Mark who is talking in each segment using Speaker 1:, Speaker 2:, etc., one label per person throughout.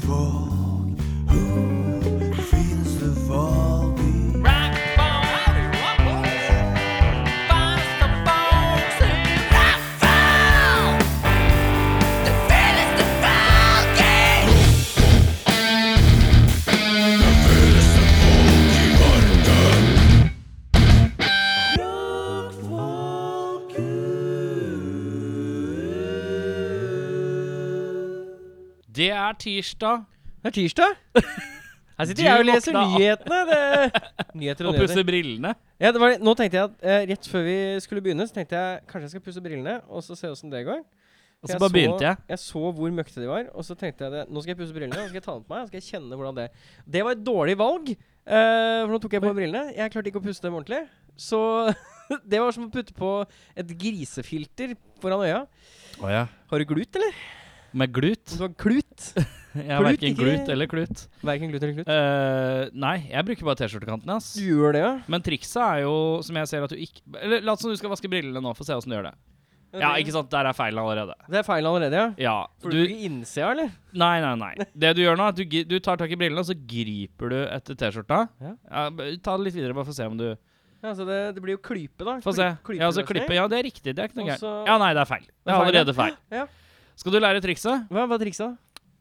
Speaker 1: folk? Who feels the fall beat?
Speaker 2: Det er tirsdag
Speaker 3: Det er tirsdag. Her sitter
Speaker 2: Du
Speaker 3: jeg og leser
Speaker 2: våkna opp.
Speaker 3: nyhetene. Det, nyheter og
Speaker 2: og pusser
Speaker 3: nyheter.
Speaker 2: brillene.
Speaker 3: Ja, det var, nå tenkte jeg at eh, Rett før vi skulle begynne, så tenkte jeg kanskje jeg skal pusse brillene og så se åssen det går.
Speaker 2: Og
Speaker 3: For
Speaker 2: så bare begynte jeg.
Speaker 3: Jeg så hvor møkte de var, og så tenkte jeg det. Nå skal jeg pusse brillene og så skal jeg ta dem på meg. Og så skal jeg kjenne hvordan Det Det var et dårlig valg, eh, for nå tok jeg på brillene. Jeg klarte ikke å pusse dem ordentlig. Så det var som å putte på et grisefilter foran øya. Har du glut, eller?
Speaker 2: Med glut.
Speaker 3: Om du har klut?
Speaker 2: Jeg har
Speaker 3: Klut,
Speaker 2: verken
Speaker 3: ikke-
Speaker 2: glut eller klut.
Speaker 3: Verken glut eller klut.
Speaker 2: Eh, nei, jeg bruker bare T-skjortekantene. ass.
Speaker 3: Du gjør det, ja?
Speaker 2: Men trikset er jo, som jeg ser at du ikke Eller la oss som du skal vaske brillene nå, få se åssen du gjør det. Ja, ikke sant, der er feilen allerede.
Speaker 3: Det er feil allerede, ja?
Speaker 2: Ja.
Speaker 3: Får du
Speaker 2: Du,
Speaker 3: ikke innse, eller?
Speaker 2: nei, nei, nei. Det du gjør nå, er at du, gi- du tar tak i brillene, og så griper du etter T-skjorta.
Speaker 3: Ja.
Speaker 2: Ja, b- ta det litt videre, bare for å se om du
Speaker 3: Ja, så det, det blir jo klype, da.
Speaker 2: Få se.
Speaker 3: Kly- klypeløsning.
Speaker 2: Ja, så klippe. Ja, det er riktig. Det er ikke noe
Speaker 3: Og
Speaker 2: gærent.
Speaker 3: så-
Speaker 2: Ja, nei, det er feil. Det
Speaker 3: Det
Speaker 2: er
Speaker 3: er feil, ja.
Speaker 2: allerede feil.
Speaker 3: Ja.
Speaker 2: Skal du lære trikset?
Speaker 3: Hva hva er trikset,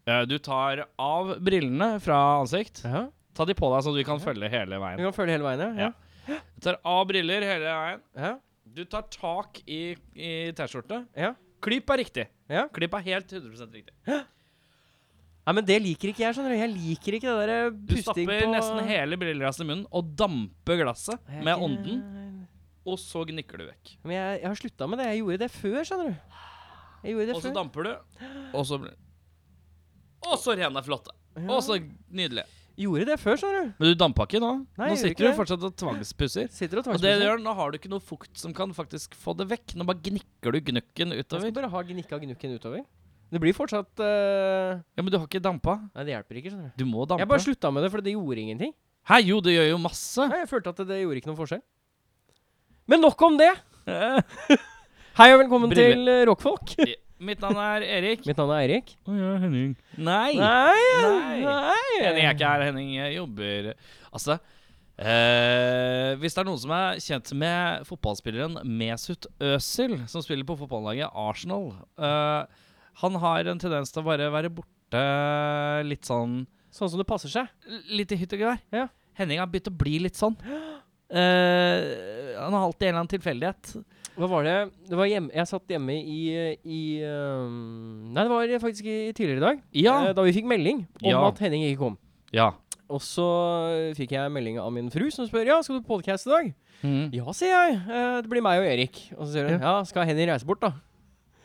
Speaker 2: Eh, Du tar av brillene fra ansikt.
Speaker 3: da? Ja.
Speaker 2: Ta de på deg, så du kan følge hele
Speaker 3: Du
Speaker 2: veien.
Speaker 3: kan følge hele veien, ja?
Speaker 2: Ja. Du tar av briller hele veien.
Speaker 3: Ja.
Speaker 2: Du tar tak i, i T-skjorte.
Speaker 3: ja.
Speaker 2: Klyp er riktig.
Speaker 3: Ja.
Speaker 2: Klyp er helt 100 riktig.
Speaker 3: Nei, men det liker ikke jeg, skjønner du. Jeg liker ikke det der eh,
Speaker 2: Du
Speaker 3: pusting på
Speaker 2: stapper nesten hele brilleglasset i munnen og damper glasset
Speaker 3: Jeg er
Speaker 2: med
Speaker 3: ikke-
Speaker 2: ånden, og så gnikker du vekk.
Speaker 3: Men jeg, jeg har slutta med det. Jeg gjorde det før, skjønner du. Jeg gjorde det
Speaker 2: Og så
Speaker 3: før.
Speaker 2: damper du, og så blir- Og så ren er flotte. Og så nydelig.
Speaker 3: Gjorde det før, skjønner du.
Speaker 2: Men du dampa ikke nå. nå
Speaker 3: Nei, jeg gjorde
Speaker 2: sitter du
Speaker 3: ikke
Speaker 2: fortsatt og tvangspusser.
Speaker 3: Sitter og
Speaker 2: Og det du
Speaker 3: tvangspusser.
Speaker 2: gjør, nå har du ikke noe fukt som kan faktisk få det vekk. Nå bare gnikker du gnukken
Speaker 3: Jeg skal
Speaker 2: utover.
Speaker 3: bare ha gnikka gnukken utover. Det blir fortsatt eh,
Speaker 2: Ja, Men du har ikke dampa.
Speaker 3: Nei, det hjelper ikke, skjønner
Speaker 2: Du
Speaker 3: du.
Speaker 2: må dampe.
Speaker 3: Jeg bare slutta med det, for det gjorde ingenting.
Speaker 2: Hæ, jo, det gjør jo masse.
Speaker 3: Nei, jeg følte at det, det gjorde ikke noen forskjell. Men nok om det! Hei og velkommen
Speaker 2: Brille.
Speaker 3: til eh, Rockfolk.
Speaker 2: Mitt navn er Erik.
Speaker 3: Mitt navn er Eirik.
Speaker 2: Og jeg er Henning. Nei!
Speaker 3: Nei,
Speaker 2: Nei. Henning er
Speaker 3: nei.
Speaker 2: ikke her. Henning eh, jobber Altså eh, Hvis det er noen som er kjent med fotballspilleren Mesut Özil, som spiller på fotballaget Arsenal eh, Han har en tendens til å bare være borte litt sånn
Speaker 3: Sånn som det passer seg.
Speaker 2: Litt i hytt og gevær.
Speaker 3: Ja.
Speaker 2: Henning har begynt å bli litt sånn. Eh, han har alltid en eller annen tilfeldighet.
Speaker 3: Hva var det? det var hjemme, jeg satt hjemme i, i øhm, Nei, det var faktisk i, tidligere i dag. eh,
Speaker 2: Ja.
Speaker 3: Da vi fikk melding om
Speaker 2: Ja.
Speaker 3: at Henning ikke kom.
Speaker 2: ja.
Speaker 3: Og så fikk jeg melding av min fru som spør Ja, skal du på podcast i dag.
Speaker 2: Mm.
Speaker 3: Ja, sier jeg. «Eh, Det blir meg og Erik. Og så sier hun ja, skal Henning reise bort, da?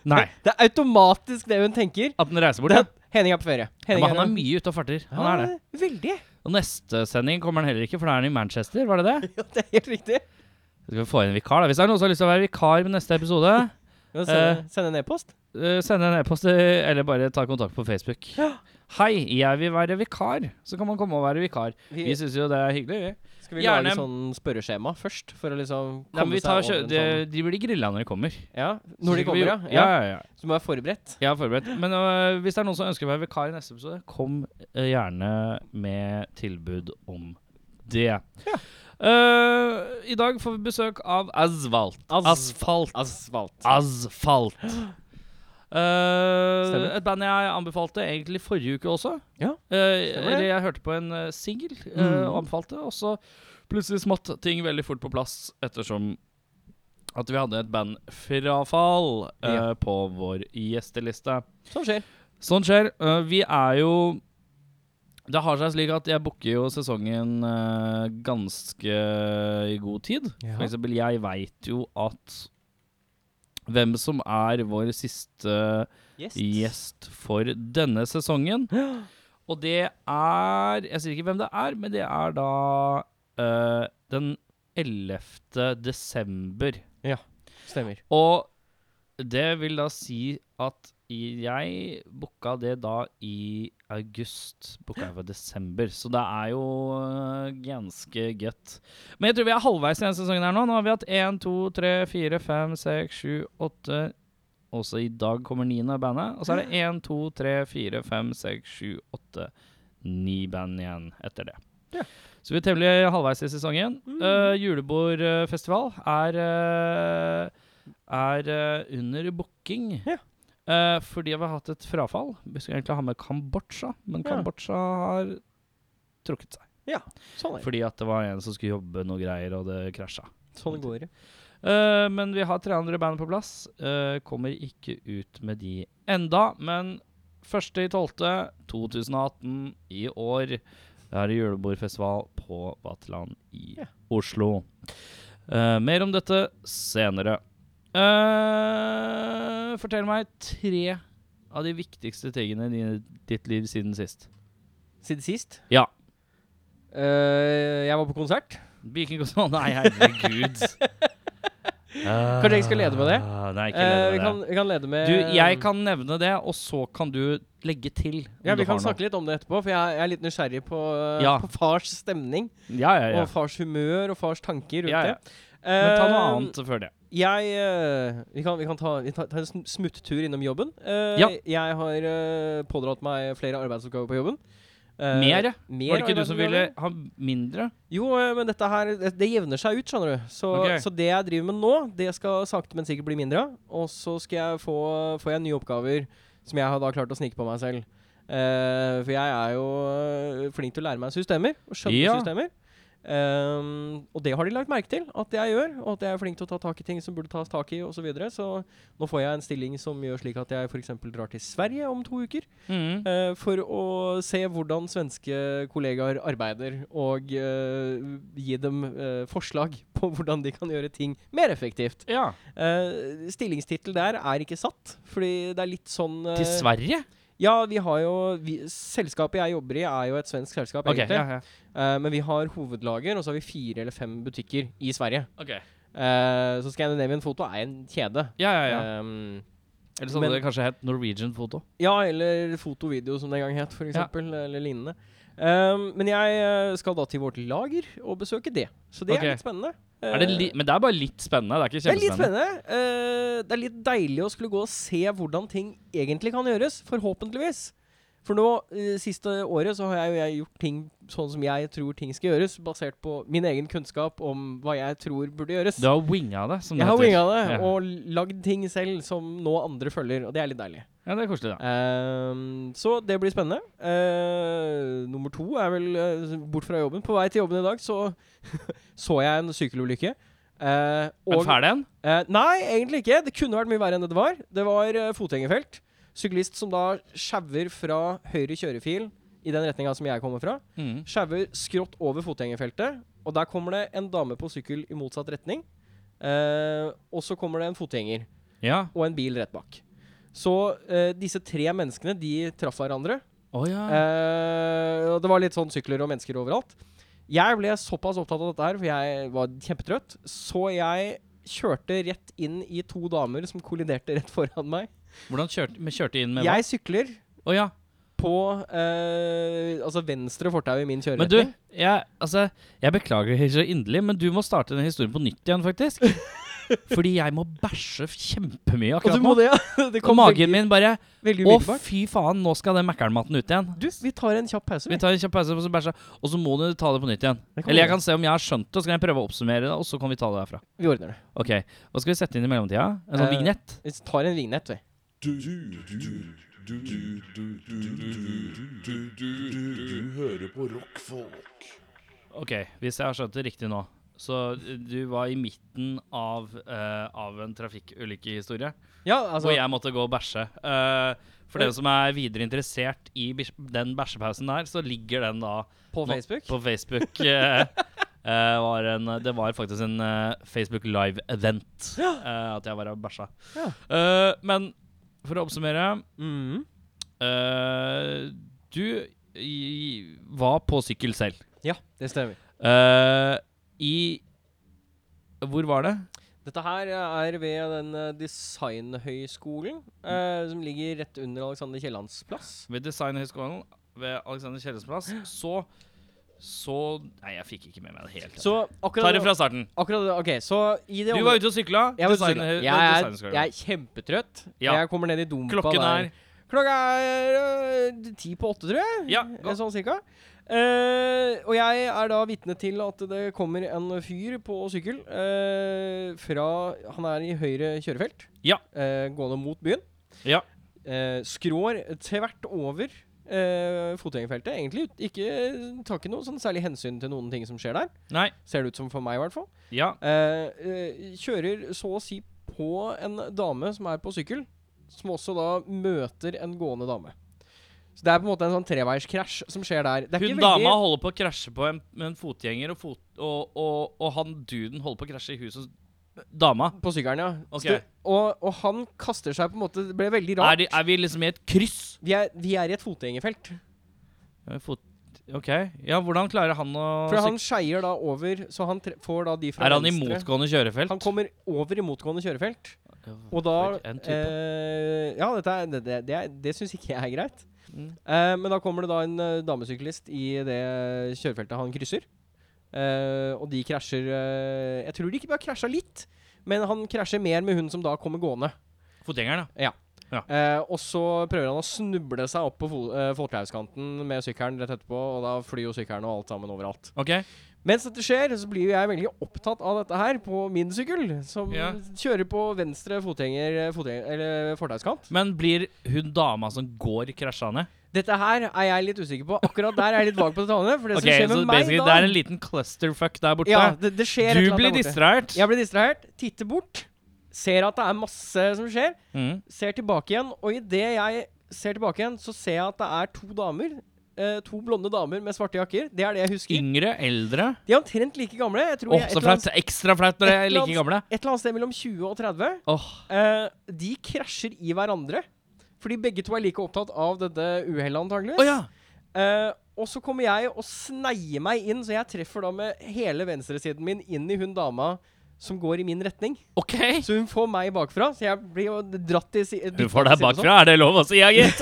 Speaker 2: Nei.
Speaker 3: Det er automatisk det hun tenker.
Speaker 2: At den reiser bort,
Speaker 3: Det,
Speaker 2: ja.
Speaker 3: Henning er på ferie.
Speaker 2: ja.
Speaker 3: Henning Ah.
Speaker 2: Men han er mye ute og farter. Han er det.
Speaker 3: Ja, Veldig.
Speaker 2: Og neste sending kommer han heller ikke, for da er han i Manchester, var det det?
Speaker 3: Ja, det er helt riktig.
Speaker 2: Skal vi få inn en vikar, da? Hvis det er noen som har lyst til å være vikar ved neste episode,
Speaker 3: Ja, Send send en e-post.
Speaker 2: eh, send en e-post eh, eller bare ta kontakt på Facebook.
Speaker 3: Ja.
Speaker 2: Hei, jeg vil være vikar. Så kan man komme og være vikar. Vi
Speaker 3: Vi,
Speaker 2: syns jo det er hyggelig, vi.
Speaker 3: skal vi
Speaker 2: gjerne-
Speaker 3: lage sånn spørreskjema først? For å liksom komme
Speaker 2: Nei, men vi tar,
Speaker 3: seg
Speaker 2: kjø
Speaker 3: over
Speaker 2: de,
Speaker 3: en sånn
Speaker 2: de blir grilla når de kommer.
Speaker 3: Ja, når de
Speaker 2: Så skal vi-
Speaker 3: kommer, ja.
Speaker 2: Ja,
Speaker 3: ja.
Speaker 2: ja, ja.
Speaker 3: Så må jeg være forberedt.
Speaker 2: Jeg er forberedt. Men øh, hvis det er noen som ønsker å være vikar i neste episode, kom øh, gjerne med tilbud om det. Øh, I dag får vi besøk av Asfalt.
Speaker 3: As-
Speaker 2: Asfalt.
Speaker 3: Asfalt.
Speaker 2: Ah. Asfalt. Øh,
Speaker 3: Stemmer.
Speaker 2: et band jeg anbefalte egentlig forrige uke også.
Speaker 3: Ja,
Speaker 2: Øh,
Speaker 3: stemmer det.
Speaker 2: eller jeg hørte på en uh, singel øh,
Speaker 3: Mhm.
Speaker 2: og anbefalte, og så plutselig smått ting veldig fort på plass ettersom at vi hadde et bandfrafall øh,
Speaker 3: Ja.
Speaker 2: på vår gjesteliste.
Speaker 3: Sånn skjer.
Speaker 2: Sånn skjer. Eh, vi er jo Det har seg slik at jeg booker jo sesongen eh, ganske i god tid.
Speaker 3: Ja.
Speaker 2: For eksempel, jeg veit jo at hvem som er vår siste
Speaker 3: Yes.
Speaker 2: gjest for denne sesongen. Og det er Jeg sier ikke hvem det er, men det er da eh, den 11. desember.
Speaker 3: Stemmer.
Speaker 2: Og det vil da si at jeg booka det da i august. Booka jeg for desember, så det er jo øh, ganske godt. Men jeg tror vi er halvveis i denne sesongen her nå. Nå har vi hatt én, to, tre, fire, fem, seks, sju, åtte Også i dag kommer niende av bandet. Og så er det én, to, tre, fire, fem, seks, sju, åtte, ni band igjen etter det.
Speaker 3: Ja.
Speaker 2: Så vi er temmelig halvveis i sesongen. Eh, julebordfestival er eh, er eh, under booking.
Speaker 3: Ja.
Speaker 2: Eh, fordi vi har hatt et frafall. Vi skulle egentlig ha med Kambodsja, men
Speaker 3: Ja.
Speaker 2: Kambodsja har trukket seg.
Speaker 3: Sånn er det.
Speaker 2: Fordi at det var en som skulle jobbe noe greier, og det krasja.
Speaker 3: Sånn går det.
Speaker 2: Eh, men vi har tre andre band på plass. Eh, kommer ikke ut med de enda, men 1.12.2018 i år er det julebordfestival på Vaterland i
Speaker 3: Ja.
Speaker 2: Oslo. Eh, mer om dette senere. Eh, fortell meg tre av de viktigste tingene i din- ditt liv siden sist.
Speaker 3: Siden sist
Speaker 2: Ja.
Speaker 3: eh, Jeg var på konsert.
Speaker 2: Vikingkonsol? Nei, herregud.
Speaker 3: Kanskje jeg skal lede med det?
Speaker 2: Ah, Nei, ikke
Speaker 3: Eh,
Speaker 2: lede
Speaker 3: vi,
Speaker 2: med det.
Speaker 3: kan, vi kan lede med
Speaker 2: Du, jeg kan nevne det, og så kan du legge til. om
Speaker 3: Eh, Ja,
Speaker 2: du
Speaker 3: Vi kan
Speaker 2: har noe.
Speaker 3: snakke litt om det etterpå, for jeg, jeg er litt nysgjerrig på, eh,
Speaker 2: Ja.
Speaker 3: på fars stemning.
Speaker 2: Ja, ja, ja.
Speaker 3: Og fars humør og fars tanker rundt
Speaker 2: ja, ja.
Speaker 3: det.
Speaker 2: Men ta noe
Speaker 3: Eh,
Speaker 2: annet før det.
Speaker 3: Jeg eh, Vi kan, vi kan ta, vi ta, ta en sm- smuttur innom jobben. Eh,
Speaker 2: Ja.
Speaker 3: Jeg har eh, pådratt meg flere arbeidsoppgaver på jobben. Eh,
Speaker 2: Mer?
Speaker 3: mer
Speaker 2: Var det ikke du som ville
Speaker 3: arbeidsoppgaver?
Speaker 2: ha mindre?
Speaker 3: Jo, eh, men dette her det, det jevner seg ut, skjønner du. Så,
Speaker 2: Ok.
Speaker 3: så det jeg driver med nå, det skal sakte, men sikkert bli mindre av. Og så skal jeg få, får jeg nye oppgaver som jeg har da klart å snike på meg selv. Eh, for jeg er jo eh, flink til å lære meg systemer og skjønne
Speaker 2: Ja.
Speaker 3: systemer. Ehm, og det har de lagt merke til at jeg gjør, og at jeg er flink til å ta tak i ting som burde tas tak i osv. Så, videre. så nå får jeg en stilling som gjør slik at jeg f.eks. drar til Sverige om to uker.
Speaker 2: Mhm.
Speaker 3: Eh, for å se hvordan svenske kollegaer arbeider, og eh, gi dem eh, forslag på hvordan de kan gjøre ting mer effektivt.
Speaker 2: Ja.
Speaker 3: Uh, Stillingstittel der er ikke satt, fordi det er litt sånn eh,
Speaker 2: Til Sverige?
Speaker 3: Ja, vi har jo vi, Selskapet jeg jobber i, er jo et svensk selskap,
Speaker 2: Ok.
Speaker 3: egentlig.
Speaker 2: Ja, ja.
Speaker 3: Eh, men vi har hovedlager, og så har vi fire eller fem butikker i Sverige.
Speaker 2: Ok. ja,
Speaker 3: Eh, så Scandinavian Photo er en kjede.
Speaker 2: ja, ja.
Speaker 3: Ehm,
Speaker 2: Eller så
Speaker 3: men-
Speaker 2: hadde det kanskje hett Norwegian Foto.
Speaker 3: Ja, eller foto-video, som det en gang het, for eksempel, eller lignende. Ehm, men jeg eh, skal da til vårt lager og besøke det. Så det
Speaker 2: Ok.
Speaker 3: er litt spennende.
Speaker 2: Er det
Speaker 3: Eh,
Speaker 2: li men det er bare litt spennende. Det er ikke
Speaker 3: det er litt
Speaker 2: kjempespennende.
Speaker 3: spennende. Eh, det er litt deilig å skulle gå og se hvordan ting egentlig kan gjøres, forhåpentligvis. For nå, eh, siste året, så har jeg, jo- jeg gjort ting sånn som jeg tror ting skal gjøres, basert på min egen kunnskap om hva jeg tror burde gjøres.
Speaker 2: Du har winga det, som det
Speaker 3: jeg har
Speaker 2: heter.
Speaker 3: winga det,
Speaker 2: Ja.
Speaker 3: og lagd ting selv som nå andre følger, og det er litt deilig.
Speaker 2: Ja, det er koselig, da.
Speaker 3: Ehm, så det blir spennende. Ehm, nummer to er vel eh, bort fra jobben. På vei til jobben i dag så så jeg en sykkelulykke. Eh,
Speaker 2: Men
Speaker 3: og-
Speaker 2: ferdig en?
Speaker 3: Eh, nei, egentlig ikke. Det kunne vært mye verre enn det det var. Det var eh, fotgjengerfelt. Syklist som da sjauer fra høyre kjørefil i den retninga som jeg kommer fra.
Speaker 2: Mhm.
Speaker 3: Sjauer skrått over fotgjengerfeltet, og der kommer det en dame på sykkel i motsatt retning. Eh, og så kommer det en fotgjenger
Speaker 2: Ja.
Speaker 3: og en bil rett bak. Så eh, disse tre menneskene de traff hverandre.
Speaker 2: Å ja.
Speaker 3: Eh, og det var litt sånn sykler og mennesker overalt. Jeg ble såpass opptatt av dette her, for jeg var kjempetrøtt, så jeg kjørte rett inn i to damer som kolliderte rett foran meg.
Speaker 2: Hvordan kjørte, men kjørte inn med hva?
Speaker 3: Jeg sykler
Speaker 2: Å ja.
Speaker 3: på eh, altså venstre fortau i min
Speaker 2: Men du,
Speaker 3: kjøreretning.
Speaker 2: jeg, altså, jeg beklager så inderlig, men du må starte den historien på nytt igjen, faktisk. Fordi jeg må bæsje kjempemye
Speaker 3: og
Speaker 2: akkurat
Speaker 3: du Altså, må
Speaker 2: nå.
Speaker 3: det, ja. Det
Speaker 2: Og
Speaker 3: kom
Speaker 2: magen
Speaker 3: veldig,
Speaker 2: min bare
Speaker 3: veldig
Speaker 2: Å,
Speaker 3: umiddelbart.
Speaker 2: fy faen, nå skal den Mækkern-maten ut igjen.
Speaker 3: Du, vi tar en kjapp pause.
Speaker 2: Vi tar en kjapp pause, og så bæsja, og så må du ta det på nytt igjen.
Speaker 3: Det kan vi
Speaker 2: Eller jeg
Speaker 3: gjøre.
Speaker 2: kan se om jeg har skjønt det, og så kan jeg prøve å oppsummere det, og så kan vi ta det derfra.
Speaker 3: Vi ordner det.
Speaker 2: Ok, Hva skal vi sette inn i mellomtida? En sånn
Speaker 3: Eh,
Speaker 2: vignett?
Speaker 3: Vi tar en vignett, vi.
Speaker 1: Du, du, du, du, du, du, du, du, du, du, du hører på rockfolk.
Speaker 2: Ok, hvis jeg har skjønt det riktig nå. Så du var i midten av, eh, av en trafikkulykkehistorie.
Speaker 3: Ja, altså,
Speaker 2: hvor jeg måtte gå og bæsje. Eh, for dere som er videre interessert i bæs- den bæsjepausen der, så ligger den da
Speaker 3: på
Speaker 2: nå-
Speaker 3: Facebook.
Speaker 2: På Facebook eh, eh, var en, det var faktisk en eh, Facebook Live-event eh, at jeg var og bæsja.
Speaker 3: Ja.
Speaker 2: Eh, men for å oppsummere
Speaker 3: Mhm.
Speaker 2: eh, Du i, var på sykkel selv.
Speaker 3: Ja, det stemmer.
Speaker 2: Eh, I Hvor var det?
Speaker 3: Dette her er ved den eh, designhøyskolen
Speaker 2: Mm.
Speaker 3: eh, som ligger rett under Alexander Kiellands plass.
Speaker 2: ved Designhøgskolen ved Alexander Kiellands plass. Så Så Nei, jeg fikk ikke med meg det helt.
Speaker 3: Så
Speaker 2: Ta
Speaker 3: akkurat
Speaker 2: det fra starten.
Speaker 3: Akkurat det, ok, så i det
Speaker 2: Du var ute og sykla.
Speaker 3: Jeg, var ute og
Speaker 2: design-
Speaker 3: sykla.
Speaker 2: eh,
Speaker 3: jeg, er,
Speaker 2: designerskole.
Speaker 3: jeg er kjempetrøtt.
Speaker 2: Ja.
Speaker 3: Jeg kommer ned i dumpa
Speaker 2: Klokken
Speaker 3: der.
Speaker 2: er
Speaker 3: Klokka er øh, ti på åtte, tror jeg.
Speaker 2: Ja,
Speaker 3: Eh,
Speaker 2: gå.
Speaker 3: Sånn cirka. Eh, og jeg er da vitne til at det kommer en fyr på sykkel eh, fra Han er i høyre kjørefelt,
Speaker 2: Ja.
Speaker 3: eh, gående mot byen.
Speaker 2: Ja.
Speaker 3: Eh, skrår tvert over eh, fotgjengerfeltet, egentlig. ut- Ikke, tar ikke noe sånn særlig hensyn til noen ting som skjer der.
Speaker 2: Nei.
Speaker 3: Ser det ut som for meg, i hvert fall.
Speaker 2: Ja.
Speaker 3: Eh, eh, kjører så å si på en dame som er på sykkel, som også da møter en gående dame. Så det er på en måte en sånn treveiskrasj som skjer der. Det er
Speaker 2: Hun
Speaker 3: ikke veldig-
Speaker 2: dama holder på å krasje på en, med en fotgjenger, og, fot, og, og, og han duden holder på å krasje i huset hos dama.
Speaker 3: på sykkelen, ja.
Speaker 2: Ok.
Speaker 3: Så det- og, og han kaster seg på en måte Det ble veldig
Speaker 2: Er,
Speaker 3: rart.
Speaker 2: de, er vi liksom i et kryss?
Speaker 3: Vi, er, vi er i et fotgjengerfelt.
Speaker 2: Ja, Fot, OK. Ja, hvordan klarer han å
Speaker 3: For han skeier da over, så han tre får da de fra
Speaker 2: Er han i
Speaker 3: venstre.
Speaker 2: motgående kjørefelt?
Speaker 3: Han kommer over i motgående kjørefelt, og da
Speaker 2: For en type.
Speaker 3: eh, Ja, dette er, det, det, det, er- det syns ikke jeg er greit.
Speaker 2: Mm.
Speaker 3: Eh, men da kommer det da en eh, damesyklist i det kjørefeltet han krysser. Eh, og de krasjer eh, Jeg tror de ikke bare krasja litt, men han krasjer mer med hun som da kommer gående.
Speaker 2: Fotgjengeren, da.
Speaker 3: Eh, og så prøver han å snuble seg opp på fo eh, Folkehaugkanten med sykkelen rett etterpå, og da flyr jo sykkelen og alt sammen overalt.
Speaker 2: OK.
Speaker 3: Mens dette skjer, så blir jo jeg veldig opptatt av dette her på min sykkel, som
Speaker 2: Ja.
Speaker 3: kjører på venstre fotgjenger, eh, fotgjenger eller fortauskant.
Speaker 2: Men blir hun dama som går, krasja ned?
Speaker 3: Dette her er jeg litt usikker på. Akkurat der er jeg litt vag på detaljene, for det
Speaker 2: Ok,
Speaker 3: som skjer
Speaker 2: så
Speaker 3: med meg
Speaker 2: basically,
Speaker 3: da
Speaker 2: Det er en liten clusterfuck der borte.
Speaker 3: Ja, det, det skjer et
Speaker 2: du
Speaker 3: eller annet
Speaker 2: blir
Speaker 3: der borte.
Speaker 2: distrahert.
Speaker 3: Jeg blir distrahert, titter bort, ser at det er masse som skjer,
Speaker 2: Mm.
Speaker 3: ser tilbake igjen, og idet jeg ser tilbake igjen, så ser jeg at det er to damer. eh, to blonde damer med svarte jakker. Det er det jeg husker.
Speaker 2: Yngre, eldre.
Speaker 3: De er omtrent like gamle. Jeg tror
Speaker 2: Åh,
Speaker 3: jeg, et,
Speaker 2: så
Speaker 3: eller
Speaker 2: flaut.
Speaker 3: annet,
Speaker 2: Ekstra flaut når
Speaker 3: et
Speaker 2: jeg er
Speaker 3: eller
Speaker 2: like gamle.
Speaker 3: et eller annet sted mellom 20 og 30.
Speaker 2: Åh,
Speaker 3: Eh, de krasjer i hverandre. Fordi begge to er like opptatt av dette uhellet, antageligvis.
Speaker 2: Å ja.
Speaker 3: Eh, og så kommer jeg og sneier meg inn, så jeg treffer da med hele venstresiden min inn i hun dama som går i min retning.
Speaker 2: OK.
Speaker 3: Så hun får meg bakfra, så jeg blir jo dratt til si- sånn. dyttet
Speaker 2: Hun får
Speaker 3: til
Speaker 2: deg
Speaker 3: siden og sånn.
Speaker 2: bakfra. Er det lov å si, ja, gitt?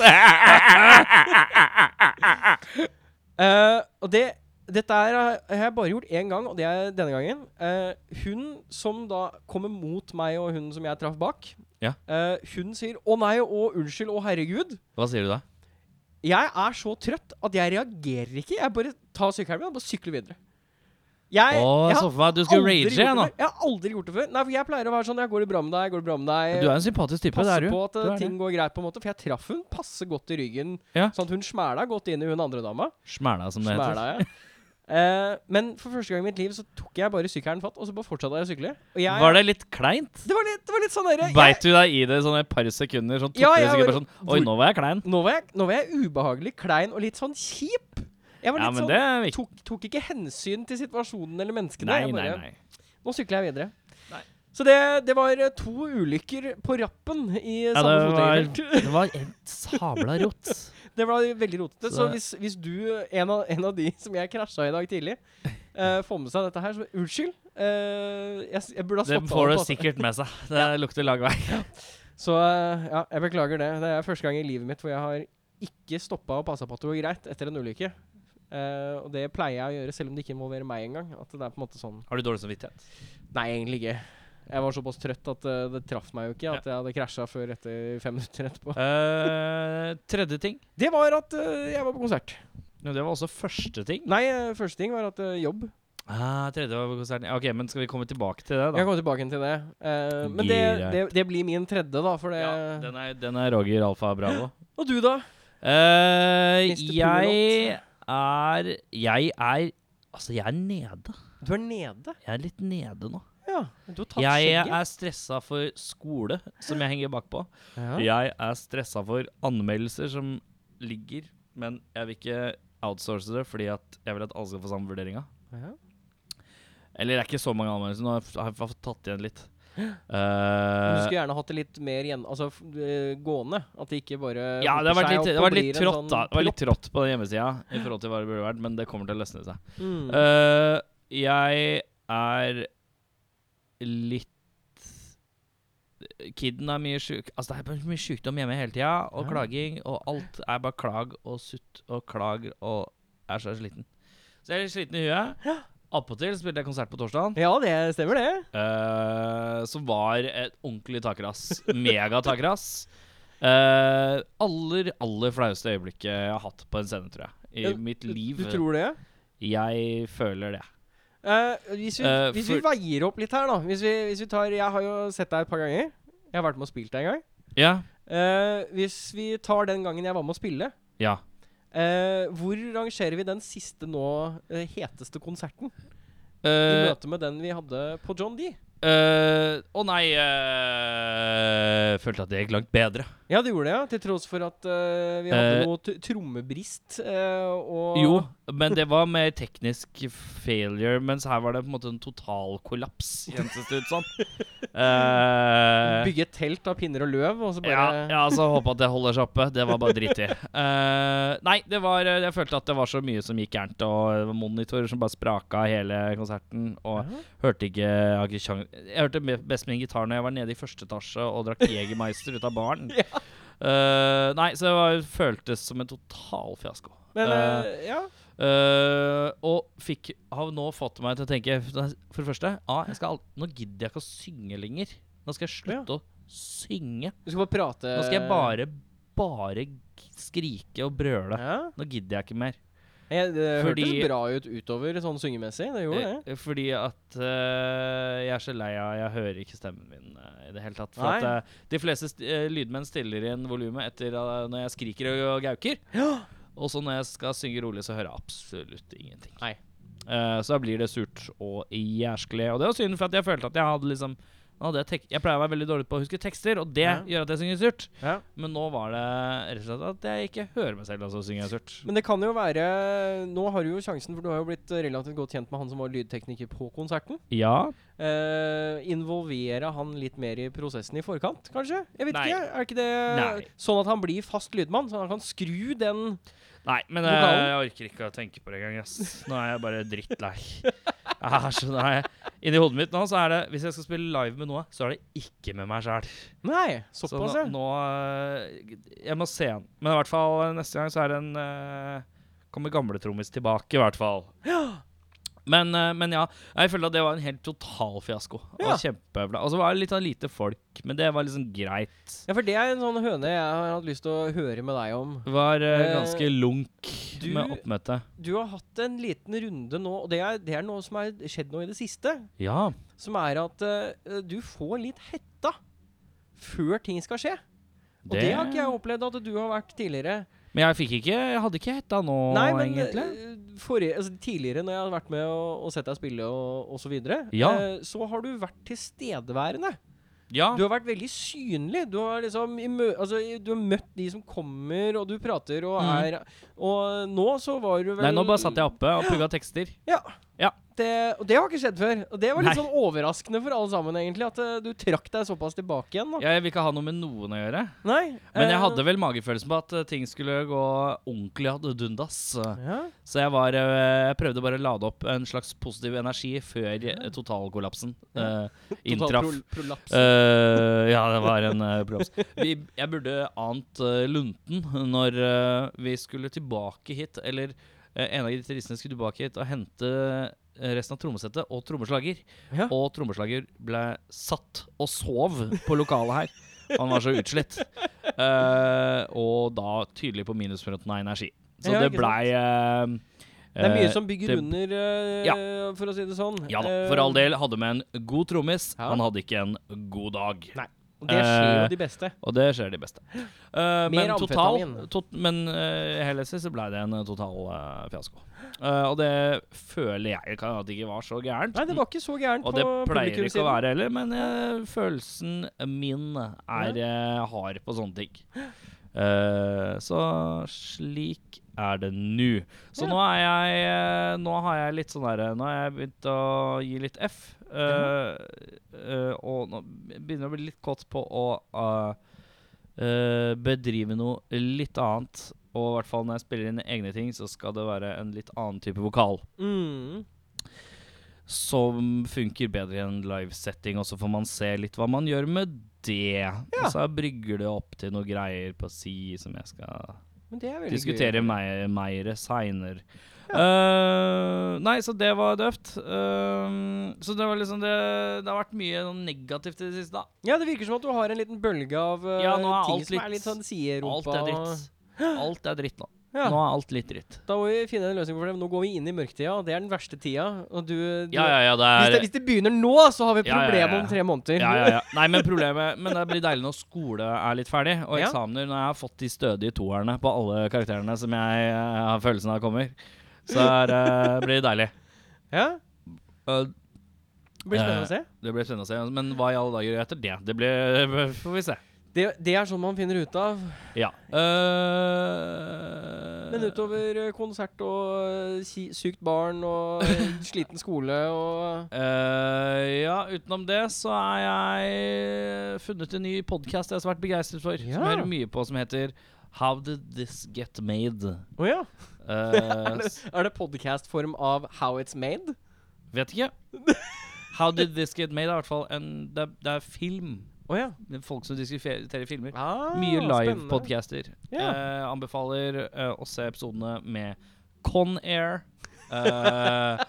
Speaker 3: Eh, og det, dette her har jeg bare gjort én gang, og det er denne gangen. Eh, hun som da kommer mot meg og hun som jeg traff bak,
Speaker 2: Ja.
Speaker 3: eh, hun sier 'Å nei, å unnskyld, å herregud'.
Speaker 2: Hva sier du da?
Speaker 3: Jeg er så trøtt at jeg reagerer ikke. Jeg bare tar sykkelen min og bare sykler videre. Jeg,
Speaker 2: Åh, jeg
Speaker 3: jeg
Speaker 2: så
Speaker 3: har
Speaker 2: for meg at du skulle
Speaker 3: aldri
Speaker 2: rage
Speaker 3: gjort det
Speaker 2: igjen. da.
Speaker 3: før. Jeg har aldri gjort det før. Nei, for jeg pleier å være sånn 'Jeg går det bra med deg, går det bra med deg'.
Speaker 2: Du er en sympatisk type. det
Speaker 3: Passe
Speaker 2: er du.
Speaker 3: på at
Speaker 2: du
Speaker 3: eh,
Speaker 2: er
Speaker 3: ting går greit, på en måte. For jeg traff hun passe godt i ryggen,
Speaker 2: Ja.
Speaker 3: sånn at hun smæla godt inn i hun andre dama.
Speaker 2: det. Smæla, som det heter.
Speaker 3: Smæla, ja. Eh, men for første gang i mitt liv så tok jeg bare sykkelen fatt, og så bare fortsatte jeg å sykle. Og jeg,
Speaker 2: Var det litt kleint?
Speaker 3: det, var litt, det var litt sånn derre jeg-
Speaker 2: Beit du deg i det sånn et par sekunder? Sånn
Speaker 3: Ja,
Speaker 2: to-tre
Speaker 3: jeg
Speaker 2: sekunder
Speaker 3: var-
Speaker 2: sånn, Oi, nå var jeg klein.
Speaker 3: nå, var jeg- nå var jeg ubehagelig klein og litt sånn kjip. Jeg var
Speaker 2: Ja,
Speaker 3: litt
Speaker 2: men
Speaker 3: sånn
Speaker 2: det er viktig.
Speaker 3: tok, tok ikke hensyn til situasjonen eller menneskene.
Speaker 2: Nei,
Speaker 3: Jeg
Speaker 2: nei,
Speaker 3: bare,
Speaker 2: nei.
Speaker 3: Nå sykler jeg videre.
Speaker 2: Nei.
Speaker 3: Så det, det var eh, to ulykker på rappen i
Speaker 2: Ja,
Speaker 3: samme
Speaker 2: det var,
Speaker 3: fotgjengerfelt.
Speaker 2: det var en sabla rot.
Speaker 3: Det var veldig rotete. Så,
Speaker 2: Så-
Speaker 3: hvis, hvis du, en av, en av de som jeg krasja i dag tidlig, eh, får med seg dette her, så unnskyld. Eh, jeg, s- jeg burde ha
Speaker 2: Det
Speaker 3: stoppa
Speaker 2: får du sikkert med seg. Det lukter lang vei.
Speaker 3: Så eh, ja, jeg beklager det. Det er første gang i livet mitt hvor jeg har ikke stoppa og passa på at det går greit etter en ulykke. Eh, og det pleier jeg å gjøre, selv om det ikke involverer meg engang. At det er på en måte sånn
Speaker 2: Har du dårlig samvittighet?
Speaker 3: Nei, egentlig ikke. Jeg var såpass trøtt at eh, det traff meg jo ikke at jeg hadde krasja før etter fem minutter etterpå.
Speaker 2: Eh, tredje ting.
Speaker 3: Det var at eh, jeg var på konsert.
Speaker 2: Ja, Det var også første ting.
Speaker 3: Nei, eh, første ting var at eh, jobb.
Speaker 2: Ah, tredje var konserten. Ja, Ok, men skal vi komme tilbake til det, da?
Speaker 3: Jeg kommer tilbake til det. Eh, men det,
Speaker 2: Greit.
Speaker 3: det, det blir min tredje, da. For det
Speaker 2: Ja, den er, den er Roger Alfa Bravo.
Speaker 3: Og du, da?
Speaker 2: Eh,
Speaker 3: Mr.
Speaker 2: jeg er Jeg er Altså, jeg er nede.
Speaker 3: Du er nede.
Speaker 2: Jeg er litt nede nå.
Speaker 3: Ja. Du har tatt
Speaker 2: Jeg
Speaker 3: skjegget.
Speaker 2: er stressa for skole, som jeg henger bakpå.
Speaker 3: Ja.
Speaker 2: Jeg er stressa for anmeldelser som ligger, men jeg vil ikke outsource det fordi at jeg vil at alle skal få samme vurderinga.
Speaker 3: Ja.
Speaker 2: Eller det er ikke så mange anmeldelser, nå har jeg f- har jeg fått tatt igjen litt.
Speaker 3: Men Du
Speaker 2: Eh,
Speaker 3: skulle gjerne hatt det litt mer igjen, altså f- eh, gående. At det ikke bare
Speaker 2: ja, det har vært
Speaker 3: hoper seg
Speaker 2: litt, det
Speaker 3: opp
Speaker 2: var litt trått
Speaker 3: og blir en sånn
Speaker 2: da. Det var litt
Speaker 3: propp.
Speaker 2: trått på den hjemmesida i forhold til hva det burde vært, men det kommer til å løsne seg.
Speaker 3: Mm.
Speaker 2: Eh, jeg er litt Kidden er mye sjuk Altså, det er bare mye sjukdom hjemme hele tida, og
Speaker 3: Ja.
Speaker 2: klaging, og alt er bare klag og sutt og klag og jeg er så sliten. Så jeg er litt sliten i huet. Appåtil spilte jeg konsert på torsdag.
Speaker 3: Ja, det stemmer, det.
Speaker 2: som var et ordentlig takrass. Megatakerass. Uh, aller, aller flaueste øyeblikket jeg har hatt på en scene, tror jeg. I
Speaker 3: Ja,
Speaker 2: mitt
Speaker 3: Du-
Speaker 2: liv.
Speaker 3: Du tror det?
Speaker 2: Jeg føler det.
Speaker 3: Eh, hvis vi,
Speaker 2: Eh,
Speaker 3: hvis
Speaker 2: for-
Speaker 3: vi veier opp litt her, da. Hvis vi, hvis vi tar, jeg har jo sett deg et par ganger. Jeg har vært med og spilt deg en gang.
Speaker 2: Ja.
Speaker 3: Eh, hvis vi tar den gangen jeg var med å spille,
Speaker 2: Ja.
Speaker 3: eh, hvor rangerer vi den siste nå eh, heteste konserten? I
Speaker 2: Eh,
Speaker 3: møte med den vi hadde på John D.
Speaker 2: Eh, Å nei eh, Følte at det gikk langt bedre.
Speaker 3: Ja, det gjorde det, ja. Til tross for at eh, vi hadde
Speaker 2: Eh,
Speaker 3: noe t trommebrist eh, og
Speaker 2: Jo, men det var mer teknisk failure, mens her var det på en måte en total kollaps, kjentes det ut som. Eh,
Speaker 3: Bygge et telt av pinner og løv, og så bare
Speaker 2: ja, ja, altså håpe at det holder seg oppe. Det var bare drittig. Eh, nei, det var Jeg følte at det var så mye som gikk gærent, og det var monitorer som bare spraka hele konserten, og hørte ikke Jeg, har ikke sjans- jeg hørte me- best min gitar når jeg var nede i første etasje og drakk Jegermeister ut av baren. Eh, nei, så det var, føltes som en total fiasko.
Speaker 3: Men
Speaker 2: Eh,
Speaker 3: eh, ja.
Speaker 2: Eh, og fikk, har nå fått meg til å tenke For det første, ja, jeg skal aldri, nå gidder jeg ikke å synge lenger. Nå skal jeg
Speaker 3: Ja.
Speaker 2: slutte å synge.
Speaker 3: Du skal bare prate
Speaker 2: Nå skal jeg bare, bare g- skrike og brøle.
Speaker 3: ja.
Speaker 2: Nå gidder jeg ikke mer.
Speaker 3: Jeg, det
Speaker 2: Fordi-
Speaker 3: hørtes bra ut utover sånn syngemessig. Det gjorde det.
Speaker 2: Eh, Fordi at eh, jeg er så lei av Jeg hører ikke stemmen min eh, i det hele tatt. For at
Speaker 3: Nei.
Speaker 2: eh, de fleste st eh, lydmenn stiller inn volumet etter eh, når jeg skriker og, og gauker. Og så når jeg skal synge rolig, så hører jeg absolutt ingenting.
Speaker 3: Nei.
Speaker 2: Eh, så da blir det surt og jæsklig. Og det var synd, for at jeg følte at jeg hadde liksom nå hadde jeg, tek jeg pleier å være veldig dårlig på å huske tekster, og det
Speaker 3: Ja.
Speaker 2: gjør at jeg synger surt.
Speaker 3: Ja.
Speaker 2: Men nå var det rett og slett at jeg ikke hører meg selv, og så synger jeg surt.
Speaker 3: Men det kan jo være Nå har du jo sjansen, for du har jo blitt relativt godt kjent med han som var lydtekniker på konserten.
Speaker 2: Ja.
Speaker 3: Eh, involvere han litt mer i prosessen i forkant, kanskje? Jeg vet
Speaker 2: Nei.
Speaker 3: ikke. Er ikke det
Speaker 2: Nei.
Speaker 3: sånn at han blir fast lydmann? Sånn at han kan skru den
Speaker 2: Nei, men eh,
Speaker 3: Vokalen?
Speaker 2: jeg orker ikke å tenke på det engang. ass. Nå er jeg bare drittlei. Jeg er så lei. Inni hodet mitt nå så er det Hvis jeg skal spille live med noe, så er det ikke med meg sjæl.
Speaker 3: Nei,
Speaker 2: Så
Speaker 3: såpass,
Speaker 2: nå,
Speaker 3: ja.
Speaker 2: nå eh, Jeg må se den. Men i hvert fall eh, neste gang så er det en eh, Kommer gamletrommis tilbake, i hvert fall. Men, eh, men ja, jeg følte at det var en helt total fiasko. Og
Speaker 3: Ja.
Speaker 2: kjempebra. Og så var det litt sånn lite folk, men det var liksom greit.
Speaker 3: Ja, for det er en sånn høne jeg har hatt lyst til å høre med deg om.
Speaker 2: Var eh,
Speaker 3: Eh,
Speaker 2: ganske lunk
Speaker 3: du-
Speaker 2: med oppmøte.
Speaker 3: Du har hatt en liten runde nå, og det er, det er noe som er skjedd nå i det siste.
Speaker 2: Ja.
Speaker 3: Som er at eh, du får litt hetta før ting skal skje. Og det, har ikke jeg opplevd at du har vært tidligere.
Speaker 2: Men jeg fikk ikke Jeg hadde ikke hetta nå,
Speaker 3: Nei, men
Speaker 2: egentlig.
Speaker 3: eh, forrige, altså, tidligere når jeg har vært med og, og sett deg spille og, og så videre,
Speaker 2: Ja.
Speaker 3: eh, så har du vært tilstedeværende.
Speaker 2: Ja.
Speaker 3: Du har vært veldig synlig. Du har liksom i mø altså, i- Du har møtt de som kommer, og du prater og
Speaker 2: Mhm.
Speaker 3: er Og nå så var du vel
Speaker 2: Nei, nå bare satt jeg oppe og pugga tekster.
Speaker 3: Ja.
Speaker 2: Ja.
Speaker 3: Det, og det har ikke skjedd før. Og det var litt
Speaker 2: Nei.
Speaker 3: sånn overraskende for alle sammen, egentlig. At eh, du trakk deg såpass tilbake igjen. Da.
Speaker 2: Jeg vil ikke ha noe med noen å gjøre.
Speaker 3: Nei.
Speaker 2: Men
Speaker 3: eh,
Speaker 2: jeg hadde vel magefølelsen på at eh, ting skulle gå ordentlig ad undas.
Speaker 3: ja.
Speaker 2: Så jeg, var, eh, jeg prøvde bare å lade opp en slags positiv energi før eh, totalkollapsen eh,
Speaker 3: Total
Speaker 2: inntraff.
Speaker 3: prol- prolaps.
Speaker 2: Eh, ja, det var en uh, prolaps. Vi, jeg burde ant eh, lunten når eh, vi skulle tilbake hit, eller eh, en av gitaristene skulle tilbake hit og hente eh, resten av trommesettet og trommeslager.
Speaker 3: Ja.
Speaker 2: Og trommeslager ble satt og sov på lokalet her. Han var så utslitt. Eh, og da tydelig på minusfronten av energi. Så
Speaker 3: Ja,
Speaker 2: det
Speaker 3: ikke
Speaker 2: blei eh,
Speaker 3: det er mye som bygger
Speaker 2: det-
Speaker 3: under, eh, for å si det sånn.
Speaker 2: Ja da,
Speaker 3: Eh,
Speaker 2: for all del. Hadde med en god trommis.
Speaker 3: Ja.
Speaker 2: Han hadde ikke en god dag.
Speaker 3: Nei. og Det skjer
Speaker 2: eh,
Speaker 3: jo de beste.
Speaker 2: Og det skjer de beste. Eh, men
Speaker 3: Mer
Speaker 2: total,
Speaker 3: amfetamin.
Speaker 2: tot, men eh, i helhetlig så ble det en eh, total eh, fiasko. Eh, og det føler jeg kan at det ikke var så gærent.
Speaker 3: Nei, det var ikke så gærent
Speaker 2: og
Speaker 3: på
Speaker 2: det pleier ikke å
Speaker 3: publikumssiden.
Speaker 2: være heller, men eh, følelsen min er eh, hard på sånne ting. Eh, så slik er det nå. Så
Speaker 3: Ja.
Speaker 2: nå er jeg eh, Nå har jeg litt sånn derre Nå har jeg begynt å gi litt F. eh, eh, og nå begynner jeg å bli litt kåt på å eh, eh, bedrive noe litt annet. Og i hvert fall når jeg spiller inn egne ting, så skal det være en litt annen type vokal
Speaker 3: Mm.
Speaker 2: som funker bedre i en livesetting, og så får man se litt hva man gjør med det. Og så brygger det opp til noen greier på si som jeg skal
Speaker 3: Men det er veldig
Speaker 2: diskutere meiere seinere. Eh, nei, så det var døvt. Eh, så det var liksom det Det har vært mye sånn negativt i det siste, da.
Speaker 3: Ja, det virker som at du har en liten bølge av eh,
Speaker 2: Ja, nå er
Speaker 3: ting
Speaker 2: alt
Speaker 3: som er
Speaker 2: litt-
Speaker 3: litt sånn siderumpa.
Speaker 2: Alt er dritt. Alt er dritt nå.
Speaker 3: Ja.
Speaker 2: Nå er alt litt dritt.
Speaker 3: Da må vi finne en løsning for det. Nå går vi inn i mørketida, og det er den verste tida. Og du, du
Speaker 2: Ja, ja, ja, det
Speaker 3: Hvis, det,
Speaker 2: er
Speaker 3: hvis det begynner nå, så har vi
Speaker 2: Ja, ja,
Speaker 3: problemer
Speaker 2: ja, ja.
Speaker 3: om tre måneder.
Speaker 2: ja, ja, ja. Nei, men problemet Men det blir deilig når skole er litt ferdig, og
Speaker 3: Ja.
Speaker 2: eksamener når jeg har fått de stødige toerne på alle karakterene som jeg eh, har følelsen av kommer. Så er, eh, blir det deilig.
Speaker 3: Ja,
Speaker 2: Eh,
Speaker 3: Det blir spennende å se.
Speaker 2: det blir spennende å se. Men hva i alle dager etter det? Det blir, får vi se.
Speaker 3: Det, det er sånn man finner ut av.
Speaker 2: Ja. Eh,
Speaker 3: Men utover eh, konsert og eh, si- sykt barn og eh, sliten skole og
Speaker 2: eh, ja, utenom det så er jeg funnet en ny podkast jeg er svært begeistret for.
Speaker 3: Ja.
Speaker 2: Som jeg hører mye på, som heter How Did This Get Made?
Speaker 3: Å ja.
Speaker 2: Eh,
Speaker 3: Er det, er det podcast-form av How It's Made?
Speaker 2: vet ikke. How Did This Get Made er i hvert fall en det, er- det er film.
Speaker 3: Å ja.
Speaker 2: Det er folk som diskuterer filmer.
Speaker 3: Ah,
Speaker 2: Mye
Speaker 3: spennende.
Speaker 2: live-podcaster.
Speaker 3: Ja.
Speaker 2: Eh, anbefaler eh, å se episodene med Con Air. Eh,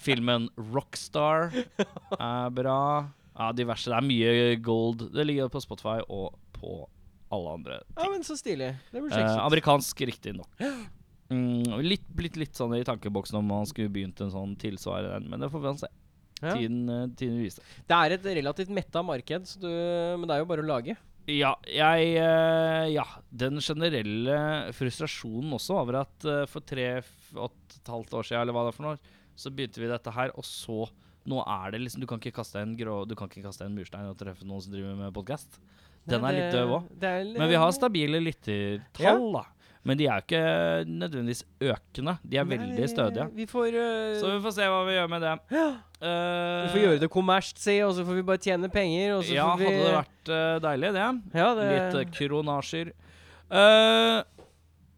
Speaker 2: filmen Rockstar er bra. Ja, diverse. Det er mye gold. Det ligger på Spotify og på alle andre.
Speaker 3: Ja, men så stilig. Det blir
Speaker 2: Eh,
Speaker 3: kjekt.
Speaker 2: amerikansk, riktignok. Mm, og litt, blitt litt sånn i tankeboksen om man skulle begynt en sånn tilsvarende en, men det får vi se.
Speaker 3: Ja.
Speaker 2: Tiden, eh, tiden vil vise.
Speaker 3: Det er et relativt metta marked, så du, men det er jo bare å lage.
Speaker 2: Ja, jeg eh, Ja. Den generelle frustrasjonen også over at eh, for tre f- og et halvt år siden, eller hva det er for noe, så begynte vi dette her, og så Nå er det liksom Du kan ikke kaste en, grå, du kan ikke kaste en murstein og treffe noen som driver med podkast. Den er
Speaker 3: Nei, det-
Speaker 2: litt døv òg.
Speaker 3: eh, det er-
Speaker 2: Men vi har stabile lyttertall, da. Men de er jo ikke nødvendigvis økende. De er
Speaker 3: Nei,
Speaker 2: veldig stødige.
Speaker 3: Vi får, eh,
Speaker 2: Så vi får se hva vi gjør med det.
Speaker 3: vi får gjøre det kommersielt, si, og så får vi bare tjene penger. Og så
Speaker 2: Ja,
Speaker 3: får vi,
Speaker 2: hadde det vært eh, deilig, det.
Speaker 3: ja, det,
Speaker 2: Litt eh, kronasjer. Eh,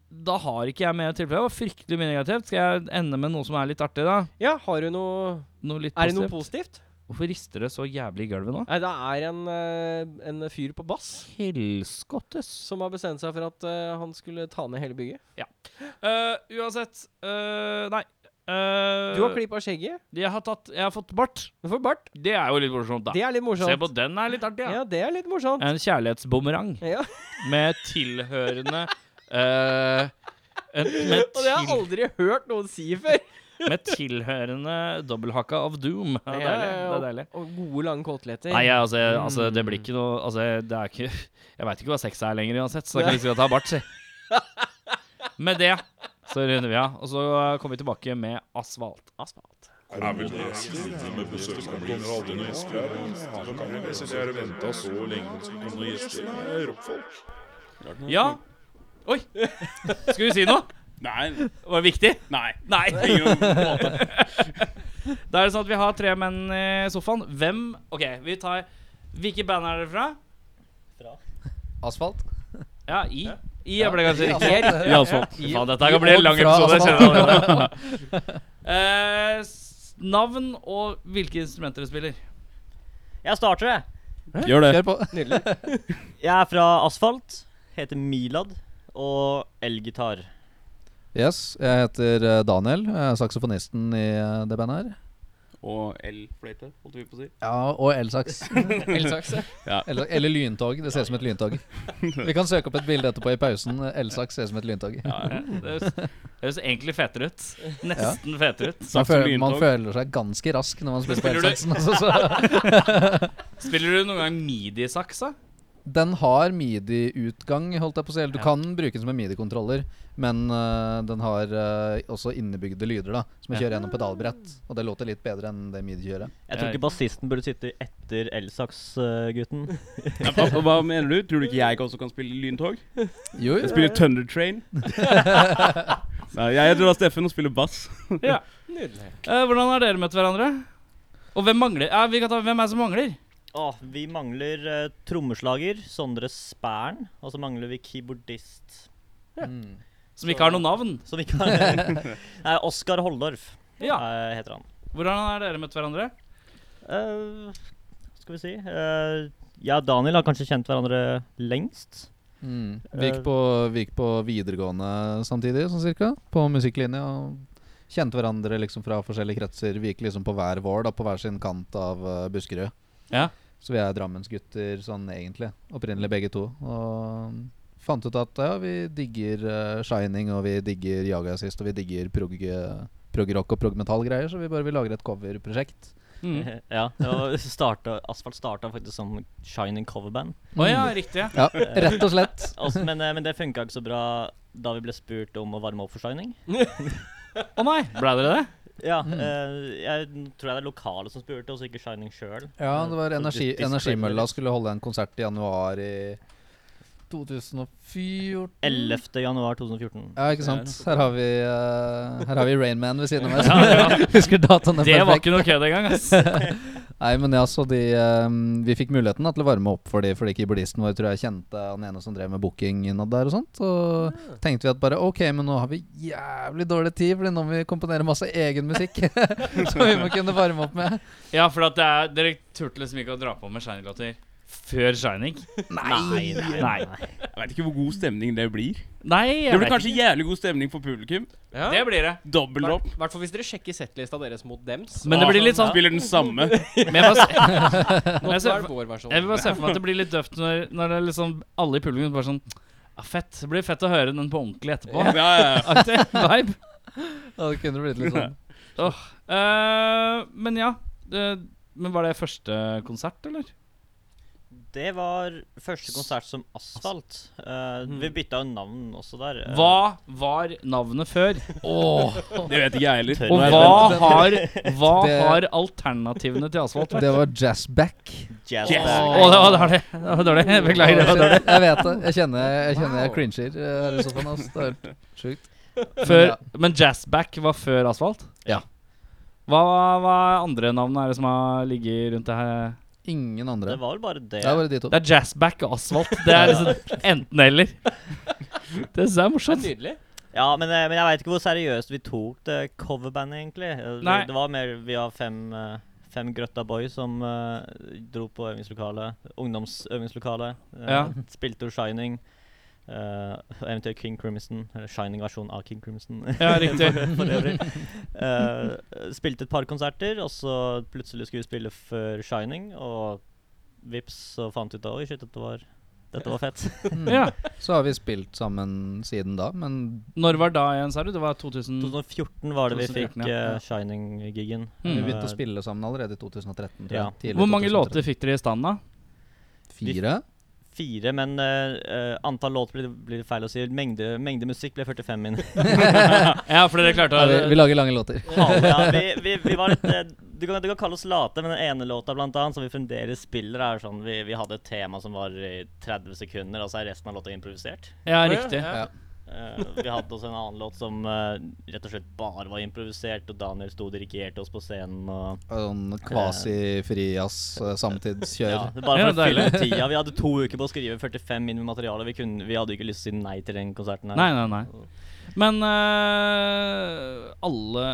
Speaker 2: da har ikke jeg mer tilfelle. Det var fryktelig mye negativt. Skal jeg ende med noe som er litt artig, da?
Speaker 3: ja, har du noe
Speaker 2: Noe litt
Speaker 3: Er det noe
Speaker 2: eh, positivt?
Speaker 3: positivt?
Speaker 2: Hvorfor rister det så jævlig i gulvet nå?
Speaker 3: Nei, det er en, eh, en fyr på bass
Speaker 2: Helskottes.
Speaker 3: som har bestemt seg for at eh, han skulle ta ned hele bygget.
Speaker 2: Eh, uansett eh, Nei. Eh,
Speaker 3: Du har klippa skjegget.
Speaker 2: jeg, har tatt, jeg har fått bart.
Speaker 3: Du får bart.
Speaker 2: Det er jo litt morsomt, da.
Speaker 3: Det er litt morsomt.
Speaker 2: Se på den er litt artig,
Speaker 3: ja.
Speaker 2: ja. Eh,
Speaker 3: det er litt morsomt.
Speaker 2: En kjærlighetsbumerang
Speaker 3: Ja.
Speaker 2: med tilhørende eh, en, med,
Speaker 3: Og det har jeg
Speaker 2: til,
Speaker 3: aldri hørt noen si før.
Speaker 2: med tilhørende dobbelthakka of doom. Det er deilig. Det er deilig.
Speaker 3: Og gode, lange koteletter.
Speaker 2: Nei, jeg, altså, jeg- altså, det
Speaker 3: Mm.
Speaker 2: blir ikke noe Altså, det er ikke Jeg veit ikke hva sex er lenger uansett, så jeg kan ikke skal ta bart, si. Med det så runder vi av, og så kommer vi tilbake med asfalt.
Speaker 3: Asfalt.
Speaker 1: Er vel det stille med besøkende kommer aldri noen gjester her. Hva kan jeg synes jeg har ventet så lenge på noen gjester? Det er rockfolk.
Speaker 2: Ja. Oi! Skal vi si noe?
Speaker 4: Nei.
Speaker 2: Var det viktig?
Speaker 4: Nei.
Speaker 2: Nei.
Speaker 4: Ingen måte.
Speaker 2: Da er det sånn at vi har tre menn i sofaen. Hvem OK, vi tar Hvilke band er det fra?
Speaker 5: Asfalt.
Speaker 2: Ja, I. I er vel det kanskje riktig.
Speaker 4: I asfalt.
Speaker 2: Fy Faen, dette her kan bli en
Speaker 5: og
Speaker 2: lang
Speaker 5: fra
Speaker 2: episode. Jeg
Speaker 5: asfalt.
Speaker 2: kjenner det allerede. Eh, s- navn og hvilke instrumenter du spiller.
Speaker 6: Jeg starter, jeg.
Speaker 4: Gjør det.
Speaker 5: Kjør på.
Speaker 3: Nydelig.
Speaker 6: Jeg er fra Asfalt, heter Milad og elgitar.
Speaker 5: Yes, jeg heter eh, Daniel, jeg er saksofonisten i eh, det bandet her.
Speaker 4: Og elfløyte, holdt vi på å si.
Speaker 5: Ja, og elsaks.
Speaker 3: Elsaks. ja.
Speaker 5: Eller, eller lyntog. Det ser ut som et lyntog. Vi kan søke opp et bilde etterpå i pausen. Elsaks ser ut som et lyntog.
Speaker 2: Ja, det høres- det høres egentlig fetere ut. Nesten fetere ut.
Speaker 5: Man
Speaker 4: Sagt som
Speaker 5: føler, man
Speaker 4: lyntog.
Speaker 5: føler seg ganske rask når man spiller på
Speaker 2: Spiller du-
Speaker 5: elsaksen. Altså, så.
Speaker 2: Spiller du noen gang midi-saks, da?
Speaker 5: Den har midi-utgang, holdt jeg på å si. Eller du
Speaker 2: Ja.
Speaker 5: kan bruke den som en midi-kontroller, men eh, den har eh, også innebygde lyder, da, som
Speaker 2: Ja.
Speaker 5: jeg kjører gjennom pedalbrett. Og det låter litt bedre enn det midi kjører.
Speaker 6: Jeg tror ikke bassisten burde sitte etter eh, Elsaks-gutten.
Speaker 4: Ja, hva- Hva mener du? Tror du ikke jeg også kan spille lyntog?
Speaker 5: Jo,
Speaker 4: Jeg spiller Thunder Train. Nei, jeg heter da Steffen og spiller bass.
Speaker 2: Ja.
Speaker 3: Nydelig.
Speaker 2: Eh, hvordan har dere møtt hverandre? Og hvem mangler? Ja, vi kan ta hvem er det som mangler.
Speaker 6: Å, vi mangler eh, trommeslager, Sondre Spern, og så mangler vi keyboardist.
Speaker 5: Mm.
Speaker 2: Som ikke har noe navn.
Speaker 6: Som ikke har Nei, Oskar Holdorf
Speaker 2: Ja.
Speaker 6: eh, heter han.
Speaker 2: Hvordan har dere møtt hverandre?
Speaker 6: Eh, skal vi si eh, Jeg og Daniel har kanskje kjent hverandre lengst.
Speaker 5: Mm. Vi, gikk på, vi gikk på videregående samtidig, sånn cirka. På musikklinja. Og kjente hverandre liksom fra forskjellige kretser. Vi gikk liksom på hver vår, da, på hver sin kant av eh, Buskerud.
Speaker 2: Ja.
Speaker 5: Så vi er drammensgutter sånn egentlig. Opprinnelig begge to. Og fant ut at ja, vi digger eh, Shining, og vi digger Jaga sist, og vi digger prog, eh, prog rock og prog metal-greier, så vi bare vil lage et coverprosjekt.
Speaker 2: Mm.
Speaker 6: ja, og starta, Asfalt starta faktisk som Shining coverband.
Speaker 2: Å ja, riktig. ja.
Speaker 5: Ja, rett og slett.
Speaker 6: Altså, men, eh, men det funka ikke så bra da vi ble spurt om å varme opp for Shining.
Speaker 2: Å nei, ble dere det?
Speaker 6: Ja,
Speaker 2: Mm.
Speaker 6: eh, jeg tror det er lokale som spurte, og så ikke Shining sjøl.
Speaker 5: Ja, det var
Speaker 6: Så
Speaker 5: energi,
Speaker 6: dis- disclaimer,
Speaker 5: Energimølla
Speaker 6: liksom.
Speaker 5: skulle holde en konsert i januar i 2014.
Speaker 2: Mm.
Speaker 6: 11. januar 2014.
Speaker 5: Ja, ikke sant.
Speaker 2: Det er noe
Speaker 5: Her har vi, uh, her har vi Rainman ved siden av meg. Husker dataene
Speaker 2: Det var
Speaker 5: perfekt.
Speaker 2: ikke noe kødd engang. ass.
Speaker 5: Nei, men ja, så de, um, vi fikk muligheten da, til å varme opp for de, fordi keyboardisten vår tror jeg kjente han ene som drev med booking innad der og sånt. Og tenkte vi at bare ok, men nå har vi jævlig dårlig tid, fordi nå må vi komponere masse egen musikk som vi må kunne varme opp med.
Speaker 2: Ja, for at det er, dere turte liksom ikke å dra på med Shining-låter før Shining.
Speaker 6: Nei, nei,
Speaker 2: Nei.
Speaker 4: Jeg veit ikke hvor god stemning det blir.
Speaker 2: Nei,
Speaker 4: Det
Speaker 2: jeg
Speaker 4: blir
Speaker 2: vet
Speaker 4: kanskje jævlig god stemning for publikum.
Speaker 2: ikke. Det blir det.
Speaker 4: Dobbel
Speaker 3: I
Speaker 4: opp.
Speaker 3: hvert fall hvis dere sjekker settlista deres mot dems.
Speaker 2: Men det blir litt sånn
Speaker 4: Spiller den samme.
Speaker 2: men jeg, bare, se-
Speaker 3: Nå
Speaker 2: jeg ser-
Speaker 3: er det vår versjon.
Speaker 2: jeg vil bare se for meg at det blir litt døvt når, når det er liksom alle i publikum bare sånn ja, Fett. Det blir fett å høre den på ordentlig etterpå.
Speaker 4: Ja, ja, ja.
Speaker 2: Aktig vibe.
Speaker 5: Ja, det kunne blitt litt sånn.
Speaker 2: Eh, men ja. det- men var det første konsert, eller?
Speaker 6: Det var første konsert som Asfalt. Eh, vi bytta jo navn også der. eh,
Speaker 2: Mm. Hva var navnet før?
Speaker 4: Det vet ikke jeg heller.
Speaker 2: Og
Speaker 4: Nå er jeg spent.
Speaker 2: hva har, hva
Speaker 5: Det-
Speaker 2: har alternativene til asfalt vært?
Speaker 5: Det var jazzback.
Speaker 6: Jazz
Speaker 4: Yes.
Speaker 2: Å,
Speaker 6: Band.
Speaker 2: det var dårlig. Det var dårlig. Beklager. Det var dårlig.
Speaker 5: Jeg vet det. Jeg kjenner jeg, kjenner jeg
Speaker 3: Wow.
Speaker 5: cringer eh, her i sofaen. ass. Det er helt sjukt.
Speaker 2: Før, men Jazzback var før asfalt?
Speaker 5: Ja.
Speaker 2: Hva, hva andre navn er det som har ligget rundt det her?
Speaker 5: Ingen andre.
Speaker 6: Det var vel bare det.
Speaker 5: Det er bare de to.
Speaker 2: Det er Jazzback og asfalt. Det er liksom enten-eller. Det synes jeg er
Speaker 3: Det er
Speaker 2: morsomt.
Speaker 3: nydelig.
Speaker 6: Ja, men, eh, men jeg veit ikke hvor seriøst vi tok det coverbandet, egentlig. Eh, vi-
Speaker 2: Nei.
Speaker 6: Det var mer vi var fem, eh, fem grøtta boys som eh, dro på øvingslokalet. Ungdomsøvingslokalet. eh,
Speaker 2: Ja.
Speaker 6: Spilte jo Shining. eh, og eventuelt King Crimson. Eller Shining-versjon av King Crimson.
Speaker 2: Ja, riktig.
Speaker 6: for øvrig. Eh, spilte et par konserter, og så plutselig skulle vi spille for Shining, og vips, så fant vi ut av Oi, shit, dette var, dette var fett.
Speaker 5: Mm.
Speaker 2: Ja.
Speaker 5: Så har vi spilt sammen siden da, men
Speaker 2: Når var da igjen, sa du? Det var 2000
Speaker 6: 2014 var det vi
Speaker 2: 2014,
Speaker 6: fikk
Speaker 2: ja.
Speaker 6: eh, Shining-giggen.
Speaker 5: vi
Speaker 2: Mm.
Speaker 5: begynte å spille sammen allerede i 2013. Tror jeg.
Speaker 6: Ja.
Speaker 5: Tidlig
Speaker 2: Hvor mange
Speaker 5: 2013.
Speaker 2: låter fikk dere i stand, da?
Speaker 5: Fire.
Speaker 6: Fire, men eh, eh, antall låter blir, blir feil å si. Mengde, mengde musikk ble 45 min.
Speaker 2: Ja, for dere klarte
Speaker 5: Ja, vi, vi
Speaker 2: å
Speaker 5: lager lange låter.
Speaker 6: ja, vi, vi, vi var litt eh, du, kan, du kan kalle oss late, men den ene låta blant annet som vi fremdeles spiller, er sånn Vi, vi hadde et tema som var i 30 sekunder, og så er resten av låta improvisert.
Speaker 2: Ja, riktig.
Speaker 5: Ja.
Speaker 6: Eh, vi hadde også en annen låt som eh, rett og slett bare var improvisert, og Daniel sto og dirigerte oss på scenen. og...
Speaker 5: Sånn kvasi-frijazz, eh, samtidskjør.
Speaker 6: Ja, det er bare
Speaker 2: Ja,
Speaker 6: for å
Speaker 2: deilig.
Speaker 6: fylle tida. Vi hadde to uker på å skrive 45 min med materiale. Vi, kunne, vi hadde ikke lyst til å si nei til den konserten. her
Speaker 2: Nei, nei, nei. Men eh, alle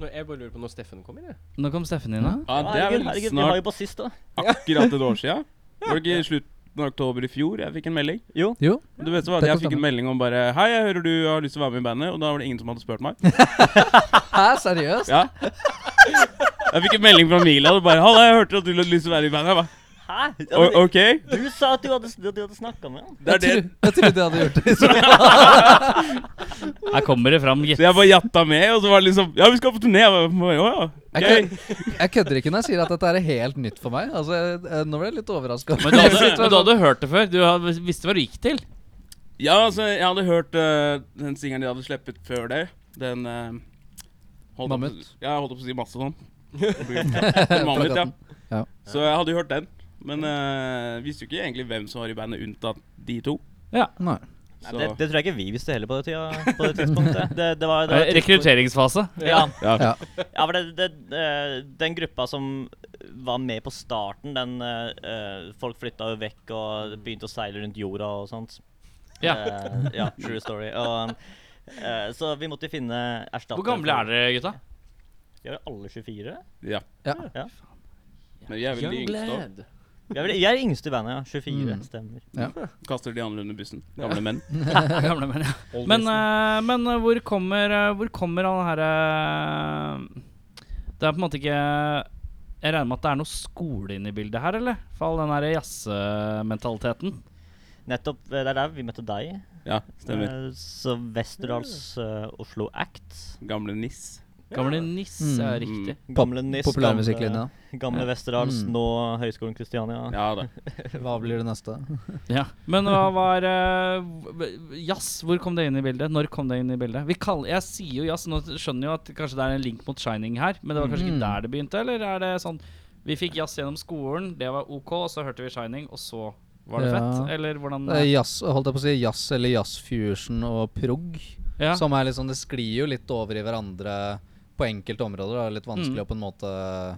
Speaker 3: Nå- Jeg bare lurer på når Steffen kommer. Jeg.
Speaker 2: Nå kom Steffen inn, da.
Speaker 4: Ja,
Speaker 6: Ja,
Speaker 4: det
Speaker 6: herregud,
Speaker 4: er vel
Speaker 6: herregud, vi har
Speaker 4: snart
Speaker 6: jo bassist, da.
Speaker 4: akkurat et år sia. Var det ikke i slutten av oktober i fjor jeg fikk en melding?
Speaker 6: Jo.
Speaker 5: Jo.
Speaker 4: Du vet så var
Speaker 5: Det
Speaker 4: det Jeg
Speaker 5: kan
Speaker 4: fikk en
Speaker 5: stemme.
Speaker 4: melding om bare Hei, jeg hører du har lyst til å være med i bandet. Og da var det ingen som hadde spurt meg.
Speaker 5: Hæ, seriøst?
Speaker 4: Ja Jeg fikk en melding fra Mila. Og bare Halla, jeg hørte at du hadde lyst til å være i bandet. Jeg bare,
Speaker 6: Hæ? Ja, men
Speaker 4: «O- OK.
Speaker 6: Du sa at du hadde, at du hadde snakka med han.
Speaker 4: Det er det.
Speaker 5: Jeg, tro, jeg trodde jeg hadde gjort det. Så,
Speaker 2: Her kommer det fram, gitt.
Speaker 4: Så jeg bare jatta med, og så var det liksom Ja, vi skal på turné. Jeg bare, Å ja.
Speaker 5: jeg,
Speaker 4: ok.»
Speaker 5: kødder, jeg kødder ikke når jeg sier at dette er helt nytt for meg. Altså, jeg, eh, nå ble jeg litt overraska.
Speaker 2: Men du hadde, men du hadde hørt det før. Du hadde, visste hva du gikk til.
Speaker 4: Ja, altså, jeg hadde hørt eh, den singelen de hadde sluppet før det. Den eh, holdt opp-
Speaker 5: Mammut.
Speaker 4: Ja, jeg holdt opp å si masse sånn. Mammut, ja.
Speaker 5: Plakaten. Ja.
Speaker 4: Så jeg hadde jo hørt den. Men eh, visste jo ikke egentlig hvem som var i bandet unntatt de to.
Speaker 5: Nei.
Speaker 6: Nei,
Speaker 4: Så-
Speaker 6: det, det tror jeg ikke vi visste heller på det, tida, på det tidspunktet. Det, det var, det var et tidspunkt-
Speaker 2: Eh, Rekrutteringsfase.
Speaker 6: Ja.
Speaker 4: Ja.
Speaker 5: Ja.
Speaker 6: ja, for det, det, eh, den gruppa som var med på starten, den eh, eh, Folk flytta jo vekk og begynte å seile rundt jorda og sånt.
Speaker 2: Mm. Ja.
Speaker 6: Eh, ja true story. Og, eh, så vi måtte finne erstatter.
Speaker 2: Hvor gamle er dere, gutta?
Speaker 6: Vi er alle 24.
Speaker 4: ja.
Speaker 5: Ja.
Speaker 6: Ja.
Speaker 4: Men vi er vel de yngste òg.
Speaker 6: Vi er, vel- vi er yngste i bandet, ja. 24,
Speaker 5: Mm.
Speaker 6: stemmer.
Speaker 4: Kaster de andre under bussen. Gamle menn.
Speaker 2: Gamle menn, ja. Men, eh, men eh, hvor kommer eh, Hvor kommer han herre Det er på en måte ikke Jeg regner med at det er noe skole inne i bildet her, eller? For all den her jazzmentaliteten.
Speaker 6: Nettopp, eh, det er der vi møtte deg.
Speaker 4: Ja, stemmer.
Speaker 6: Eh, Så Westerdals eh, Oslo Act.
Speaker 4: Gamle Niss.
Speaker 2: Gamle Nisse
Speaker 5: Mm.
Speaker 2: er riktig.
Speaker 6: Gamle NIS.
Speaker 5: Populærmusikklinja.
Speaker 6: Gamle, gamle Westerdals,
Speaker 5: Mm.
Speaker 6: nå Høgskolen Kristiania.
Speaker 4: Ja da.
Speaker 5: Hva blir det neste?
Speaker 2: Ja. Men hva var eh, v- Jazz, hvor kom det inn i bildet? Når kom det inn i bildet? Vi kaller, jeg sier jo jazz, nå skjønner jeg jo at kanskje det er en link mot Shining her, men det var kanskje
Speaker 5: Mm.
Speaker 2: ikke der det begynte, eller er det sånn Vi fikk jazz gjennom skolen, det var OK, og så hørte vi Shining, og så var det
Speaker 5: Ja.
Speaker 2: fett? Eller hvordan
Speaker 5: Det er Eh, jazz, holdt jeg på å si, jazz eller jazzfusion og prog.
Speaker 2: ja.
Speaker 5: Som er litt sånn, det sklir jo litt over i hverandre på enkelte områder. Da. Litt
Speaker 2: Mm.
Speaker 5: vanskelig å på en måte eh,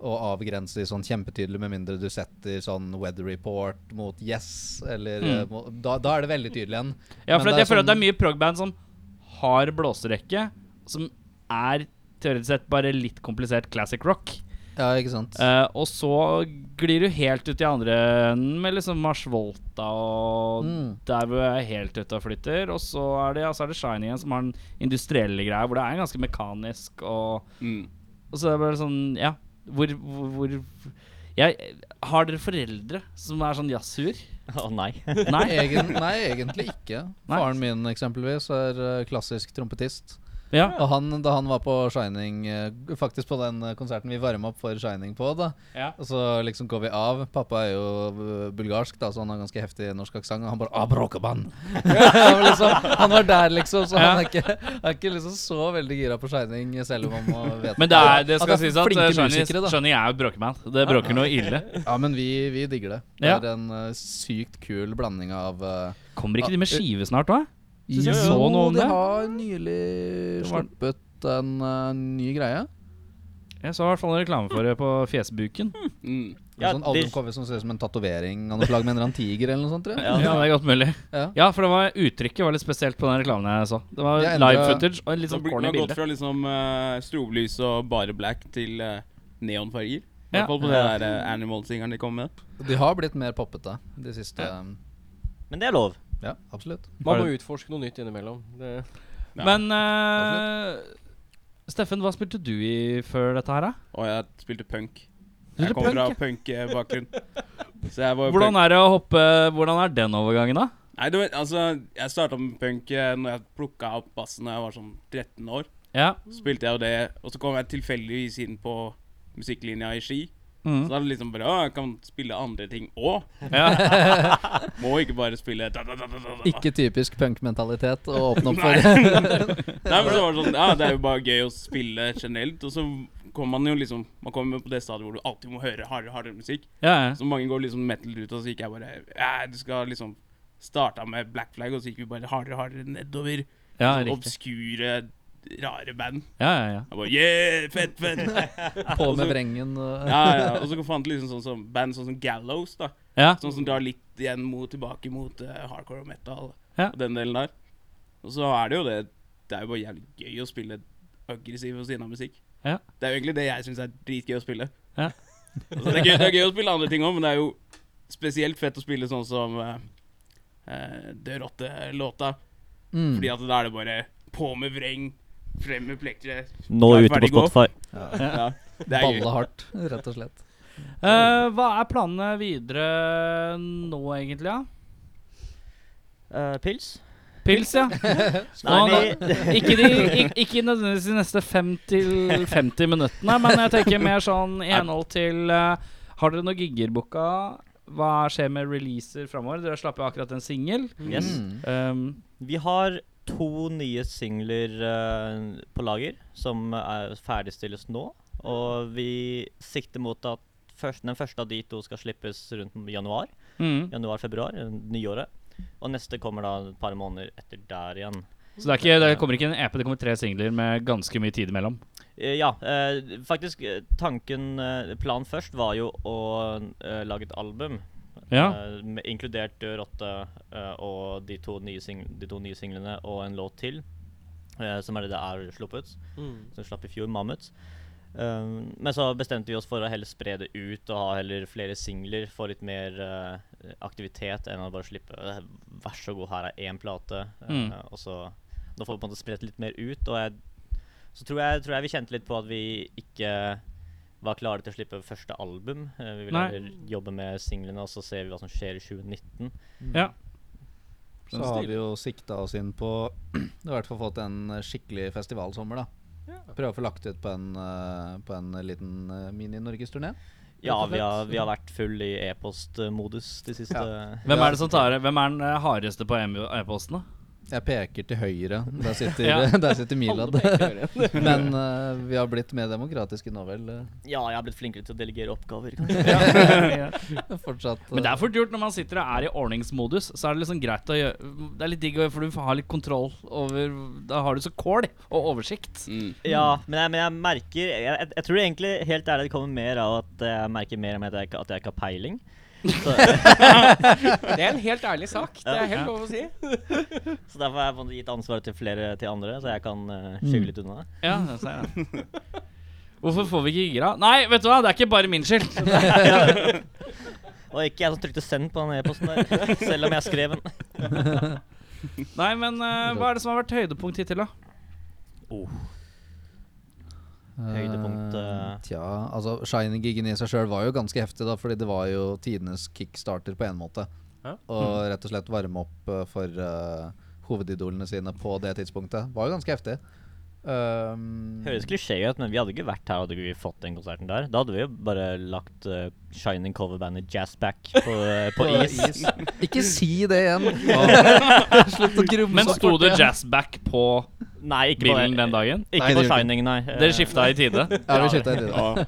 Speaker 5: å avgrense i sånn kjempetydelig, med mindre du setter sånn weather report mot yes, eller
Speaker 2: Mm.
Speaker 5: eh, mo- da, da er det veldig tydelig igjen.
Speaker 2: Ja,
Speaker 5: Men
Speaker 2: for
Speaker 5: det
Speaker 2: at
Speaker 5: er
Speaker 2: jeg føler at det er
Speaker 5: sånn-
Speaker 2: mye prog-band som har blåserekke, som er teoretisk sett bare litt komplisert classic rock.
Speaker 5: Ja, ikke sant.
Speaker 2: Eh, og så glir du helt ut i andre enden med liksom Mars Volta og
Speaker 5: Mm.
Speaker 2: der hvor jeg er helt ute og flytter. Og så er det, ja, så er det Shiny igjen, som har den industrielle greia, hvor det er ganske mekanisk. Og,
Speaker 4: Mm.
Speaker 2: og så er det bare sånn, ja Hvor, hvor, hvor jeg, Har dere foreldre som er sånn jazzhuer?
Speaker 6: Å nei.
Speaker 2: Nei?
Speaker 5: Egen, nei, egentlig ikke.
Speaker 2: Nei.
Speaker 5: Faren min eksempelvis er eh, klassisk trompetist.
Speaker 2: Ja.
Speaker 5: Og han, da han var på Shining, eh, faktisk på den eh, konserten vi varma opp for Shining på, da,
Speaker 2: ja.
Speaker 5: Og så liksom går vi av. Pappa er jo øh, bulgarsk, da, så han har ganske heftig norsk aksent. Og han bare ah, bråkebann! Han var liksom, han var der, liksom, så han er ikke, er ikke liksom så veldig gira på Shining, selv om han må vet
Speaker 2: Men det, er, det
Speaker 5: At
Speaker 2: skal sies at
Speaker 5: flinke
Speaker 2: eh, Shiny,
Speaker 5: musikere, da.
Speaker 2: Shiny er jo et bråkeman. Det bråker noe ille.
Speaker 5: Ja, men vi, vi digger det. Det
Speaker 2: Ja.
Speaker 5: er en øh, sykt kul blanding av øh,
Speaker 2: Kommer ikke
Speaker 5: Ah,
Speaker 2: de med
Speaker 5: eh,
Speaker 2: skive snart òg?
Speaker 5: Jo,
Speaker 2: jeg så noe om
Speaker 5: de
Speaker 2: det.
Speaker 5: har nylig
Speaker 2: Det var-
Speaker 5: sluppet en øh, ny greie.
Speaker 2: Jeg så i hvert fall en reklame for det på Fjesbuken.
Speaker 4: Mm.
Speaker 5: En
Speaker 6: Ja,
Speaker 5: sånn
Speaker 6: de-
Speaker 5: albumcover som ser ut som en tatovering av noe slag med en eller annen tiger eller noe sånt. Tror jeg.
Speaker 2: Ja, det er godt mulig.
Speaker 5: Ja.
Speaker 2: Ja, for det var uttrykket var litt spesielt på den reklamen jeg så. Det var
Speaker 5: Jeg
Speaker 2: live
Speaker 5: endret-
Speaker 2: footage og en litt
Speaker 4: Så
Speaker 2: sånn
Speaker 4: blir- man
Speaker 2: corny
Speaker 4: har gått
Speaker 2: bilde.
Speaker 4: fra liksom eh, strobelys og bare black til eh, neonfarger. I
Speaker 2: Ja.
Speaker 4: hvert fall på den der eh, Animal-singeren de kom med.
Speaker 5: De har blitt mer poppete de siste eh,
Speaker 6: Men det er lov.
Speaker 5: ja absolutt.
Speaker 3: Man må utforske noe nytt innimellom. Det,
Speaker 4: Ja.
Speaker 2: Men eh, Steffen, hva spilte du i før dette her, da?
Speaker 4: Og jeg spilte punk.
Speaker 2: Spilte
Speaker 4: Jeg kom fra punk-bakgrunn. Så jeg var jo
Speaker 2: Hvordan
Speaker 4: punk.
Speaker 2: er det å hoppe Hvordan er den overgangen, da?
Speaker 4: Nei, du vet, altså, jeg starta med punk eh, Når jeg plukka opp bassen da jeg var sånn 13 år.
Speaker 2: Ja.
Speaker 4: Så spilte jeg jo det, og så kom jeg tilfeldigvis inn på musikklinja i Ski. Så
Speaker 2: Mm.
Speaker 4: da er det liksom bare Å, jeg kan spille andre ting òg.
Speaker 2: ja.
Speaker 4: Må ikke bare spille da, da, da, da, da.
Speaker 5: Ikke typisk punkmentalitet å åpne opp for.
Speaker 4: Nei, men så var det sånn Ja, det er jo bare gøy å spille generelt. Og så kommer man jo liksom Man kommer jo på det stadiet hvor du alltid må høre hardere hardere musikk.
Speaker 2: ja.
Speaker 4: Så mange går liksom metal ut, og så gikk jeg bare Ja, du skal liksom Starta med Black Flag, og så gikk vi bare hardere hardere nedover.
Speaker 2: Ja,
Speaker 4: Sånn
Speaker 2: riktig.
Speaker 4: obskure, rare band.
Speaker 2: Ja, ja, ja.
Speaker 4: Jeg bare Yeah, fett, fett!
Speaker 5: På med vrengen. og-
Speaker 4: Ja, ja. Og så fant liksom sånn som band sånn som Gallows, da.
Speaker 2: ja.
Speaker 4: Sånn som drar litt igjen mot, tilbake mot eh, hardcore og metal
Speaker 2: Ja.
Speaker 4: og den delen der. Og så er det jo det Det er jo bare jævlig gøy å spille aggressiv og sinna musikk.
Speaker 2: Ja.
Speaker 4: Det er jo egentlig det jeg syns er dritgøy å spille.
Speaker 2: Ja.
Speaker 4: Altså, det, er gøy, det er gøy å spille andre ting òg, men det er jo spesielt fett å spille sånn som eh, uh, Dødrotte-låta.
Speaker 5: Mm.
Speaker 4: Fordi at da er det bare på med vreng, frem med plekteret.
Speaker 6: Nå
Speaker 4: Klar,
Speaker 6: ute på
Speaker 4: ferdig, gå.
Speaker 6: Spotify.
Speaker 4: Ja. Det er
Speaker 5: Balle
Speaker 4: gøy.
Speaker 5: hardt, rett og slett.
Speaker 2: Eh, hva er planene videre nå, egentlig? Ja?
Speaker 6: Eh, pils?
Speaker 2: Pils, ja.
Speaker 6: Nei,
Speaker 2: Nei,
Speaker 6: vi,
Speaker 2: Ikke, de, ik- ikke nødvendigvis de neste 5 til 50 minuttene, men jeg tenker mer sånn i henhold til eh, Har dere noen gigger booka? Hva skjer med releaser framover? Dere slapp jo akkurat en singel.
Speaker 6: yes.
Speaker 5: Mm.
Speaker 2: Um,
Speaker 6: vi har to nye singler eh, på lager som er ferdigstilles nå. Og vi sikter mot at først, den første av de to skal slippes rundt januar.
Speaker 2: mm.
Speaker 6: Januar-februar, eh, nyåret. Og neste kommer da et par måneder etter der igjen.
Speaker 2: Så det, er ikke, det kommer ikke en EP, det kommer tre singler med ganske mye tid imellom.
Speaker 6: Eh, Ja, eh, faktisk eh, tanken eh, Planen først var jo å eh, lage et album.
Speaker 2: Ja.
Speaker 6: eh, med, inkludert Død rotte eh, og de to, nye sing de to nye singlene og en låt til. eh, som er det det er sluppet.
Speaker 3: mm.
Speaker 6: Som slapp i fjor, 'Mammut'. Um, men så bestemte vi oss for å heller spre det ut og ha heller flere singler. Få litt mer eh, aktivitet enn å bare slippe eh, Vær så god, her er én plate. eh,
Speaker 2: Mm.
Speaker 6: og så Nå får vi på en måte spredt litt mer ut. Og jeg, så tror jeg, tror jeg vi kjente litt på at vi ikke var klare til å slippe første album. Eh, vi ville
Speaker 2: Nei.
Speaker 6: heller jobbe med singlene, og så ser vi hva som skjer i 2019.
Speaker 2: Ja.
Speaker 5: Så har vi jo sikta oss inn på I hvert fall fått en eh, skikkelig festivalsommer, da. Prøve å få lagt ut på en, eh, på en liten eh, mini-norgesturné.
Speaker 6: Ja,
Speaker 5: Rett og
Speaker 6: vi har,
Speaker 5: slett.
Speaker 6: vi har vært full i e-postmodus de siste
Speaker 2: Hvem er det som tar Hvem er den eh, hardeste på E emo- e-posten, da?
Speaker 5: Jeg peker til høyre. Der sitter,
Speaker 2: Ja.
Speaker 5: der sitter Milad. Men eh, vi har blitt mer demokratiske nå, vel.
Speaker 6: Ja, jeg har blitt flinkere til å delegere oppgaver.
Speaker 5: eh, Fortsatt.
Speaker 2: Men det er fort gjort når man sitter og er i ordningsmodus. Så er det liksom greit å gjøre Det er litt digg, å- for du har litt kontroll over Da har du så kål og oversikt.
Speaker 6: Ja, men jeg, men jeg merker jeg, jeg, jeg tror egentlig helt ærlig det kommer mer av at jeg merker mer om at jeg, ikke- at jeg ikke har peiling. Så,
Speaker 3: Det er en helt ærlig sak. Det er helt lov å si.
Speaker 6: så derfor har jeg på en måte gitt ansvaret til flere til andre, så jeg kan eh,
Speaker 5: Mm.
Speaker 6: skyve litt unna.
Speaker 2: Ja, det ser jeg. Hvorfor får vi ikke gira? Nei, vet du hva, det er ikke bare min skyld.
Speaker 6: Og ikke jeg som trykte 'send' på den e-posten der, selv om jeg skrev den.
Speaker 2: Nei, men eh, hva er det som har vært høydepunkt hittil, da?
Speaker 6: Høydepunkt, eh.
Speaker 5: Tja, altså Shiny-gigen i seg sjøl var jo ganske heftig, da, fordi det var jo tidenes kickstarter på en måte.
Speaker 3: Ja.
Speaker 5: Og
Speaker 6: Mm.
Speaker 5: rett og slett varme opp eh, for eh, hovedidolene sine på det tidspunktet. Var jo ganske heftig. Um,
Speaker 6: Høres klisjé ut, men vi hadde ikke vært her hadde ikke vi fått den konserten der. Da hadde vi jo bare lagt eh, Shining coverbandet Jazzback på, eh, på is.
Speaker 5: Ikke si det igjen! Slutt å grumse.
Speaker 2: Men sto det jazzback på
Speaker 6: Nei, ikke på
Speaker 2: bilen den dagen?
Speaker 5: Nei, det
Speaker 6: Ikke på
Speaker 5: gjorde ikke.
Speaker 6: Shining, nei. Eh,
Speaker 2: Dere skifta i tide?
Speaker 5: Ja, vi skifta i tide.
Speaker 4: Ja.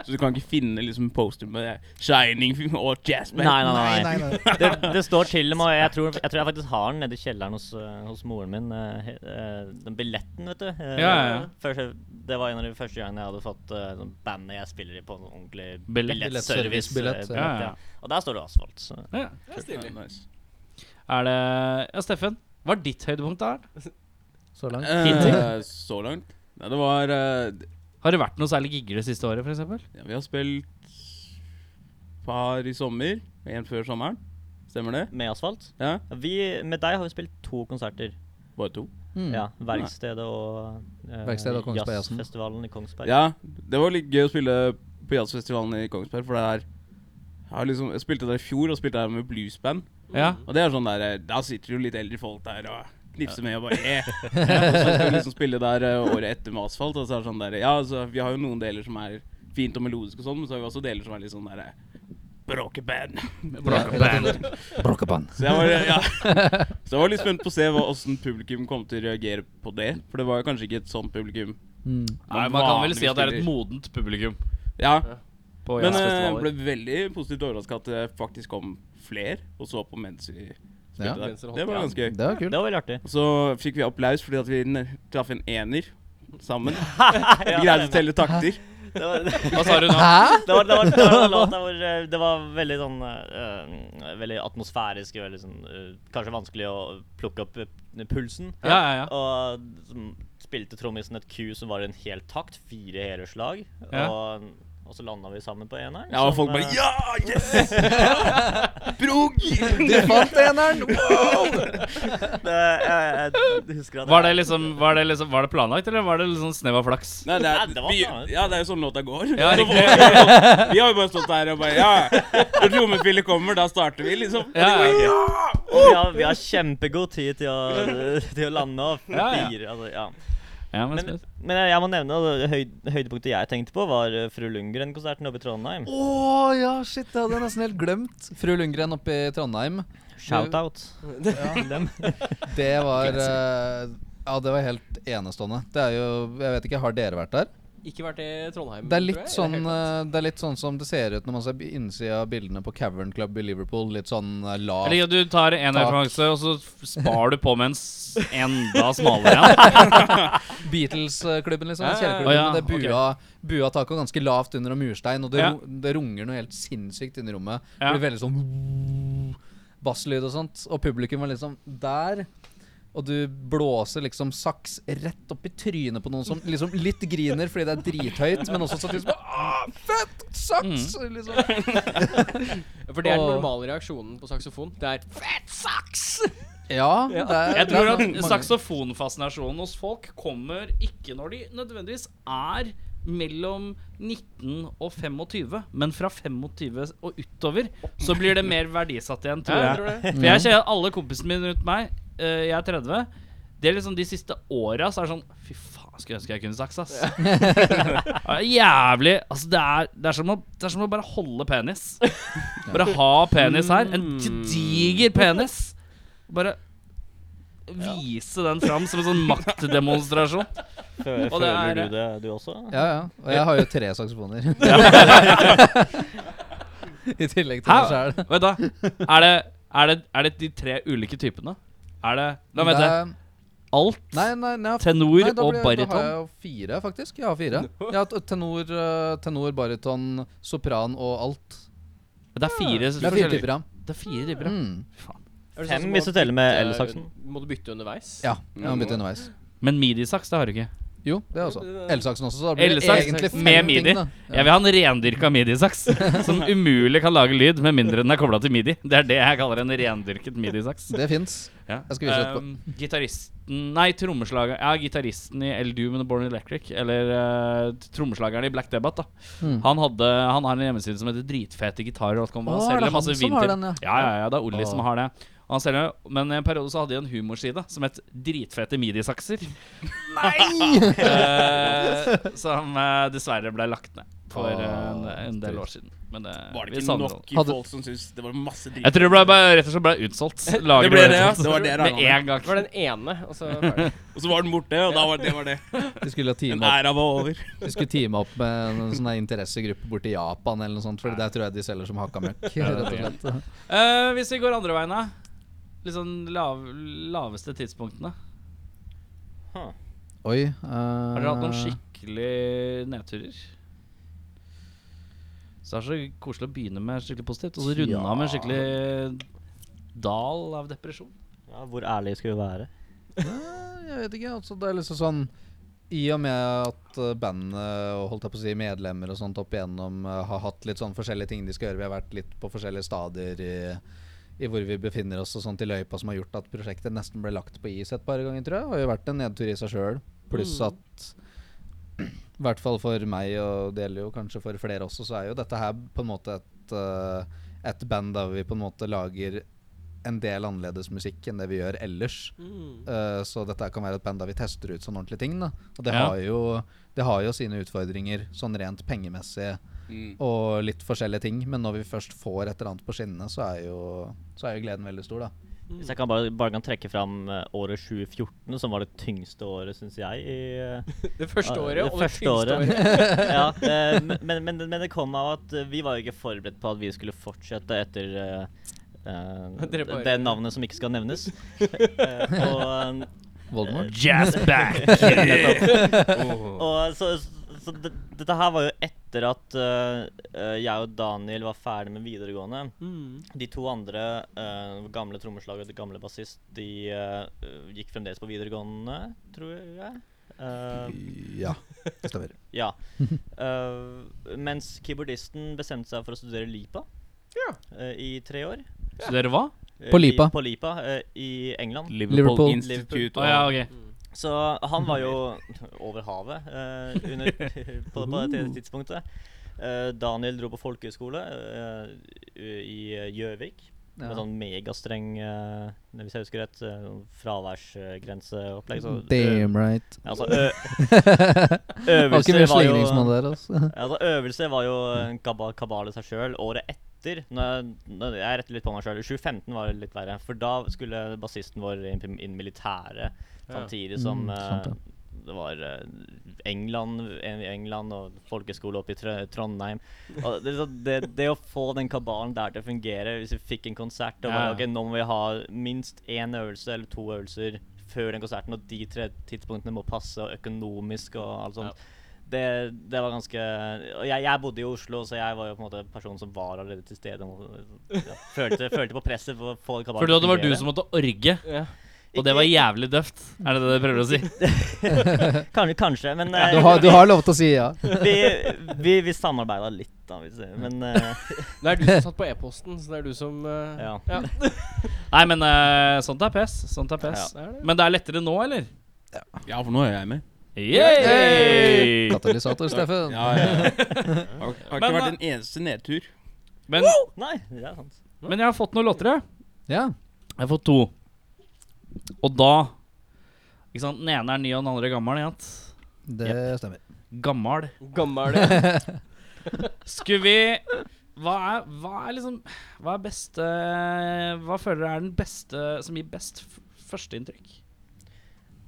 Speaker 4: Så du kan ikke finne liksom poster med det. Shining og Jasper.
Speaker 6: Nei, nei, nei. nei.
Speaker 5: Nei, nei, nei.
Speaker 6: det, det står til og med, og jeg tror, jeg tror jeg faktisk har den nede i kjelleren hos, eh, hos moren min. eh, he- eh, den billetten, vet du. Eh,
Speaker 2: Ja, ja, ja.
Speaker 6: først- det var en av de første gangene jeg hadde fått eh, sånn bandet jeg spiller i, på en ordentlig
Speaker 2: Billett.
Speaker 6: billettservice.
Speaker 5: Billettservicebillett,
Speaker 6: eh,
Speaker 5: ja.
Speaker 6: billett, ja. Og der står det asfalt. Så.
Speaker 2: Ja.
Speaker 4: Ja, nice.
Speaker 2: Er det Ja, Steffen. Hva er ditt høydepunkt der?
Speaker 5: Så langt.
Speaker 4: Eh, så langt? Nei, det var eh,
Speaker 2: Har det vært noe særlig gigger det siste året, f.eks.?
Speaker 4: ja, Vi har spilt par i sommer. En før sommeren. Stemmer det?
Speaker 6: Med asfalt.
Speaker 4: Ja,
Speaker 6: Vi, med deg har vi spilt to konserter.
Speaker 4: Bare to.
Speaker 5: Mm.
Speaker 6: Ja, Verkstedet og eh,
Speaker 5: Verkstedet og Kongsberg Jazzen.
Speaker 6: Jazzfestivalen i Kongsberg.
Speaker 4: Ja, det var litt gøy å spille på jazzfestivalen i Kongsberg, for det er jeg har liksom, Jeg spilte der i fjor, og spilte der med bluesband.
Speaker 2: Ja.
Speaker 4: Og det er sånn der eh, Da sitter jo litt eldre folk der og knipser med og bare eh. Og så skal vi liksom spille der eh, året etter med asfalt, og så er det sånn der Ja, altså, vi har jo noen deler som er fint og melodisk og sånn, men så har vi også deler som er litt sånn der eh, Bråkeband.
Speaker 5: Brokkepann.
Speaker 4: Så jeg var, ja. så jeg var litt spent på å se hva- åssen publikum kom til å reagere på det. For det var jo kanskje ikke et sånt publikum.
Speaker 5: Mm.
Speaker 2: Nei, man kan vel
Speaker 4: vanligvis
Speaker 2: si at det er et
Speaker 4: spiller.
Speaker 2: modent publikum
Speaker 4: Ja,
Speaker 2: på
Speaker 4: Men jeg ble
Speaker 2: jazzfestivaler.
Speaker 4: veldig positivt overraska at det faktisk kom flere og så på mens vi
Speaker 5: Ja.
Speaker 4: spilte der.
Speaker 3: Mens dere holdt
Speaker 4: Det var
Speaker 3: på, ja.
Speaker 4: ganske gøy.
Speaker 5: Det var
Speaker 6: Det
Speaker 5: kult.
Speaker 6: var veldig artig.
Speaker 4: Og så fikk vi applaus fordi at vi n- traff en ener sammen. Vi greide å telle takter.
Speaker 6: Det var,
Speaker 2: Hva sa du nå?
Speaker 6: det var, det var, det var, en låt der hvor, eh, det var veldig sånn eh, eh, Veldig atmosfærisk og veldig sånn eh, Kanskje vanskelig å plukke opp eh, pulsen.
Speaker 2: Ja, ja, ja.
Speaker 6: Og som spilte trommisen et Q som var en hel takt, fire hele slag.
Speaker 2: Ja.
Speaker 6: Og, og så landa vi sammen på eneren.
Speaker 4: Ja, og
Speaker 6: som,
Speaker 4: folk bare
Speaker 6: eh,
Speaker 4: Ja! Yes! Brog!
Speaker 5: Du fant eneren!
Speaker 6: det, jeg, jeg husker at
Speaker 2: Var det liksom Var det, liksom, var det planlagt, eller var det liksom snev av flaks?
Speaker 4: Nei, det
Speaker 6: Nei,
Speaker 4: er,
Speaker 6: det var
Speaker 4: vi,
Speaker 6: bra.
Speaker 4: ja, det er jo sånn låta går.
Speaker 2: Ja,
Speaker 4: Så sånn-
Speaker 2: riktig.
Speaker 4: vi har jo bare stått der og bare Ja! Når trommefillet kommer, da starter vi, liksom.
Speaker 2: Ja, ja, ok.
Speaker 6: vi, har, vi har kjempegod tid til å, til å lande og
Speaker 2: Ja, ja.
Speaker 6: fire. Altså, ja.
Speaker 2: ja, men,
Speaker 6: Men, men jeg jeg må nevne at høy, høydepunktet jeg tenkte på, var eh, Fru Lundgren-konserten oppe i Trondheim.
Speaker 5: Å ja, shit, det hadde jeg nesten helt glemt. Fru Lundgren oppe i Trondheim.
Speaker 6: Shout-out.
Speaker 5: Det var eh, Ja, det var helt enestående. Det er jo Jeg vet ikke, har dere vært der?
Speaker 3: Ikke vært i Trondheim.
Speaker 5: Det er
Speaker 3: tror
Speaker 5: litt
Speaker 3: jeg, i
Speaker 5: sånn
Speaker 3: det hele tatt.
Speaker 5: eh, Det er litt sånn som det ser ut når man ser b- innsida av bildene på Cavern Club i Liverpool. Litt sånn eh,
Speaker 2: Eller
Speaker 5: lavt.
Speaker 2: ja, du tar en
Speaker 5: Takk.
Speaker 2: referanse, og så f- spar du på med en s- enda smalere en.
Speaker 5: Beatles-klubben, liksom.
Speaker 3: Ja, ja, ja.
Speaker 5: Kjellerklubben.
Speaker 2: Å, ja,
Speaker 5: men det
Speaker 2: ok.
Speaker 5: er bua, bua taket og ganske lavt under og murstein, og det,
Speaker 2: Ja.
Speaker 5: ru- det runger noe helt sinnssykt inni rommet. Det
Speaker 2: Ja.
Speaker 5: blir veldig sånn basslyd og sånt. Og publikum var liksom der. Og du blåser liksom saks rett opp i trynet på noen som liksom litt griner fordi det er drithøyt, men også samtidig sånn Åh, fett! Saks!
Speaker 2: Mm.
Speaker 5: Liksom.
Speaker 3: For det er den
Speaker 5: eh, Åh.
Speaker 3: normale reaksjonen på saksofon. Det er fett saks!
Speaker 5: Ja, det er
Speaker 2: Jeg tror at
Speaker 5: det er mange-
Speaker 2: saksofonfascinasjonen hos folk kommer ikke når de nødvendigvis er mellom 19 og 25, men fra 25 og utover så blir det mer verdisatt igjen, tror
Speaker 3: Ja, jeg
Speaker 2: jeg.
Speaker 3: tror det.
Speaker 2: For jeg ser at alle kompisene mine rundt meg, eh, jeg er 30, det er liksom de siste åra så er det sånn Fy faen, skulle ønske jeg kunne saks, ass. det er jævlig Altså, det er, det, er som å, det er som å bare holde penis. Bare ha penis her. En diger penis. Bare vise den fram som en sånn maktdemonstrasjon.
Speaker 6: Føler,
Speaker 2: Og det er-
Speaker 6: føler du det, du også?
Speaker 5: Ja, ja. Og jeg har jo tre saksofoner. I tillegg til
Speaker 2: Hæ?
Speaker 5: meg sjæl.
Speaker 2: Vent, da. Er det, er, det, er det de tre ulike typene? Er det La meg vente.
Speaker 5: Nei,
Speaker 2: Alt,
Speaker 5: nei, nei, nei,
Speaker 2: tenor
Speaker 5: da
Speaker 2: og
Speaker 5: blir- Da har
Speaker 2: bariton?
Speaker 5: jeg jo fire, faktisk. Jeg har fire. Jeg har t- tenor, eh, tenor, bariton, sopran og alt.
Speaker 2: Det er fire
Speaker 5: Det er fire
Speaker 2: forskjellige
Speaker 5: typer, ja.
Speaker 2: Det er fire typer, ja.
Speaker 5: Mm.
Speaker 3: Er det sånn
Speaker 6: Fem
Speaker 3: som
Speaker 6: hvis
Speaker 3: må
Speaker 6: du teller med
Speaker 3: bytte-
Speaker 6: elsaksen.
Speaker 3: Må du bytte underveis?
Speaker 5: Ja, jeg må bytte underveis.
Speaker 2: Men midisaks, det har du ikke.
Speaker 5: Jo, det også. Elsaksen også. Så da blir det
Speaker 2: Elsaks
Speaker 5: egentlig fem
Speaker 2: med
Speaker 5: ting,
Speaker 2: midi.
Speaker 5: da.
Speaker 2: Jeg vil ha en rendyrka midisaks som umulig kan lage lyd med mindre den er kobla til midi. Det er det jeg kaller en rendyrket midisaks.
Speaker 5: Det fins.
Speaker 2: Ja.
Speaker 5: Jeg skal vise etterpå.
Speaker 2: Um, gitaristen Nei, trommeslager Ja, gitaristen i El Doom and the Born Electric, eller eh, trommeslageren i Black Debate, da.
Speaker 5: Mm.
Speaker 2: Han, hadde, han har en hjemmeside som heter dritfetegitarer.com.
Speaker 5: Å,
Speaker 2: Han
Speaker 5: er det
Speaker 2: selger
Speaker 5: han
Speaker 2: masse
Speaker 5: som har
Speaker 2: vinter.
Speaker 5: den, ja?
Speaker 2: Ja, ja, ja, det er Olli
Speaker 5: Å.
Speaker 2: som har det. Og Han selger, men i en periode så hadde de en humorside som het Dritfete midisakser. Nei! som eh, dessverre ble lagt ned for
Speaker 5: Å,
Speaker 2: en, en del
Speaker 5: trist.
Speaker 2: år siden. Men det,
Speaker 4: Var
Speaker 2: vi
Speaker 4: det ikke
Speaker 2: savner
Speaker 4: nok
Speaker 2: den.
Speaker 5: Hadde-
Speaker 4: folk som syntes det var masse drit?
Speaker 2: Jeg tror det ble, bare, rett og slett ble utsolgt. Lager
Speaker 4: ble det, ja.
Speaker 2: utsolgt.
Speaker 4: Det var det jeg regnet
Speaker 2: Med
Speaker 4: med.
Speaker 2: en gang.
Speaker 3: Det var den ene, og så ferdig.
Speaker 4: Og så var den borte, og da var det var det.
Speaker 5: Vi skulle,
Speaker 4: Den
Speaker 5: time opp,
Speaker 4: æra var over.
Speaker 5: vi skulle time opp med en sånn der interessegruppe borti Japan eller noe sånt, for der tror jeg de selger som hakka møkk. Rett og slett.
Speaker 2: Eh, hvis vi går andre veien, da. Litt sånn lav, laveste tidspunktene.
Speaker 5: Oi. eh,
Speaker 2: Har dere hatt noen skikkelig nedturer? Så det er så koselig å begynne med skikkelig positivt, og så runde av med en skikkelig dal av depresjon.
Speaker 6: Ja, hvor ærlige skal vi være?
Speaker 5: Nei, Jeg vet ikke. altså Det er liksom sånn I og med at eh, bandet og holdt jeg på å si medlemmer og sånt opp igjennom eh, har hatt litt sånn forskjellige ting de skal gjøre, vi har vært litt på forskjellige stadier i, i hvor vi befinner oss og sånt i løypa, som har gjort at prosjektet nesten ble lagt på is et par ganger, tror jeg. Har jo vært en nedtur i seg sjøl. Pluss at i hvert fall for meg, og det gjelder jo kanskje for flere også, så er jo dette her på en måte et, eh, et band der vi på en måte lager en del annerledes musikk enn det vi gjør ellers. Eh, så dette kan være et band der vi tester ut sånne ordentlige ting. Da. Og det,
Speaker 2: Ja.
Speaker 5: har jo, det har jo sine utfordringer, sånn rent pengemessig
Speaker 4: Mm.
Speaker 5: og litt forskjellige ting. Men når vi først får et eller annet på skinnene, så er jo, så er jo gleden veldig stor, da.
Speaker 6: Hvis jeg kan bare, bare kan trekke fram eh, året 2014, som var det tyngste året, syns jeg, i eh,
Speaker 3: Det første
Speaker 6: Ja,
Speaker 3: året
Speaker 6: det
Speaker 3: og det
Speaker 6: første
Speaker 3: tyngste
Speaker 6: året.
Speaker 3: året.
Speaker 6: ja, eh, men, men, men, men det kom av at eh, vi var jo ikke forberedt på at vi skulle fortsette etter eh, eh,
Speaker 3: Dere bare-
Speaker 6: det navnet som ikke skal nevnes. Eh, og,
Speaker 5: Voldemort.
Speaker 6: Eh,
Speaker 2: Jazz back!
Speaker 6: og så, så det, dette her var jo etter at eh, eh, jeg og Daniel var ferdig med videregående.
Speaker 2: Mm.
Speaker 6: De to andre, eh, gamle trommeslager og gamle bassist, de eh, gikk fremdeles på videregående, tror jeg. Eh,
Speaker 5: Ja, det stemmer.
Speaker 6: Ja. Eh, mens keyboardisten bestemte seg for å studere Lipa eh, i tre år.
Speaker 2: Så dere hva?
Speaker 6: Eh,
Speaker 5: På
Speaker 6: i-
Speaker 5: Lipa.
Speaker 6: På Lipa eh, i England.
Speaker 5: Liverpool.
Speaker 4: Institute
Speaker 2: Å ja, ok.
Speaker 6: Så han var jo over havet eh, under, på, på det
Speaker 5: Uh.
Speaker 6: tidspunktet. Eh, Daniel dro på folkehøyskole eh, i eh, Gjøvik. Med sånn megastreng, eh, hvis jeg husker rett, eh, fraværsgrenseopplegg. Så, eh, ø-
Speaker 5: Damn right.
Speaker 6: altså, ø-
Speaker 5: Det var ikke
Speaker 6: øvelse
Speaker 5: mye
Speaker 6: var
Speaker 5: slingring som
Speaker 6: jo
Speaker 5: hadde der, altså.
Speaker 6: Altså, øvelse var jo en kaba- kabal i seg sjøl. Året etter når jeg, når jeg retter litt på meg sjøl. 2015 var det litt verre. For da skulle bassisten vår inn på- inn i militæret samtidig som
Speaker 5: Mm, sant
Speaker 6: eh, det var eh, England, en, England og folkeskole oppe i Trø Trondheim. Og det, er så- det, det å få den kabalen der til å fungere, hvis vi fikk en konsert og bare,
Speaker 2: Ja.
Speaker 6: ok, Nå må vi ha minst én øvelse eller to øvelser før den konserten, og de tre tidspunktene må passe, og økonomisk og alt sånt. Det, det var ganske Og jeg, jeg bodde i Oslo, så jeg var jo på en måte personen som var allerede til stede. og- Ja, følte, følte på presset for å få kabalen
Speaker 2: For det var du som måtte orge.
Speaker 3: Ja.
Speaker 2: Og det var jævlig døvt, er det det du prøver å si?
Speaker 6: Kanskje, kanskje men eh,
Speaker 5: Du har, du har lov til å si ja.
Speaker 6: vi, vi, vi samarbeida litt, da. Hvis det, men eh,
Speaker 3: Det er du som satt på e-posten, så det er du som eh,
Speaker 6: ja.
Speaker 2: Nei, men eh, sånt er pes. Sånt er pes.
Speaker 3: det er det.
Speaker 2: Men det er lettere nå, eller?
Speaker 4: Ja, for nå er jeg med.
Speaker 2: Yay!
Speaker 5: Katalysator, Steffen.
Speaker 4: Ja, ja, ja. Har, har ikke
Speaker 2: Men,
Speaker 4: vært en eneste nedtur.
Speaker 2: Men,
Speaker 6: Nei, det er sant.
Speaker 2: men jeg har fått noen låter, jeg.
Speaker 5: Ja.
Speaker 2: Jeg har fått to. Og da Ikke sant, Den ene er ny, og den andre er gammel. Ikke sant?
Speaker 5: Det stemmer.
Speaker 2: Gammal.
Speaker 3: Gammel det.
Speaker 2: Skulle vi hva er, hva er liksom Hva er beste Hva føler dere er den beste som gir best f- førsteinntrykk?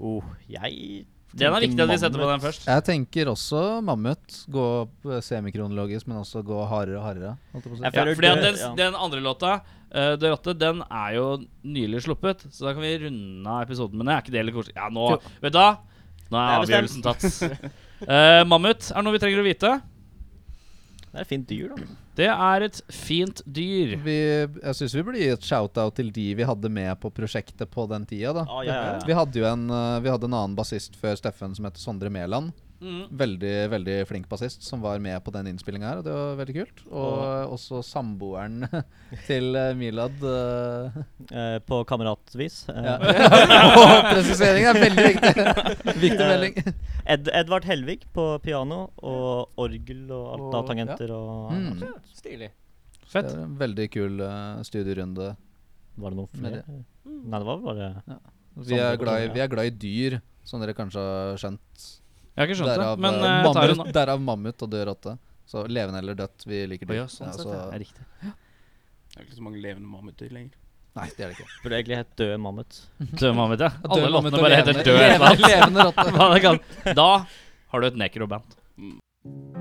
Speaker 6: Oh, jeg
Speaker 2: Den er
Speaker 6: tenker
Speaker 2: viktig at vi setter på
Speaker 6: Mammut.
Speaker 2: den først.
Speaker 5: Jeg tenker også mammut. Gå opp semikronologisk, men også gå hardere og hardere. Holdt jeg på å si.
Speaker 2: Ja,
Speaker 6: Jeg føler
Speaker 2: fordi at
Speaker 6: det-
Speaker 2: den,
Speaker 6: ja.
Speaker 2: den andre låta, eh, Det rotte, den er jo nylig sluppet. Så da kan vi runde av episoden. Men det er ikke det heller koselig. Ja, nå Vet du hva? Nå er
Speaker 6: Det er
Speaker 2: avgjørelsen tatt. Eh, mammut er noe vi trenger å vite.
Speaker 6: Det er et fint dyr, da.
Speaker 2: Det er et fint dyr.
Speaker 5: Vi, jeg syns vi burde gi et shout-out til de vi hadde med på prosjektet på den tida. da
Speaker 6: Ah, ja, ja, ja.
Speaker 5: Vi hadde jo en, eh, vi hadde en annen bassist før Steffen som het Sondre Mæland.
Speaker 2: Mm.
Speaker 5: Veldig veldig flink bassist som var med på den innspillinga her, og det var veldig kult. Og eh, også samboeren til eh, Milad. eh,
Speaker 6: Eh, på kameratvis. Eh,
Speaker 5: Ja. Åh, Presisering er veldig viktig. Viktig melding.
Speaker 6: Ed Edvard Helvig på piano og orgel og
Speaker 5: Og-
Speaker 6: alt av tangenter og
Speaker 5: Mm.
Speaker 3: Stilig.
Speaker 5: Det
Speaker 2: Fett.
Speaker 5: er en veldig kul eh, studierunde.
Speaker 6: Var det noe
Speaker 5: Med
Speaker 6: flere?
Speaker 5: det.
Speaker 6: Nei, det var bare
Speaker 5: Vi er, glad i, vi er glad i dyr, som dere kanskje har skjønt.
Speaker 2: Jeg har ikke skjønt det,
Speaker 5: Derav,
Speaker 2: men
Speaker 5: eh,
Speaker 2: eh, jeg tar den
Speaker 5: mammut,
Speaker 2: nå.
Speaker 5: derav mammut og død rotte. Så levende eller dødt, vi liker
Speaker 2: Å
Speaker 5: dyr.
Speaker 2: ja, sånn
Speaker 5: Ja, altså-
Speaker 2: sett,
Speaker 5: så-
Speaker 2: ja. Det er riktig.
Speaker 4: Det er ikke så mange levende mammuter lenger.
Speaker 5: nei, det er det ikke.
Speaker 6: Burde egentlig hett Død mammut.
Speaker 2: Død mammut, eh, ja. Alle
Speaker 5: Død mammut
Speaker 2: låtene
Speaker 5: og
Speaker 2: bare heter
Speaker 5: levende-
Speaker 2: Død et eller
Speaker 5: Levende,
Speaker 2: annet.
Speaker 5: levende rotte.
Speaker 2: Hva det kan. Da har du et nekroband.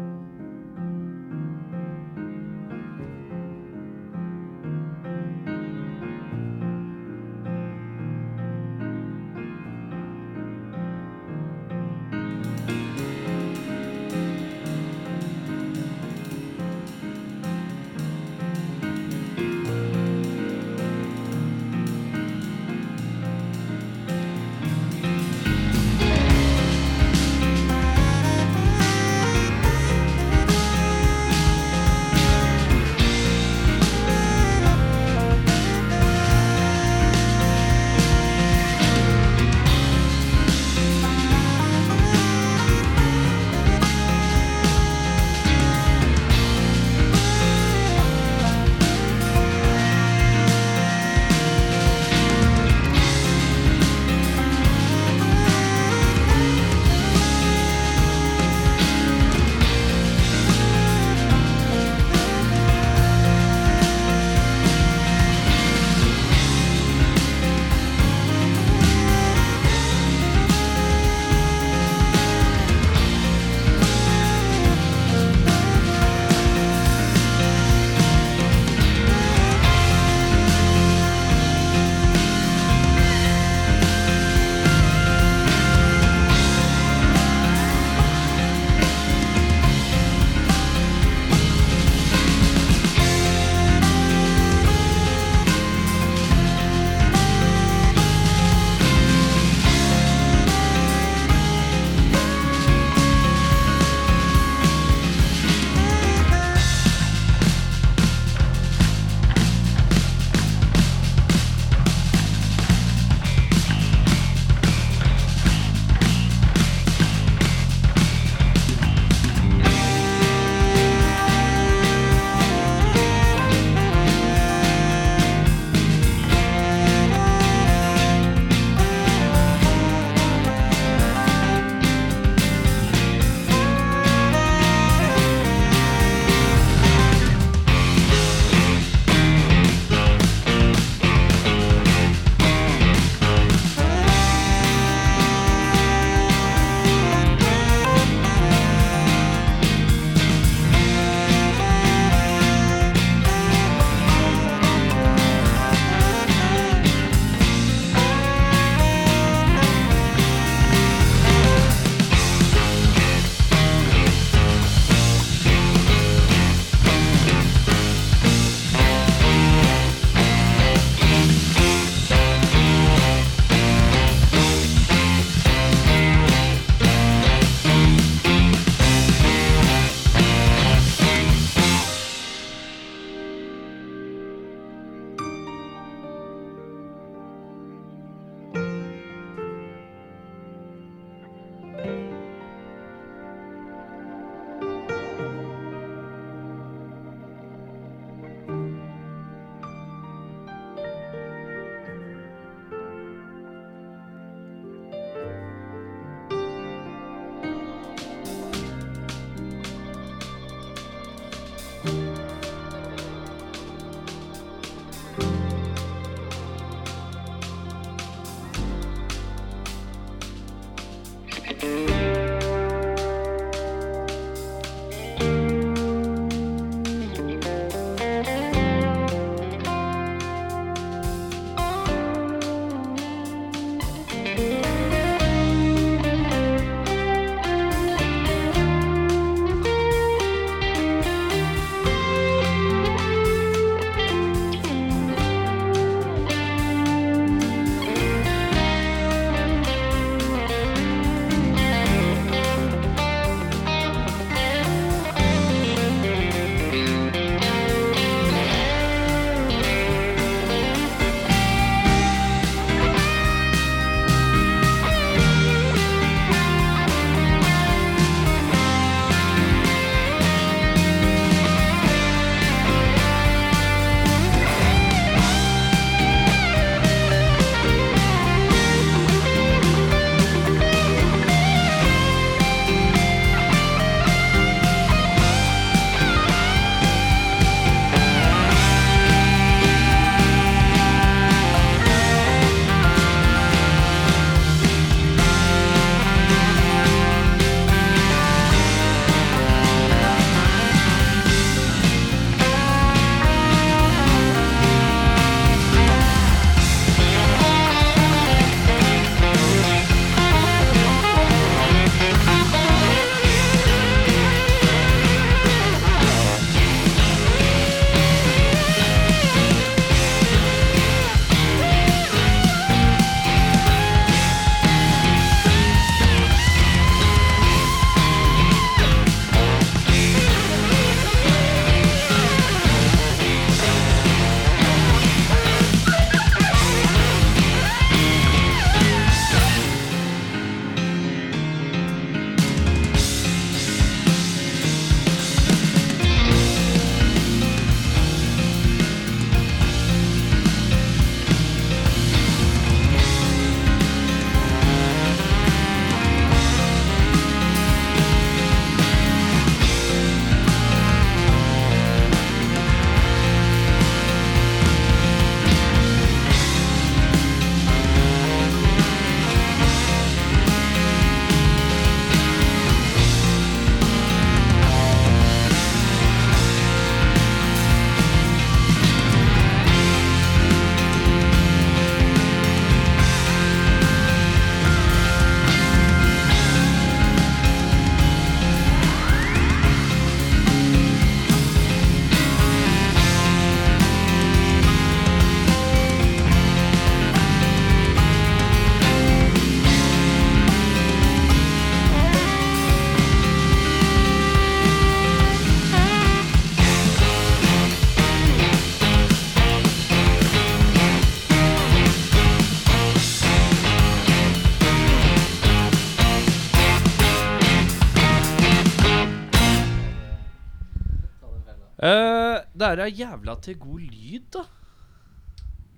Speaker 2: Eh, det er da jævla til god lyd, da.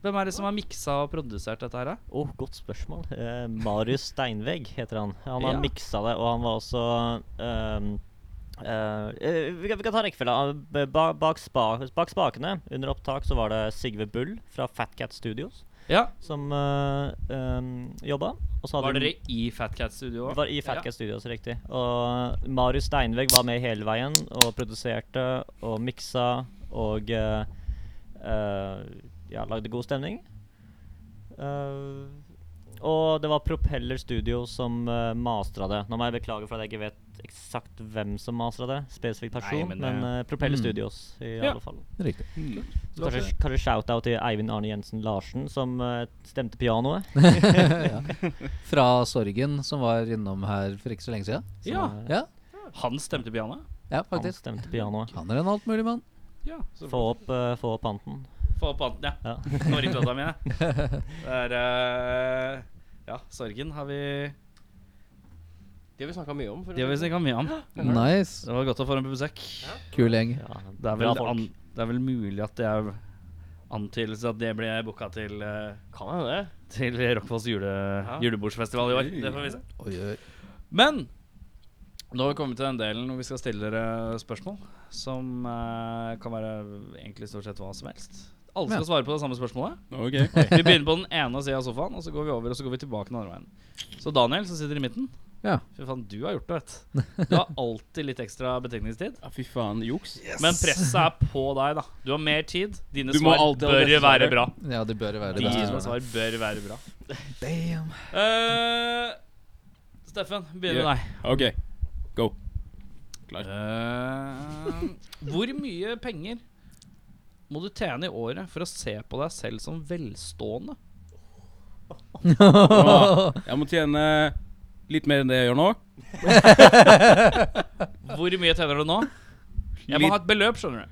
Speaker 2: Hvem er det som har miksa og produsert dette her, da?
Speaker 6: Åh, godt spørsmål. Eh, Marius Steinvegg heter han. Han har
Speaker 2: Ja.
Speaker 6: miksa det, og han var også ehm, eh, eh, vi, kan, vi kan ta rekkefølga. Han- b- Ba, bak, spa, bak spakene under opptak så var det Sigve Bull fra Fat Cat Studios
Speaker 2: Ja,
Speaker 6: som uh, jobba. Og så hadde
Speaker 2: Var
Speaker 6: vi-
Speaker 2: dere i Fat Cat Studio
Speaker 6: vi
Speaker 2: òg?
Speaker 6: var i Fat Cat Studios, riktig. Og Marius Steinvegg var med hele veien og produserte og miksa og eh, eh, ja, lagde god stemning. Eh, og det var Propeller Studio som uh, mastra det. Nå må jeg beklage for at jeg ikke vet eksakt hvem som mastra det. Spesifikk person,
Speaker 2: men det-
Speaker 6: men, eh, Propeller
Speaker 5: Mm.
Speaker 6: Studios i
Speaker 2: Ja.
Speaker 6: alle fall.
Speaker 5: Riktig.
Speaker 6: Så kanskje, kanskje shout-out til Eivind Arne Jensen Larsen, som eh, stemte pianoet.
Speaker 5: ja. Fra Sorgen, som var innom her for ikke så lenge siden.
Speaker 6: som
Speaker 2: Ja,
Speaker 6: er-
Speaker 5: Ja,
Speaker 2: han stemte piano.
Speaker 5: ja
Speaker 6: Han
Speaker 5: faktisk.
Speaker 6: stemte pianoet.
Speaker 5: Han er en altmulig mann.
Speaker 2: Ja, så
Speaker 6: Få opp, eh, få opp panten.
Speaker 2: Få opp panten, ja.
Speaker 6: Ja.
Speaker 2: Nå ringte låta mi, jeg. Det er eh, Ja, sorgen har vi
Speaker 3: Det har vi snakka mye om. For
Speaker 2: De har vi snakka mye om.
Speaker 5: Nice.
Speaker 2: Det var godt å få dem på besøk.
Speaker 5: Kul gjeng.
Speaker 6: Ja,
Speaker 2: Det er
Speaker 6: bra
Speaker 2: vel, an, det er vel mulig at det er antydelse at det ble booka til, eh,
Speaker 3: Kan hende det.
Speaker 2: til Rockfolds jule, julebordsfestival i år. Det får vi se.
Speaker 5: Oi, oi.
Speaker 2: Men nå har vi kommet til den delen hvor vi skal stille dere spørsmål. Som eh, kan være egentlig stort sett hva som helst. Alle skal svare på det samme spørsmålet.
Speaker 4: Ok.
Speaker 2: Vi begynner på den ene sida av sofaen, og så går vi over og så går vi tilbake den andre veien. Så Daniel, som sitter i midten
Speaker 5: Ja.
Speaker 2: Fy faen, du har gjort det, vet du. Du har alltid litt ekstra betenkningstid.
Speaker 4: Ja, fy faen, juks.
Speaker 2: Men presset er på deg, da. Du har mer tid. Dine
Speaker 4: Du må
Speaker 2: svar
Speaker 4: alltid ha
Speaker 2: bør
Speaker 4: beste
Speaker 2: være
Speaker 4: svaret.
Speaker 2: bra.
Speaker 5: Ja, det bør være det.
Speaker 2: Dine
Speaker 5: beste.
Speaker 2: svar bør være bra.
Speaker 5: Damn.
Speaker 2: Eh, Steffen, begynn med
Speaker 4: Ja.
Speaker 2: deg.
Speaker 4: Ok.
Speaker 2: Eh, hvor mye penger må du tjene i året for å se på deg selv som velstående?
Speaker 4: Åh, Jeg må tjene litt mer enn det jeg gjør nå.
Speaker 2: Hvor mye tjener du nå? Jeg må ha
Speaker 4: Litt-
Speaker 2: et beløp, skjønner du.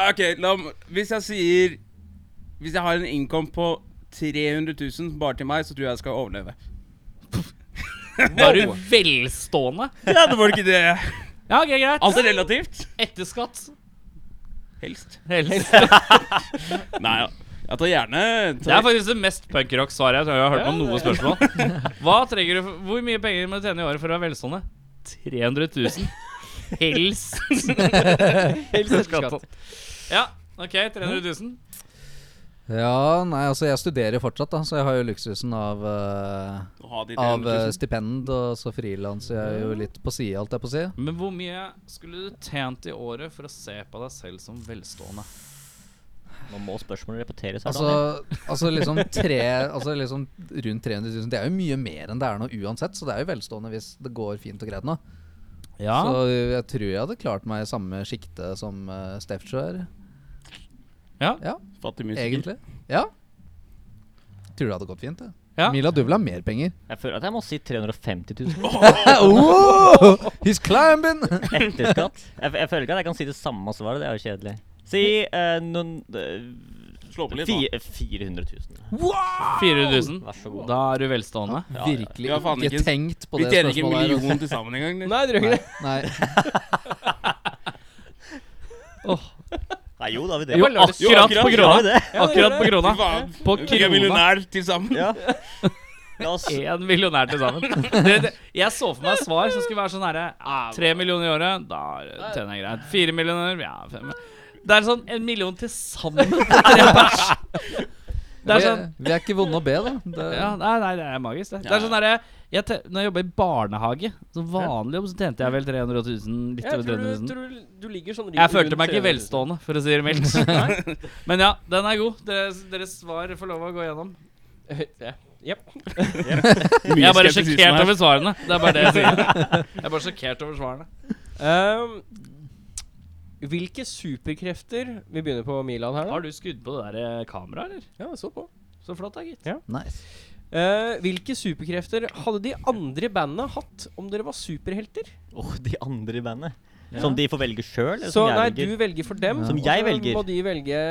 Speaker 4: Ok, la, m- hvis jeg sier Hvis jeg har en income på 300 000 bare til meg, så tror jeg jeg skal overleve.
Speaker 2: Da er du velstående.
Speaker 4: Ja, det var ikke det.
Speaker 2: Ja, ok, greit.
Speaker 4: Alt er Altså relativt.
Speaker 2: Etter skatt.
Speaker 4: Helst.
Speaker 2: Helst.
Speaker 4: Nei, ja. Jeg tar gjerne
Speaker 2: Det er faktisk det mest punkrock-svaret jeg tror jeg har hørt på noe spørsmål. Hva trenger du for, Hvor mye penger må du tjene i året for å være velstående? 300 000. Helst. Helst etter skatt. Ja, OK. 300 000.
Speaker 5: Ja, nei, altså jeg studerer fortsatt, da, så jeg har jo luksusen av, eh,
Speaker 4: Å ha de
Speaker 5: av
Speaker 2: liksom.
Speaker 4: 300
Speaker 5: eh,
Speaker 4: 000.
Speaker 5: stipend, og så frilanser jeg jo litt på sida, alt jeg på å si.
Speaker 2: Men hvor mye skulle du tjent i året for å se på deg selv som velstående?
Speaker 6: Nå må spørsmålet repeteres her,
Speaker 5: Altså, altså, liksom tre, altså liksom rundt 300 000. Det er jo mye mer enn det er nå uansett, så det er jo velstående hvis det går fint og greit nå. Så jeg tror jeg hadde klart meg i samme sjikte som uh, Steffsjøer,
Speaker 4: Fattig musiker.
Speaker 5: egentlig. Ja. Tror det hadde gått fint, det.
Speaker 2: Ja.
Speaker 5: Mila, du vil ha mer penger.
Speaker 6: da. Jeg føler at jeg må si 350 000
Speaker 5: oh, he's climbing!
Speaker 6: etter skatt. Jeg, jeg føler ikke at jeg kan si det samme svaret, det er jo kjedelig. Si eh, noen eh,
Speaker 4: Slå på litt,
Speaker 6: fi,
Speaker 4: da.
Speaker 6: eh, 400 000.
Speaker 2: 400 000.
Speaker 6: Vær så god.
Speaker 2: Da er du velstående.
Speaker 6: Ja, ja.
Speaker 5: Virkelig
Speaker 4: Ja, faen,
Speaker 5: ikke
Speaker 4: ikke-
Speaker 5: tenkt på
Speaker 4: Vi
Speaker 5: det
Speaker 4: tjener ikke en
Speaker 5: spørsmålet. her, altså.
Speaker 4: million til sammen engang.
Speaker 3: Nei, dere gjør ikke det.
Speaker 5: Nei.
Speaker 6: Nei, jo, da har vi det.
Speaker 2: Jo, akkurat på
Speaker 6: da har vi
Speaker 2: krona.
Speaker 6: det.
Speaker 3: Ja, dere gjør
Speaker 2: Akkurat på
Speaker 3: det.
Speaker 4: Fy
Speaker 2: krona.
Speaker 4: faen.
Speaker 2: På
Speaker 4: Vi er
Speaker 2: krona.
Speaker 4: millionær til sammen.
Speaker 6: Ja. La oss
Speaker 2: Én millionær til sammen. Det, det, jeg så for meg et svar som skulle være sånn herre Tre millioner i året, da tjener jeg greit. Fire millioner, ja, fem Det er sånn en million til sammen på tre pers. Det er
Speaker 5: Vi,
Speaker 2: sånn
Speaker 5: vi er ikke vonde å be, da. Det,
Speaker 2: ja, nei, nei, det er magisk, det. Det er sånn derre jeg te- Når jeg jobba i barnehage, som vanlig jobb, så tjente jeg vel 300 000, litt
Speaker 3: Jeg
Speaker 2: over
Speaker 3: tror
Speaker 2: 300
Speaker 3: du,
Speaker 2: 000.
Speaker 3: tror du, du ligger sånn
Speaker 2: Jeg følte meg ikke velstående, for å si det mildt. Men ja, den er god. Deres, deres svar får lov å gå gjennom.
Speaker 3: velstående. Jepp.
Speaker 2: Jeg er bare
Speaker 4: skeptisisme
Speaker 2: sjokkert
Speaker 4: her.
Speaker 2: over svarene. Det er bare det jeg sier. Jeg er bare sjokkert over svarene.
Speaker 3: Ehm, hvilke superkrefter Vi begynner på Milan her, da.
Speaker 2: Har du skudd på det der eh, kameraet, eller?
Speaker 3: Ja, så på.
Speaker 2: Så flott, da, gitt.
Speaker 5: Nice.
Speaker 3: Eh, hvilke superkrefter hadde de andre i bandet hatt om dere var superhelter?
Speaker 6: Åh, de andre i bandet. Som de får velge sjøl?
Speaker 3: Så
Speaker 6: jeg
Speaker 3: nei,
Speaker 6: velger?
Speaker 3: du velger for dem.
Speaker 6: Som
Speaker 3: og
Speaker 6: jeg
Speaker 3: så
Speaker 6: velger.
Speaker 3: Må de velge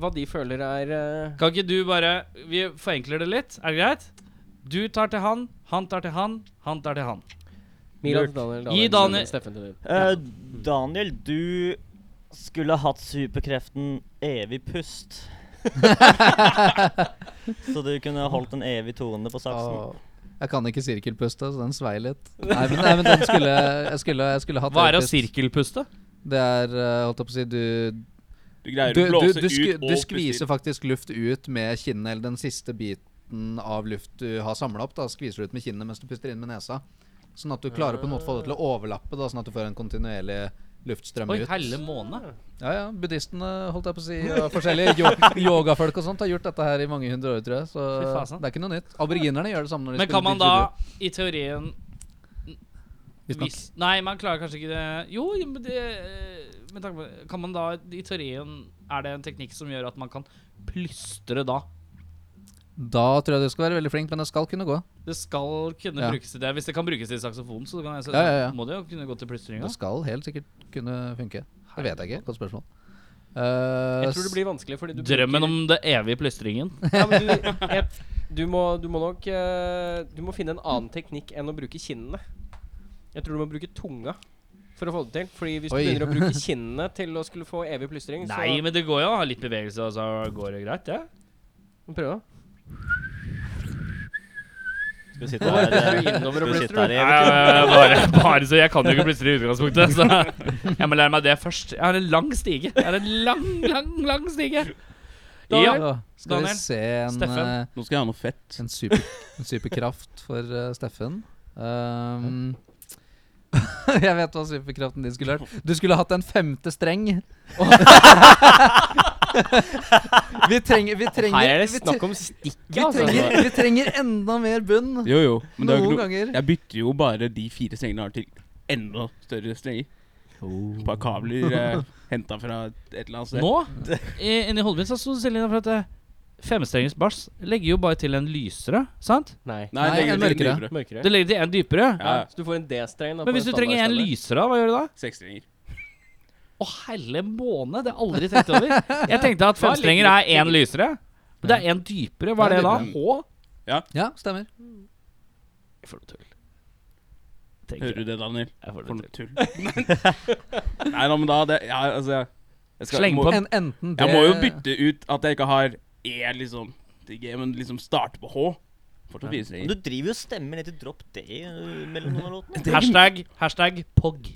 Speaker 3: hva de føler er eh,
Speaker 2: Kan ikke du bare Vi forenkler det litt, er det greit? Du tar til han, han tar til han, han tar til han.
Speaker 3: Milan
Speaker 6: Lurt.
Speaker 3: til Daniel,
Speaker 2: Gi
Speaker 3: Daniel,
Speaker 2: Daniel-
Speaker 3: Steffen til deg.
Speaker 6: Eh, Daniel, Eh, du Skulle hatt superkreften evig pust. så du kunne holdt en evig tone på saksen.
Speaker 5: Åh. Jeg kan ikke sirkelpuste, så den svei litt. Nei, men, nei, men den skulle Jeg skulle, jeg skulle hatt
Speaker 2: Hva er å
Speaker 5: terapeut.
Speaker 2: sirkelpuste?
Speaker 5: Det er, eh, holdt jeg på å si, du
Speaker 4: Du greier
Speaker 5: du,
Speaker 4: å
Speaker 5: du,
Speaker 4: blåse
Speaker 5: du, skvi-
Speaker 4: ut og
Speaker 5: du
Speaker 4: puste
Speaker 5: skviser
Speaker 4: inn.
Speaker 5: faktisk luft ut med kinnet, eller den siste biten av luft du har samla opp. da Skviser du ut med kinnet mens du puster inn med nesa. Sånn at du klarer på en måte å få det til å overlappe, da sånn at du får en kontinuerlig luftstrøm
Speaker 2: Ah. Oi,
Speaker 5: ut.
Speaker 2: helle måne.
Speaker 5: Ja, ja, Buddhistene, holdt jeg på å si, og forskjellige yo yogafolk og sånt har gjort dette her i mange hundre år, tror jeg. Så
Speaker 2: Fy faen, sant?
Speaker 5: det er ikke noe nytt. Aboriginerne gjør det samme når de
Speaker 2: Men kan man da, i teorien
Speaker 5: Visstnok.
Speaker 2: hvis, Nei, man klarer kanskje ikke det Jo, jo, men det eh, med tanke på det, Kan man da, i teorien Er det en teknikk som gjør at man kan plystre da?
Speaker 5: Da tror jeg du skal være veldig flink, men det skal kunne gå.
Speaker 2: Det skal kunne
Speaker 5: Ja.
Speaker 2: brukes til det. Hvis det kan brukes til saksofon, så, kan jeg, så
Speaker 5: Ja, ja, ja.
Speaker 2: må det jo kunne gå til plystringa.
Speaker 5: Det skal helt sikkert kunne funke. Det vet jeg ikke. Godt spørsmål. Eh,
Speaker 3: Jeg tror det blir vanskelig, fordi du
Speaker 2: Drømmen
Speaker 3: bruker-
Speaker 2: om det evige plystringen.
Speaker 3: ja, men du, jeg, du, må, du må nok eh, Du må finne en annen teknikk enn å bruke kinnene. Jeg tror du må bruke tunga for å få det til. Fordi hvis du
Speaker 5: Oi.
Speaker 3: begynner å bruke kinnene til å skulle få evig plystring, så
Speaker 2: Nei, men det går jo å ha litt bevegelse, og så går det greit, det.
Speaker 3: Må prøve.
Speaker 6: Skal vi sitte her, eh, skal vi sitte her i
Speaker 2: Nei,
Speaker 6: evig
Speaker 2: jeg-
Speaker 6: tid?
Speaker 2: jeg- bare, bare så Jeg kan jo ikke plystre i utgangspunktet, så jeg må lære meg det først. Jeg har en lang stige. Jeg har en lang, lang, lang stige. Ja.
Speaker 5: Skal
Speaker 2: Daniel,
Speaker 5: vi se en,
Speaker 2: Steffen.
Speaker 5: eh,
Speaker 4: Nå skal jeg ha noe fett.
Speaker 5: en, super, en superkraft for eh, Steffen. Ehm, jeg vet hva superkraften din skulle vært. Du skulle hatt en femte streng. vi trenger, vi trenger
Speaker 3: Her er det
Speaker 5: vi tre-
Speaker 3: snakk om stikk,
Speaker 5: vi
Speaker 3: altså.
Speaker 5: trenger, vi trenger enda mer bunn.
Speaker 4: Jo, jo. Men det er
Speaker 5: Noen
Speaker 4: jo ikke noe
Speaker 5: ganger.
Speaker 4: Jeg bytter jo bare de fire strengene jeg har, til enda større strenger. Bare kabler eh, henta fra et eller annet sted.
Speaker 2: Oh. Nå, i- inni hodet mitt, så sto Selina for at eh, femstrengens bass legger jo bare til en lysere, sant?
Speaker 3: Nei.
Speaker 4: Nei,
Speaker 5: Nei,
Speaker 4: legger
Speaker 5: en
Speaker 4: til litt
Speaker 5: mørkere.
Speaker 4: dypere.
Speaker 3: Mørkere.
Speaker 2: Det legger til en dypere.
Speaker 4: Ja, ja.
Speaker 3: Så du får en D-streng. da,
Speaker 2: Men
Speaker 3: på
Speaker 2: hvis du
Speaker 3: en
Speaker 2: trenger en
Speaker 3: standardstemme.
Speaker 2: lysere, da, hva gjør du da?
Speaker 4: Seks strenger.
Speaker 2: Å, helle måne! Det har jeg aldri tenkt over. Jeg tenkte at femstrenger er én lysere. Men det er én dypere. Hva er det da? H?
Speaker 5: Ja, Ja, stemmer.
Speaker 2: For noe tull. Tenker
Speaker 4: Hører
Speaker 2: jeg.
Speaker 4: du det, Daniel?
Speaker 2: Jeg får det
Speaker 4: For
Speaker 2: til.
Speaker 4: noe tull. Nei da, men da det, ja, altså, jeg- jeg skal,
Speaker 2: Sleng
Speaker 4: jeg må,
Speaker 2: på
Speaker 5: En, enten det
Speaker 4: Jeg må jo bytte ut at jeg ikke har E, liksom, til G, men liksom starte på H. Fortsatt fire
Speaker 6: Men
Speaker 4: strenger.
Speaker 6: Du driver jo stemmen ned til drop D eh, mellom noen av låtene.
Speaker 2: Hashtag, hashtag POG.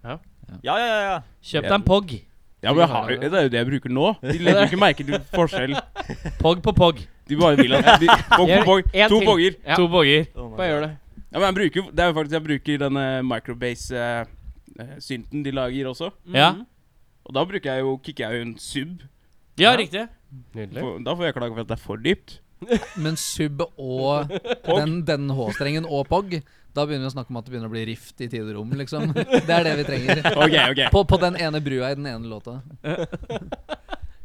Speaker 6: Ja, ja, ja. ja.
Speaker 2: Kjøp deg en POG.
Speaker 4: Ja, men jeg har, jo- det er jo det jeg bruker nå. De legger jo ikke merke til forskjell.
Speaker 2: POG på POG.
Speaker 4: De bare vil at de, bong, bong, bong.
Speaker 3: En
Speaker 4: To
Speaker 3: til.
Speaker 4: bonger.
Speaker 3: Ja.
Speaker 2: To boger.
Speaker 6: Oh
Speaker 3: Bare
Speaker 6: my God.
Speaker 3: gjør det.
Speaker 4: Ja, men jeg bruker, jo- det er jo faktisk jeg bruker eh, denne microbase-synten eh, de lager også.
Speaker 2: Mm. Ja.
Speaker 4: Og da bruker jeg jo, kicker jeg jo en sub.
Speaker 2: ja, riktig.
Speaker 3: Nydelig.
Speaker 4: For, da får jeg klage for at det er for dypt.
Speaker 5: Men sub og den, den H-strengen og POG, da begynner vi å snakke om at det begynner å bli rift i tid og rom, liksom. Det er det vi trenger.
Speaker 4: Ok, ok.
Speaker 5: På, på den ene brua i den ene låta.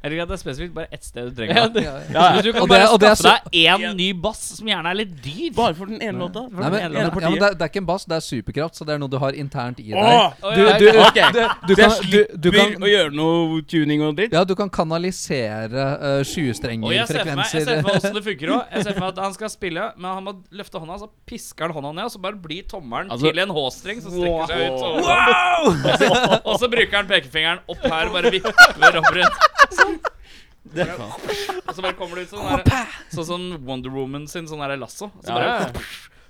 Speaker 2: Jeg liker at det er spesifikt bare ett sted du
Speaker 3: Ja,
Speaker 2: trenger det.
Speaker 3: det-
Speaker 5: Ja, ja.
Speaker 4: Ja,
Speaker 2: Så
Speaker 4: ja.
Speaker 2: du kan
Speaker 5: Og det-
Speaker 2: bare
Speaker 5: og det er
Speaker 2: skaffe deg
Speaker 4: Ja.
Speaker 2: én ny bass, som gjerne er litt dyr.
Speaker 4: Bare for den ene låta.
Speaker 5: Nei, men,
Speaker 4: ene
Speaker 5: ja, men det,
Speaker 4: partiet.
Speaker 5: er, det er ikke en bass, det er superkraft, så det er noe du har internt i
Speaker 4: Åh!
Speaker 5: deg.
Speaker 2: Å,
Speaker 5: Du,
Speaker 2: ja,
Speaker 5: du,
Speaker 2: ja.
Speaker 4: Ok,
Speaker 5: du,
Speaker 4: så
Speaker 5: kan,
Speaker 4: jeg
Speaker 5: du, du,
Speaker 4: slipper
Speaker 5: kan,
Speaker 4: å gjøre noe tuning og dritt.
Speaker 5: ja, du kan kanalisere uh,
Speaker 2: Og jeg ser for meg, jeg ser for
Speaker 5: sjuestrengerfrekvenser.
Speaker 2: meg hvordan det funker òg. Jeg ser for meg at han skal spille, men han må løfte hånda, så pisker han hånda ned, og så bare blir tommelen
Speaker 4: Altså-
Speaker 2: til en H-streng som strekker seg ut. Og, og, så, og så bruker han pekefingeren opp her og bare vipper opp rundt. Sånn. Og så bare kommer det ut sånn der, Sånn som Wonder Woman sin sånn der lasso. Så bare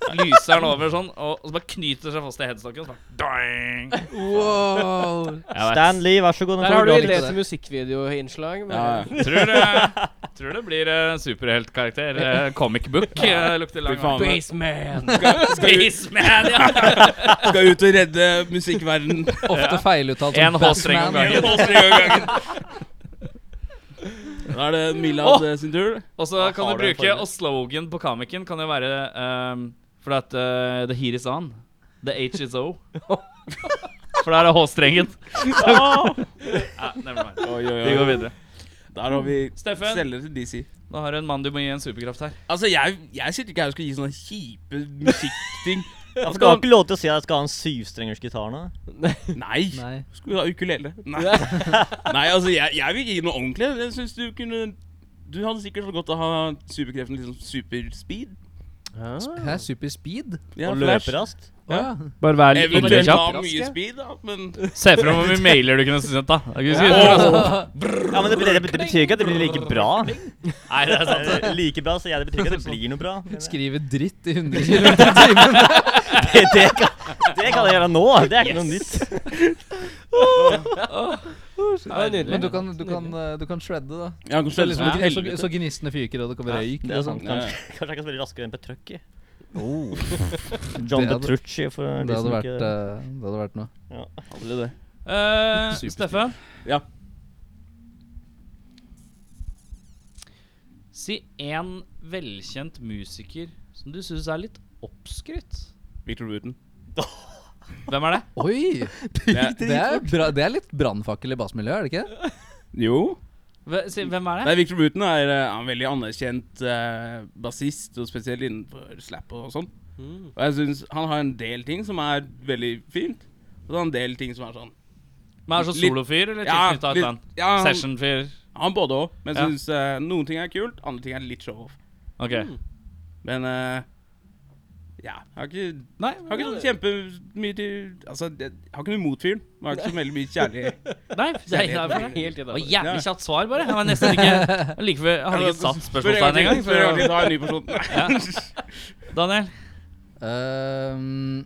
Speaker 4: Ja.
Speaker 2: lyser han over sånn, og, og så bare knyter seg fast i headstocken. Og så bare doing.
Speaker 5: Wow.
Speaker 6: Stan Lee, vær så god. nå
Speaker 3: Der
Speaker 6: får
Speaker 3: har
Speaker 6: du
Speaker 3: du
Speaker 6: lov.
Speaker 5: det.
Speaker 3: litt musikkvideoinnslag.
Speaker 4: Ja,
Speaker 3: men-
Speaker 4: ja.
Speaker 2: Tror det, tror det blir eh, superheltkarakter. eh, comic book eh, lukter lang
Speaker 4: Fy faen.
Speaker 2: vei.
Speaker 3: Baseman.
Speaker 2: Spaceman, ja.
Speaker 4: Skal ut og redde musikkverdenen.
Speaker 5: Ofte feiluttalt
Speaker 2: En
Speaker 5: som
Speaker 2: H-streng om
Speaker 5: Batman.
Speaker 2: gangen.
Speaker 4: Da er det Milad eh, sin tur.
Speaker 2: Og så
Speaker 6: Da
Speaker 2: kan
Speaker 6: har
Speaker 2: du
Speaker 6: du en
Speaker 2: bruke
Speaker 6: fordel.
Speaker 2: Og slogan på komikken kan jo være ehm, For at eh, The heat is on. The H is O. For der er H-strengen. Nei, never mind.
Speaker 4: Oi, oi,
Speaker 2: Vi går
Speaker 4: oi.
Speaker 2: videre.
Speaker 4: Der har vi
Speaker 2: Steffen.
Speaker 4: selger til DC.
Speaker 2: Nå har du en mann du må gi en superkraft her.
Speaker 4: Altså, jeg, jeg sitter ikke her og skal gi sånne kjipe musikkting.
Speaker 6: Jeg
Speaker 4: Altså,
Speaker 6: skal ha ikke lov til å si at jeg skal ha en syvstrengers gitar nå.
Speaker 4: Nei.
Speaker 5: Nei.
Speaker 4: Skulle du ha ukulele? Nei, Nei altså, jeg, jeg vil gi noe ordentlig. Jeg synes du kunne Du hadde sikkert så godt å ha superkreften liksom sånn superspeed.
Speaker 5: Hæ, super speed?
Speaker 4: Ja,
Speaker 6: og
Speaker 4: Flash.
Speaker 6: løper raskt.
Speaker 5: Å ja.
Speaker 2: Bare vær litt ille
Speaker 4: Eventuelt
Speaker 2: kjapp.
Speaker 4: ha mye speed, da, men
Speaker 2: Se for deg hvor mye mailer du kunne sendt, da. Da kunne du skrevet-
Speaker 6: Ja, men det, det, det betyr ikke at det blir like bra. Nei, det er sant. Like bra, så jeg det betyr ikke at det blir noe bra. Men det,
Speaker 5: Skrive dritt i 100 km i timen.
Speaker 6: det, kan, det kan jeg gjøre nå. Det er ikke noe nytt.
Speaker 3: Ja, det er
Speaker 5: Men du
Speaker 3: nydelig.
Speaker 5: kan, du kan, eh, du kan shredde, da.
Speaker 4: Ja, han kan
Speaker 5: Så, det er
Speaker 4: skjønne
Speaker 5: liksom
Speaker 4: som
Speaker 5: et
Speaker 4: et
Speaker 5: hel- så, sånn,
Speaker 4: helvete.
Speaker 5: så gnistene fyker, og det kommer røyk.
Speaker 6: Det er sant.
Speaker 4: Ja.
Speaker 6: Kanskje, kanskje jeg kan spille raskere enn Petrucci.
Speaker 5: Det
Speaker 6: John
Speaker 5: Oh. hadde-
Speaker 6: Petrucci. For
Speaker 5: Det
Speaker 6: de
Speaker 5: hadde,
Speaker 4: liksom
Speaker 6: som
Speaker 5: vært,
Speaker 6: ikke-
Speaker 5: eh, det hadde vært noe.
Speaker 4: Aldri det.
Speaker 2: Eh,
Speaker 5: Superstil.
Speaker 2: Steffen?
Speaker 4: Ja.
Speaker 2: Si én velkjent musiker som du syns er litt oppskrytt.
Speaker 4: Victor Wooten.
Speaker 2: Hvem er det?
Speaker 5: Oi!
Speaker 4: Det er,
Speaker 5: Det er, bra, det er litt brannfakkel i bassmiljøet, er det ikke?
Speaker 4: jo.
Speaker 2: Hve- si, hvem er det?
Speaker 4: Nei, Victor Wooten er eh, en veldig anerkjent eh, bassist, og spesielt innenfor slap og sånn.
Speaker 3: Mm.
Speaker 4: Og jeg synes han har en del ting som er veldig fint, og så har han en del ting som er sånn
Speaker 2: Men er det sånn
Speaker 4: litt-
Speaker 2: solofyr eller
Speaker 4: Ja,
Speaker 2: tilknyttet et
Speaker 4: litt-
Speaker 2: band?
Speaker 4: ja, han-
Speaker 2: Sessionfyr?
Speaker 4: Han både òg, men
Speaker 2: Ja.
Speaker 4: jeg synes eh, noen ting er kult, andre ting er litt show-off.
Speaker 2: Ok.
Speaker 4: Mm. Men eh, ja, jeg har ikke,
Speaker 2: Nei,
Speaker 4: jeg har ikke sånn kjempemye til Altså, jeg har ikke noe imot fyren, men jeg har ikke så veldig mye kjærlighet.
Speaker 2: nei, det er
Speaker 4: Kjærlighet.
Speaker 2: innafor.
Speaker 3: Helt
Speaker 2: Det var
Speaker 3: innafor.
Speaker 2: jævlig kjapt svar, bare. Jeg var nesten ikke jeg like før, Jeg hadde ikke satt spørsmålstegn engang.
Speaker 4: Før jeg
Speaker 2: så-
Speaker 4: Altså, har en ny person.
Speaker 2: Daniel?
Speaker 5: Ehm,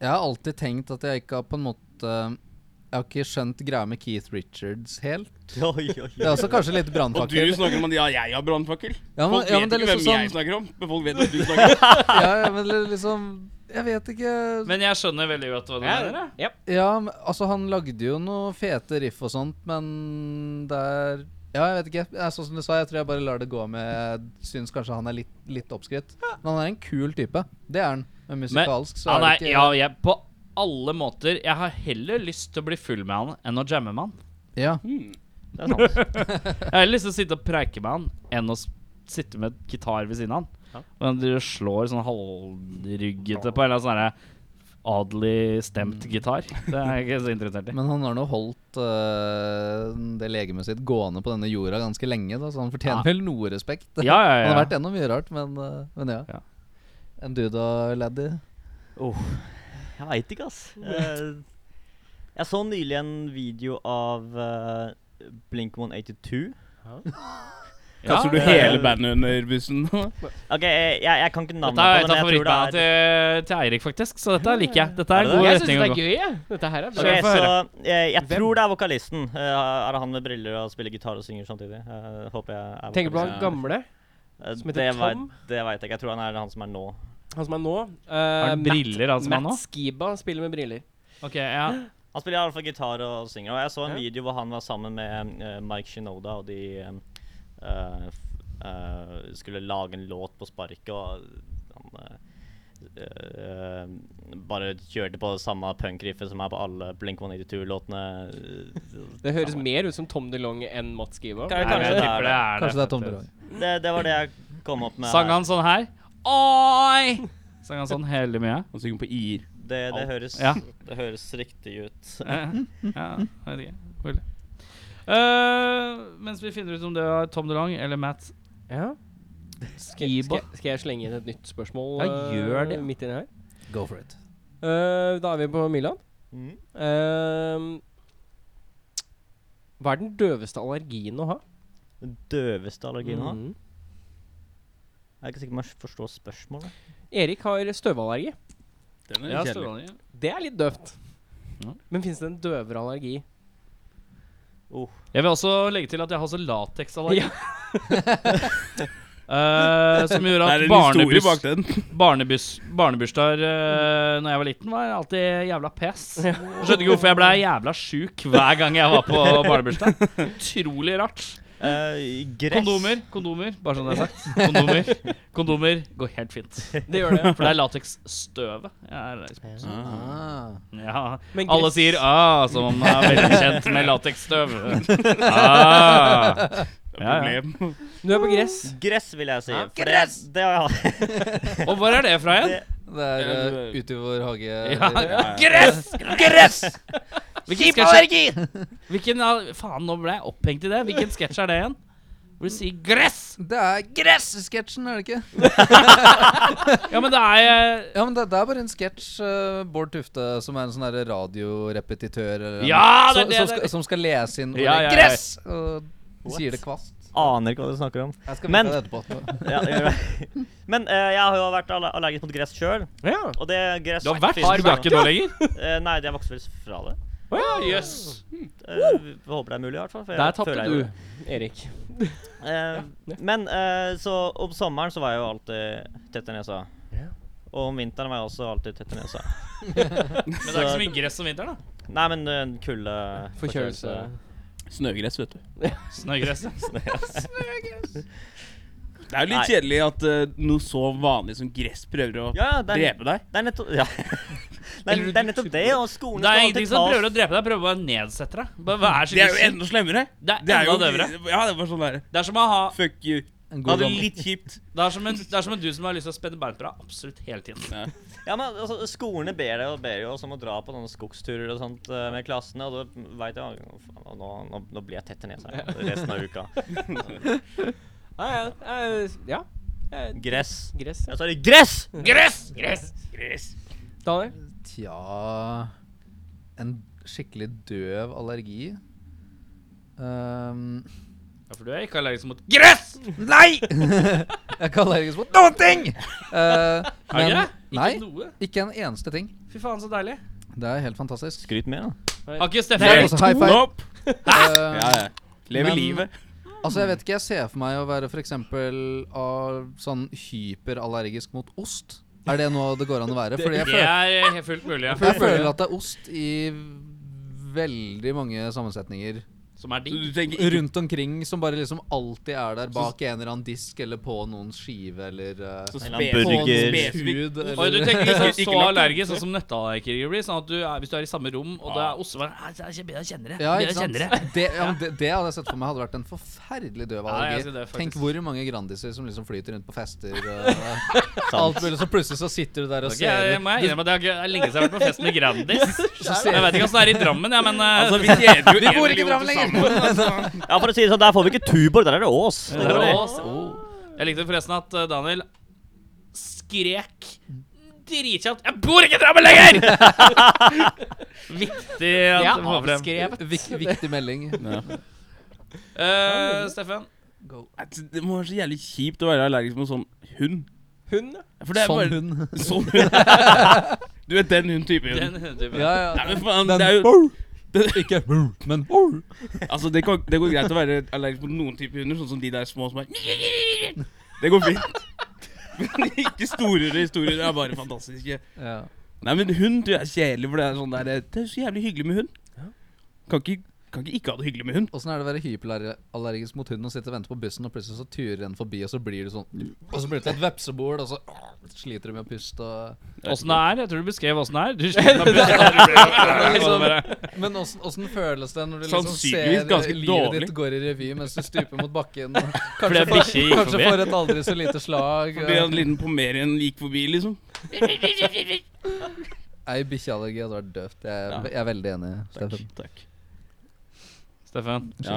Speaker 5: jeg har alltid tenkt at jeg ikke har på en måte Jeg har ikke skjønt greia med Keith Richards helt.
Speaker 6: Oi, oi,
Speaker 5: Det er
Speaker 6: oi.
Speaker 5: også kanskje litt
Speaker 4: Og du
Speaker 5: brannfakkel.
Speaker 4: snakker om at ja, jeg har brannfakkel.
Speaker 5: Ja, men,
Speaker 4: Folk
Speaker 5: ja, men
Speaker 4: vet
Speaker 5: det er
Speaker 4: ikke hvem
Speaker 5: liksom
Speaker 4: jeg
Speaker 5: sånn
Speaker 4: snakker om, men folk vet hva du snakker om.
Speaker 5: ja, ja, men det er liksom Jeg vet ikke
Speaker 2: Men jeg skjønner veldig godt hva du
Speaker 3: Ja,
Speaker 2: mener. da.
Speaker 3: ja.
Speaker 5: Ja, men, altså, han lagde jo noe fete riff og sånt, men det er Ja, jeg vet ikke. Det er sånn som du sa, jeg tror jeg bare lar det gå med Jeg syns kanskje han er litt, litt oppskrytt. Men han er en kul type. Det er han. Men musikalsk så
Speaker 2: han
Speaker 5: er
Speaker 2: er,
Speaker 5: det ikke
Speaker 2: ja, jeg, på alle måter Jeg har heller lyst til å bli full med han enn å jamme med han.
Speaker 5: ja.
Speaker 6: Det er sant.
Speaker 2: Jeg har heller lyst til å sitte og preike med han enn å s- sitte med gitar ved siden av han. Og han driver og slår sånn halvryggete på en eller annen sånn her adelig stemt gitar. Det er jeg ikke så interessert i.
Speaker 5: Men han har nå holdt øh, det legemet sitt gående på denne jorda ganske lenge, da, så han fortjener
Speaker 2: Ja.
Speaker 5: vel noe respekt.
Speaker 2: Ja, ja,
Speaker 5: Han har
Speaker 2: ja.
Speaker 5: vært gjennom mye rart, men, øh, men ja.
Speaker 2: Ja.
Speaker 5: En dude og laddy.
Speaker 6: Oh, jeg veit ikke, ass. Eh, jeg så nylig en video av uh, Blink 182.
Speaker 4: Kaster du
Speaker 6: Ja.
Speaker 4: hele bandet under bussen?
Speaker 6: Ok, jeg, jeg, jeg kan ikke navnet
Speaker 2: Dette er et av
Speaker 6: på den, men jeg tror det
Speaker 2: favorittbandene
Speaker 6: er
Speaker 2: til, til Eirik, faktisk, så dette liker jeg. Dette er
Speaker 6: Er
Speaker 2: en
Speaker 6: det
Speaker 2: god
Speaker 3: Jeg syns
Speaker 2: retning
Speaker 3: det
Speaker 2: å
Speaker 3: er
Speaker 2: gå.
Speaker 3: gøy, jeg. Dette her er bra.
Speaker 6: Ok,
Speaker 2: få
Speaker 6: så eh, jeg, jeg tror det er vokalisten. Eh, er det han med briller og spiller gitar og synger samtidig? Eh, håper jeg er
Speaker 3: Tenker på
Speaker 6: vokalisten.
Speaker 3: han gamle,
Speaker 6: Eh,
Speaker 3: som heter
Speaker 6: det vei-
Speaker 3: Tom?
Speaker 6: Det veit jeg ikke. Jeg tror han er han som er nå.
Speaker 3: han som er nå. eh,
Speaker 2: Har han
Speaker 3: Matt-
Speaker 2: briller, han som er nå?
Speaker 3: Matt Skiba spiller med briller.
Speaker 2: Ok, ja.
Speaker 6: Han spiller i alle fall gitar og synger. Og jeg så
Speaker 3: Ja.
Speaker 6: en video hvor han var sammen med eh, Mike Shinoda, og de eh, eh, f- eh, skulle lage en låt på sparket, og han eh, eh, bare kjørte på det samme punkriffet som er på alle Blink 182-låtene.
Speaker 3: Det høres mer ut som Tom DeLonge enn Matt Skiba.
Speaker 6: Kan-
Speaker 2: Nei,
Speaker 6: kanskje
Speaker 2: men jeg
Speaker 6: det er
Speaker 2: tipper det er
Speaker 5: Kanskje det er Tom
Speaker 2: faktisk.
Speaker 5: Drog.
Speaker 6: Det, det var det jeg kom opp med.
Speaker 2: Sang
Speaker 6: her.
Speaker 2: han sånn her? Oi! Sang han sånn hele mye?
Speaker 4: Han synger på i-er.
Speaker 6: Det, det, høres,
Speaker 2: Ja.
Speaker 6: det høres riktig ut.
Speaker 2: Eh, ja, jeg vet ikke. Mulig. Eh, mens vi finner ut om det er Tom DeLong eller Matt
Speaker 3: Ja. Skal,
Speaker 2: Skiba.
Speaker 3: skal, skal jeg slenge inn et nytt spørsmål
Speaker 2: Ja,
Speaker 3: eh,
Speaker 2: gjør det.
Speaker 3: midt inni her?
Speaker 5: Go for it.
Speaker 3: Eh, da er vi på Milan.
Speaker 6: Mm.
Speaker 3: Ehm, hva er den døveste allergien å ha?
Speaker 6: Den døveste allergien
Speaker 2: Mm.
Speaker 6: han har.
Speaker 3: Mhm.
Speaker 6: Jeg er ikke sikker på om jeg forstår spørsmålet.
Speaker 3: Erik har støvallergi.
Speaker 4: Den
Speaker 2: Ja,
Speaker 4: er kjedelig.
Speaker 2: Støvland, ja.
Speaker 3: Det er litt døvt.
Speaker 2: Ja.
Speaker 3: Men fins det en døvere allergi?
Speaker 2: Jeg vil også legge til at jeg har også lateksallergi.
Speaker 3: Ja.
Speaker 2: Eh, som gjorde
Speaker 4: Det
Speaker 2: at
Speaker 4: er en historie
Speaker 2: barnebuss,
Speaker 4: bak den.
Speaker 2: barnebuss, barnebursdager uh, Når jeg var liten, var alltid jævla pes. Jeg skjønte ikke hvorfor jeg ble jævla sjuk hver gang jeg var på barnebursdag. Utrolig rart.
Speaker 6: Eh, gress.
Speaker 2: Kondomer, kondomer, bare sånn det er sagt. Kondomer, kondomer går helt fint.
Speaker 3: Det gjør det.
Speaker 2: For det er lateksstøvet. jeg er allergisk mot.
Speaker 5: Ah.
Speaker 2: Ja.
Speaker 3: Men
Speaker 2: Alle
Speaker 3: gress-
Speaker 2: sier 'ah', som om man er veldig kjent med lateksstøv. Ah. Ja,
Speaker 4: Det er
Speaker 2: ja.
Speaker 4: problem.
Speaker 3: Du er på gress.
Speaker 6: Gress, vil jeg si.
Speaker 5: Ja,
Speaker 6: for
Speaker 5: gress!
Speaker 6: Det, det, har-
Speaker 2: Og hvor er det fra igjen?
Speaker 6: det,
Speaker 5: Det er
Speaker 4: Ja,
Speaker 5: øh,
Speaker 4: du-
Speaker 5: ute i vår hage.
Speaker 2: Ja,
Speaker 5: eller-
Speaker 2: gress! Gress! Hvilken sketsj er Hvilken av Faen, nå ble jeg opphengt i det. Hvilken sketsj er det igjen? Hvor de sier 'gress'!
Speaker 5: Det er Gress-sketsjen, er det ikke?
Speaker 2: Ja, men det er eh,
Speaker 5: Ja, men det, det er bare en sketsj. eh, Bård Tufte, som er en sånn der radiorepetitør eller,
Speaker 2: Ja, det er det
Speaker 5: så- som,
Speaker 2: det er.
Speaker 5: skal, som skal lese inn ordet
Speaker 2: Ja, ja, ja.
Speaker 5: gress! Og sier det kvast.
Speaker 6: Aner ikke hva dere snakker om.
Speaker 5: Jeg skal
Speaker 6: Men-
Speaker 5: vite det etterpå.
Speaker 6: Ja, det gjør jeg. Men eh, jeg har jo vært alle- allergisk mot gress sjøl.
Speaker 3: Ja.
Speaker 6: Og det gress
Speaker 2: Du har vært
Speaker 6: finnes-
Speaker 2: du er ikke nå lenger?
Speaker 6: Eh, Nei, jeg vokste vel fra det.
Speaker 2: Å ja, jøss.
Speaker 6: Eh, vi håper det er mulig, i hvert fall. for jeg
Speaker 3: Der
Speaker 6: føler
Speaker 3: tapte
Speaker 6: jeg
Speaker 3: du,
Speaker 6: gjorde det.
Speaker 3: Erik.
Speaker 6: Eh, Men eh, så om sommeren så var jeg jo alltid tett i nesa.
Speaker 3: Ja.
Speaker 6: Og om vinteren var jeg også alltid tett i nesa.
Speaker 2: Men det er ikke så mye gress om vinteren, da.
Speaker 6: Nei, men eh, kulde
Speaker 3: Forkjølelse.
Speaker 4: Snøgress, vet du.
Speaker 2: Snøgresset.
Speaker 4: Det er jo litt
Speaker 6: Nei.
Speaker 4: kjedelig at eh, noe så vanlig som gress prøver å
Speaker 6: Ja, ja, det er,
Speaker 4: drepe deg.
Speaker 6: det er nettopp Ja. Det er, det er nettopp det, og skolen
Speaker 2: Det er
Speaker 6: skal
Speaker 2: ingenting
Speaker 6: alltid
Speaker 2: som
Speaker 6: ta
Speaker 2: prøver å drepe deg, prøver bare å nedsette deg. Bare vær så
Speaker 4: Det er jo
Speaker 2: snill.
Speaker 4: enda slemmere.
Speaker 2: Det er
Speaker 4: jo-
Speaker 2: enda døvere.
Speaker 4: Ja, det er bare sånn der
Speaker 2: Det er som å ha
Speaker 4: Fuck you.
Speaker 5: En
Speaker 4: Ha
Speaker 5: god
Speaker 4: det
Speaker 5: gammel-
Speaker 4: litt kjipt.
Speaker 2: Det er som en, det er som en du som har lyst til å spenne bein på deg absolutt hele tiden.
Speaker 6: Ja, men altså, Skolene ber deg og ber jo oss om å dra på noen skogsturer og sånt eh, med klassene, og da veit jeg «Å, faen, nå, nå, nå blir jeg tett i nesa resten av uka.
Speaker 3: Ja, ja. eh, ja. Eh,
Speaker 6: Gress.
Speaker 3: Gress.
Speaker 6: Jeg sa det gress!
Speaker 2: Gress! Gress!
Speaker 3: Daniel?
Speaker 5: Tja En skikkelig døv allergi. Ehm,
Speaker 2: Ja, for du er ikke allergisk mot gress!
Speaker 5: nei! jeg kan allergisk mot noen ting! Eh,
Speaker 2: Er du
Speaker 5: men-
Speaker 2: ikke det?
Speaker 5: nei,
Speaker 2: Ikke noe?
Speaker 5: ikke en eneste ting.
Speaker 2: Fy faen, så deilig.
Speaker 5: Det er helt fantastisk.
Speaker 6: Skryt mer, da.
Speaker 2: Har ikke
Speaker 5: Det er
Speaker 2: Steffen
Speaker 5: også high five.
Speaker 4: Opp!
Speaker 5: Eh,
Speaker 4: Ja, ja. Leve
Speaker 5: Men-
Speaker 4: livet.
Speaker 5: Altså, jeg vet ikke, jeg ser for meg å være for eksempel av sånn hyperallergisk mot ost. Er det noe det går an å være? Fordi jeg
Speaker 2: Det
Speaker 5: føler,
Speaker 2: er eh, helt fullt mulig. Ja.
Speaker 5: jeg føler at det er ost i veldig mange sammensetninger
Speaker 2: Som er
Speaker 4: Så
Speaker 2: digg.
Speaker 4: Du tenker ikke
Speaker 5: rundt omkring som bare liksom alltid er der bak en eller annen disk eller på noens skive eller eh,
Speaker 4: så
Speaker 6: En
Speaker 4: spe-
Speaker 6: eller annen
Speaker 5: på
Speaker 6: burger.
Speaker 4: spesifikt-
Speaker 5: noens
Speaker 4: spesifikt.
Speaker 5: hud
Speaker 2: Og du
Speaker 5: eller
Speaker 2: tenker liksom
Speaker 4: Ikke
Speaker 2: så
Speaker 4: lagt opp.
Speaker 2: allergisk, sånn som nøtteallergikere blir. Sånn at du er, Hvis du er i samme rom, og det er ost, så bare «Æ, Jeg kjenner- jeg kjenner det.
Speaker 5: ja,
Speaker 2: Jeg
Speaker 5: ikke sant?
Speaker 2: kjenner det.
Speaker 5: Det, ja, men det, det hadde jeg sett for meg hadde vært en forferdelig
Speaker 2: Ja,
Speaker 5: døv
Speaker 2: jeg
Speaker 5: allergi.
Speaker 2: sier det, faktisk.
Speaker 5: Tenk hvor mange Grandiser som liksom flyter rundt på fester og alt mulig, så plutselig så sitter du der og
Speaker 2: Ok, jeg
Speaker 5: ser
Speaker 2: må jeg innrømme at det er ikke- det er lenge siden jeg har vært på fest med Grandis.
Speaker 5: ser
Speaker 2: Jeg vet ikke åssen det er i Drammen, jeg, men eh,
Speaker 4: Altså, vi tjener jo
Speaker 5: Vi
Speaker 4: en
Speaker 5: bor ikke i
Speaker 4: million
Speaker 5: Drammen
Speaker 4: til
Speaker 5: lenger!
Speaker 4: sammen.
Speaker 6: Ja, for å si det sånn, der får vi ikke Tuborg, der er det Ås.
Speaker 2: det er
Speaker 6: det.
Speaker 2: Ås. Jeg likte forresten at eh, Daniel skrek dritkjapt 'Jeg bor ikke i Drammen lenger!' Viktig at
Speaker 3: Ja,
Speaker 2: det må frem.
Speaker 5: Vik, viktig melding.
Speaker 2: Eh, Steffen,
Speaker 4: Nei, Det må være så jævlig kjipt å være allergisk mot sånn hund.
Speaker 3: Hun? ja.
Speaker 4: For det er
Speaker 5: Sånn
Speaker 4: bare
Speaker 5: hund.
Speaker 4: Sånn hund. Du vet den hund-type hund.
Speaker 2: den typen.
Speaker 5: Ja, ja.
Speaker 4: Nei, men faen,
Speaker 5: Den-
Speaker 4: det er jo
Speaker 5: Ikke brr, men brr.
Speaker 4: Altså, det, kan, det går greit å være allergisk mot noen typer hunder, sånn som de der små som er Det går fint. Men ikke store historier er bare fantastiske.
Speaker 5: ja.
Speaker 4: Nei, men hund tror jeg er kjedelig, for det er sånn der Det er så jævlig hyggelig med hund. Kan ikke, kan ikke ikke ha det hyggelig med hund.
Speaker 5: Åssen er det å være hyperallergisk mot hunden og sitte og vente på bussen, og plutselig så turer en forbi, og så blir du sånn Og så blir det til et vepsebol, og så sliter du med å puste og
Speaker 2: Åssen det er? Jeg tror du beskrev åssen det er. Du sliter med
Speaker 5: liksom-
Speaker 2: pusten.
Speaker 5: Men åssen åssen føles det når du liksom
Speaker 4: sånn Sannsynligvis
Speaker 5: ser
Speaker 4: ganske
Speaker 5: livet
Speaker 4: dårlig.
Speaker 5: ditt går i revy mens du stuper mot bakken? og
Speaker 2: Fordi en
Speaker 5: Kanskje, får,
Speaker 2: bikkje gikk
Speaker 5: kanskje
Speaker 2: forbi.
Speaker 5: får et aldri så lite slag.
Speaker 4: Fordi en liten pomerien gikk forbi, liksom.
Speaker 5: Ei bikkjeallergi hadde vært døvt. Jeg, er- jeg er veldig enig, Steffen.
Speaker 4: Takk.
Speaker 2: Steffen,
Speaker 4: Ja.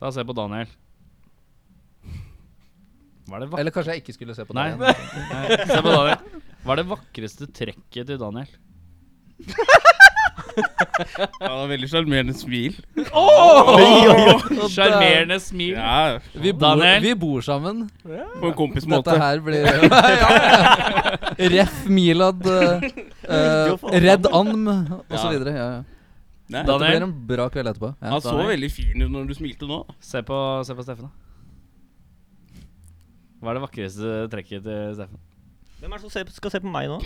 Speaker 2: ta og se på Daniel. Hva er det vak
Speaker 5: Eller kanskje jeg ikke skulle se på
Speaker 2: Nei.
Speaker 5: deg igjen.
Speaker 2: Nei, se på Daniel. Hva er det vakreste trekket til Daniel?
Speaker 4: Ja, det var veldig sjarmerende smil.
Speaker 2: Sjarmerende smil.
Speaker 4: Ja,
Speaker 5: Vi bor,
Speaker 2: Daniel?
Speaker 5: vi bor sammen.
Speaker 4: på en kompis måte.
Speaker 5: Dette her blir Ja, ja. Ref Milad, eh, eh, Redd Anm og så
Speaker 4: Ja.
Speaker 5: videre. Ja, Altså. ja.
Speaker 4: Nei,
Speaker 5: Det blir
Speaker 2: Daniel,
Speaker 5: en bra kveld etterpå. Ja.
Speaker 4: han så veldig fin ut når du smilte nå.
Speaker 2: se på, se på Steffen, da. Hva er det vakreste trekket til Steffen?
Speaker 6: Hvem er det som ser, på- skal se på meg nå?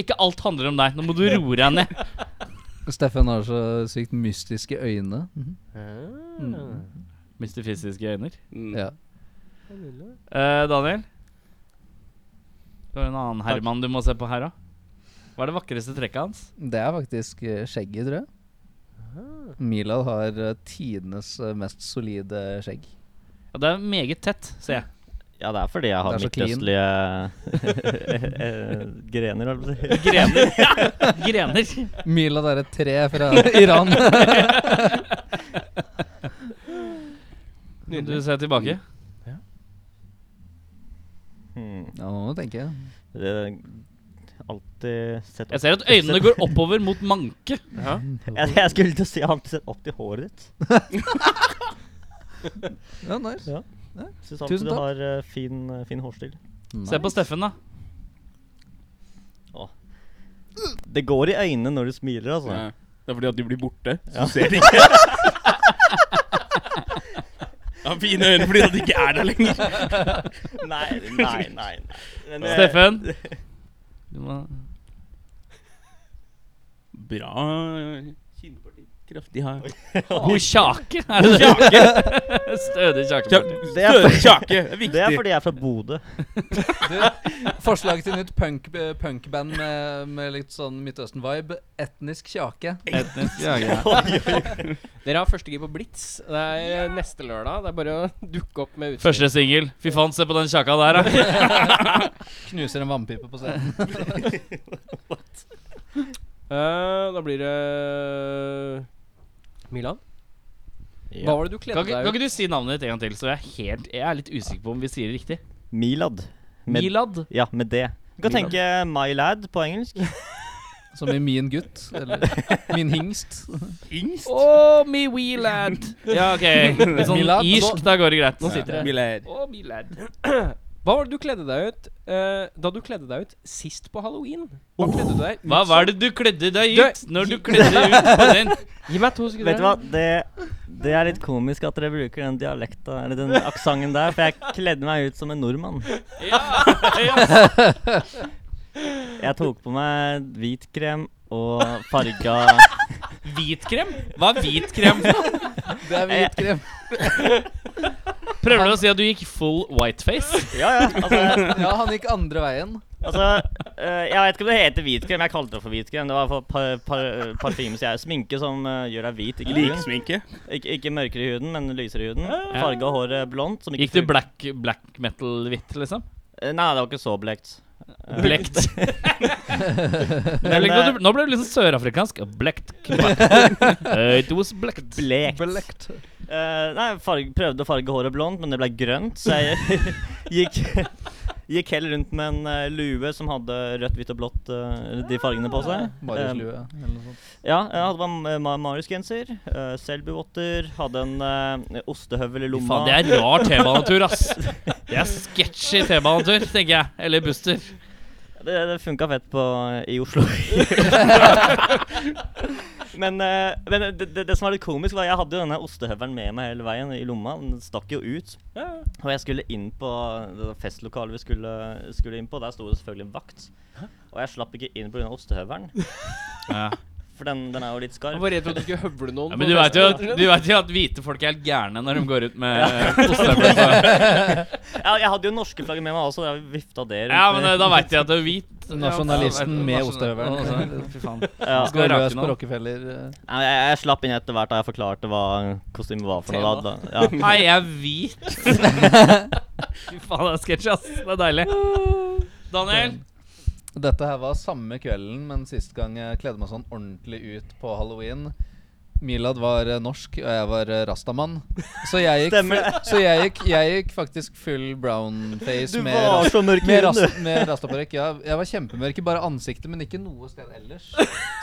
Speaker 2: Ikke alt handler om deg. Nå må du roe deg ned.
Speaker 5: Steffen har så sykt mystiske øyne. Mhm.
Speaker 3: Ah.
Speaker 2: Mystifisiske øyne.
Speaker 4: Mm.
Speaker 5: Ja.
Speaker 2: Eh, Daniel? Du har en annen Herman du må se på her òg. Hva er det vakreste trekket hans?
Speaker 5: Det er faktisk eh, skjegget, tror jeg. Milad har eh, tidenes eh, mest solide skjegg.
Speaker 2: Ja, det er meget tett, ser jeg.
Speaker 6: Ja, det er fordi jeg har
Speaker 5: Det er så clean.
Speaker 6: midtøstlige eh, grener, holdt jeg på å si.
Speaker 2: Grener. Grener.
Speaker 5: Milad er et tre fra Iran.
Speaker 2: Du ser tilbake.
Speaker 6: Hmm.
Speaker 5: Ja, nå tenker jeg.
Speaker 6: Det er alltid sett
Speaker 2: Jeg ser at øynene går oppover mot manke.
Speaker 6: Jeg, jeg skulle til å si jeg har alltid sett opp til håret ditt.
Speaker 5: Ja, nice.
Speaker 6: Synes alltid
Speaker 5: Tusen
Speaker 6: du
Speaker 5: takk.
Speaker 6: har eh, fin, eh, fin hårstil.
Speaker 2: Se på Steffen, da.
Speaker 6: Det går i øynene når du smiler, altså.
Speaker 4: Ja. Det er fordi at de blir borte, så
Speaker 6: Ja.
Speaker 4: ser de ikke. Jeg har fine øyne fordi at de ikke er der lenger.
Speaker 6: Nei, nei, nei. nei. Men, eh,
Speaker 2: Steffen. Du må
Speaker 4: Bra kinnparti. Kraftig her.
Speaker 2: God kjake, er det det? Stødig kjakeparti.
Speaker 6: Det er,
Speaker 4: Støre kjake er
Speaker 6: det er
Speaker 4: viktig.
Speaker 6: fordi jeg er fra Bodø.
Speaker 5: Forslag til nytt punk- eh, punkband med, med litt sånn Midtøsten-vibe. Etnisk kjake.
Speaker 2: Etnisk kjake.
Speaker 3: Dere har første gir på Blitz. Det er eh, neste lørdag. Det er bare å dukke opp med utstyr.
Speaker 2: Første singel. Fy faen, se på den kjaka der, da.
Speaker 5: Knuser en vannpipe på scenen.
Speaker 3: Eh, da blir det eh, Milan? Hva var det du
Speaker 2: Kan,
Speaker 3: kledde
Speaker 2: ikke-
Speaker 3: deg
Speaker 2: kan
Speaker 3: ut
Speaker 2: ikke du si navnet ditt en gang til, så jeg er, helt, jeg er litt usikker på om vi sier det riktig?
Speaker 6: Milad. Med,
Speaker 2: Milad?
Speaker 6: Ja, med det. Du kan
Speaker 2: Milad.
Speaker 6: tenke my lad på engelsk.
Speaker 5: Som i Min gutt. Eller Min hingst.
Speaker 4: Hingst.
Speaker 2: Oh, me wee lad. Ja, OK. Litt sånn
Speaker 5: Milad,
Speaker 2: irsk,
Speaker 5: nå-
Speaker 2: da går det greit.
Speaker 3: Nå sitter det.
Speaker 4: Bilær.
Speaker 2: Oh, me lad.
Speaker 3: Hva var det du kledde deg ut eh, da du kledde deg ut sist på halloween? Hva kledde du deg ut
Speaker 2: Oh. Hva var det du kledde deg ut når du kledde ut på den?
Speaker 3: som? Gi meg to sekunder.
Speaker 6: Vet du hva, det, det er litt komisk at dere bruker den dialekta, eller den aksenten der, for jeg kledde meg ut som en nordmann.
Speaker 2: Ja, ja.
Speaker 6: Jeg tok på meg hvitkrem og farga
Speaker 2: Hvitkrem? Hva er hvitkrem?
Speaker 5: Det er hvitkrem.
Speaker 2: Prøver du å si at du gikk full whiteface?
Speaker 6: Ja, ja. Altså,
Speaker 5: Ja, han gikk andre veien.
Speaker 6: altså eh, Jeg vet ikke om det heter hvitkrem. Jeg kalte det for hvitkrem. Det var for par, par, parfyme, sier jeg. Sminke som eh, gjør deg hvit, ikke brun.
Speaker 4: Liksminke.
Speaker 6: Ikke, ikke mørkere i huden, men lysere i huden. Farga håret blondt. Som ikke
Speaker 2: Gikk du
Speaker 6: ful-
Speaker 2: black, black metal-hvitt, liksom?
Speaker 6: Eh, Nei, det var ikke så blekt. Eh,
Speaker 2: Blekt.
Speaker 6: Men,
Speaker 2: Jeg likte at
Speaker 6: eh,
Speaker 2: du- Nå ble det liksom sørafrikansk. Blekt. Eh, It was blekt.
Speaker 6: Blekt. Eh, nei, farg, prøvde å farge håret blondt, men det ble grønt, så jeg gikk, gikk heller rundt med en eh, lue som hadde rødt, hvitt og blått eh, de fargene på
Speaker 2: Ah,
Speaker 6: seg. Eh,
Speaker 4: Um,
Speaker 5: Marius Lue eller noe sånt.
Speaker 6: Ja, jeg hadde bare eh, Ma- Marius-genser, uh, Selbu-votter, hadde en eh, ostehøvel i
Speaker 2: Fy
Speaker 6: lomma.
Speaker 2: Faen, det er rar T-banetur, ass. Det er sketchy T-banetur, tenker jeg. Eller Buster.
Speaker 6: Det, det funka fett på, i Oslo. men eh, men det, det, det som var litt komisk, var jeg hadde jo denne ostehøvelen med meg hele veien i lomma. Den stakk jo ut. Og jeg skulle inn på det festlokalet vi skulle, skulle inn på. Der sto det selvfølgelig en vakt. Og jeg slapp ikke inn pga. ostehøvelen.
Speaker 2: Ja.
Speaker 6: For den, den er jo litt
Speaker 3: Jeg
Speaker 6: skarp.
Speaker 3: var redd for at du skulle høvle noen.
Speaker 2: Ja,
Speaker 3: på
Speaker 2: men du vet, jo, at-
Speaker 3: festen, rett og slett.
Speaker 2: du vet jo at hvite folk er helt gærne når de går ut med ostehøvel.
Speaker 6: Ja, jeg hadde jo norske flagget med meg også. Jeg vifta det rundt.
Speaker 2: Ja, men eh,
Speaker 6: med-
Speaker 2: da vet de at du er hvit. Ja, altså.
Speaker 5: Nasjonalisten med
Speaker 2: nasjonal-
Speaker 5: ostehøvelen. Fy faen.
Speaker 6: ja.
Speaker 2: Skal
Speaker 5: Går
Speaker 2: rake
Speaker 5: løs på
Speaker 2: noen.
Speaker 5: Rockefeller. eh.
Speaker 6: Nei, men jeg, jeg slapp inn etter hvert da jeg forklarte hva kostymet var for noe. Da, da, ja.
Speaker 2: Nei, jeg er hvit. Fy faen, det er sketsj, ass. Det er deilig. Daniel?
Speaker 5: Dette her var samme kvelden, men sist gang jeg kledde meg sånn ordentlig ut på halloween. Milad var eh, norsk, og jeg var eh, rastamann. Så jeg gikk,
Speaker 6: Stemmer det.
Speaker 5: så jeg gikk, jeg gikk faktisk full brownface
Speaker 6: Du
Speaker 5: med,
Speaker 6: var
Speaker 5: ras-
Speaker 6: så mørk i
Speaker 5: med,
Speaker 6: huden, du.
Speaker 5: ras- med rastaparykk. Ja, jeg var kjempemørk i bare ansiktet, men ikke noe sted ellers.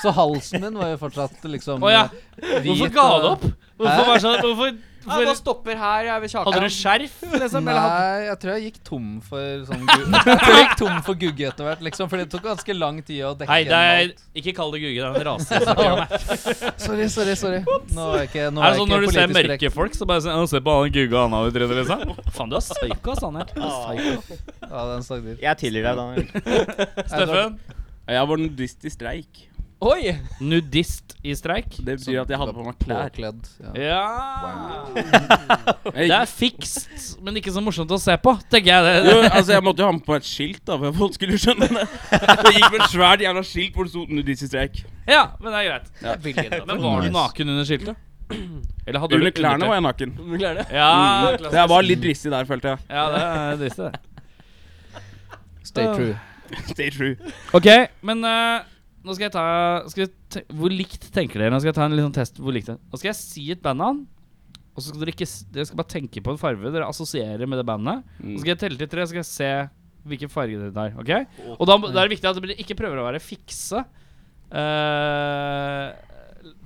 Speaker 5: Så halsen min var jo fortsatt liksom
Speaker 2: Å ja.
Speaker 5: eh,
Speaker 2: Hvorfor
Speaker 5: hvit,
Speaker 2: ga du
Speaker 5: og-
Speaker 2: opp? Hvorfor var det sånn? Hvorfor,
Speaker 3: Ja, hva
Speaker 2: hvorfor
Speaker 3: stopper her? Jeg er ved kjakan.
Speaker 2: Hadde du skjerf, liksom? Eller hadde
Speaker 5: Nei, jeg tror jeg gikk tom for sånn gu- Jeg tror jeg gikk tom for gugge etter hvert, liksom. For det tok ganske lang tid å dekke
Speaker 2: Hei, det
Speaker 5: gjennom
Speaker 2: er,
Speaker 5: alt.
Speaker 2: ikke kall det gugge, det er en rase. vi snakker om her.
Speaker 5: Sorry, sorry, sorry. Nå er jeg
Speaker 2: Er det
Speaker 5: ikke, nå er jeg
Speaker 2: sånn
Speaker 5: ikke
Speaker 2: når du ser
Speaker 5: politisk korrekt.
Speaker 2: mørke folk, så bare sånn «Å, Se på han gugga han har utryddet, liksom. Faen, du er psyko, ass, han her.
Speaker 5: Ja, den stakk dypt.
Speaker 6: Jeg tilgir deg, Daniel.
Speaker 2: Steffen?
Speaker 4: Jeg var nudist i streik.
Speaker 3: Oi!
Speaker 2: Nudist i streik?
Speaker 4: Det betyr at jeg hadde på meg klær.
Speaker 5: Påkledd. Ja.
Speaker 2: Ja
Speaker 4: Jeg
Speaker 2: Det er
Speaker 4: gikk,
Speaker 2: fikst, men ikke så morsomt å se på, tenker jeg.
Speaker 4: jo,
Speaker 2: Det,
Speaker 4: altså, jeg måtte jo ha med på et skilt, da, for at folk skulle skjønne det. Det gikk med et svært jævla skilt hvor det sto 'Nudist i streik'.
Speaker 2: ja, men det er greit. Men var du
Speaker 5: Nice.
Speaker 2: naken under skiltet? Eller hadde
Speaker 4: Under
Speaker 2: du
Speaker 4: klærne var jeg naken.
Speaker 3: Klærne.
Speaker 2: Ja,
Speaker 4: Så jeg var litt dristig der, følte jeg.
Speaker 2: ja, det er dristig, det.
Speaker 5: Stay true.
Speaker 4: Stay true.
Speaker 2: OK, men eh, nå skal jeg ta skal jeg te Hvor likt tenker dere? Nå skal jeg ta en liten test. Hvor likt det Nå skal jeg si et bandnavn, Og så skal dere ikke s- Dere skal bare tenke på en farge dere assosierer med det bandet. Så skal jeg telle til tre, så skal jeg se hvilken farge det er. ok? Og da, må- da er det viktig at dere ikke prøver å være fikse. Eh,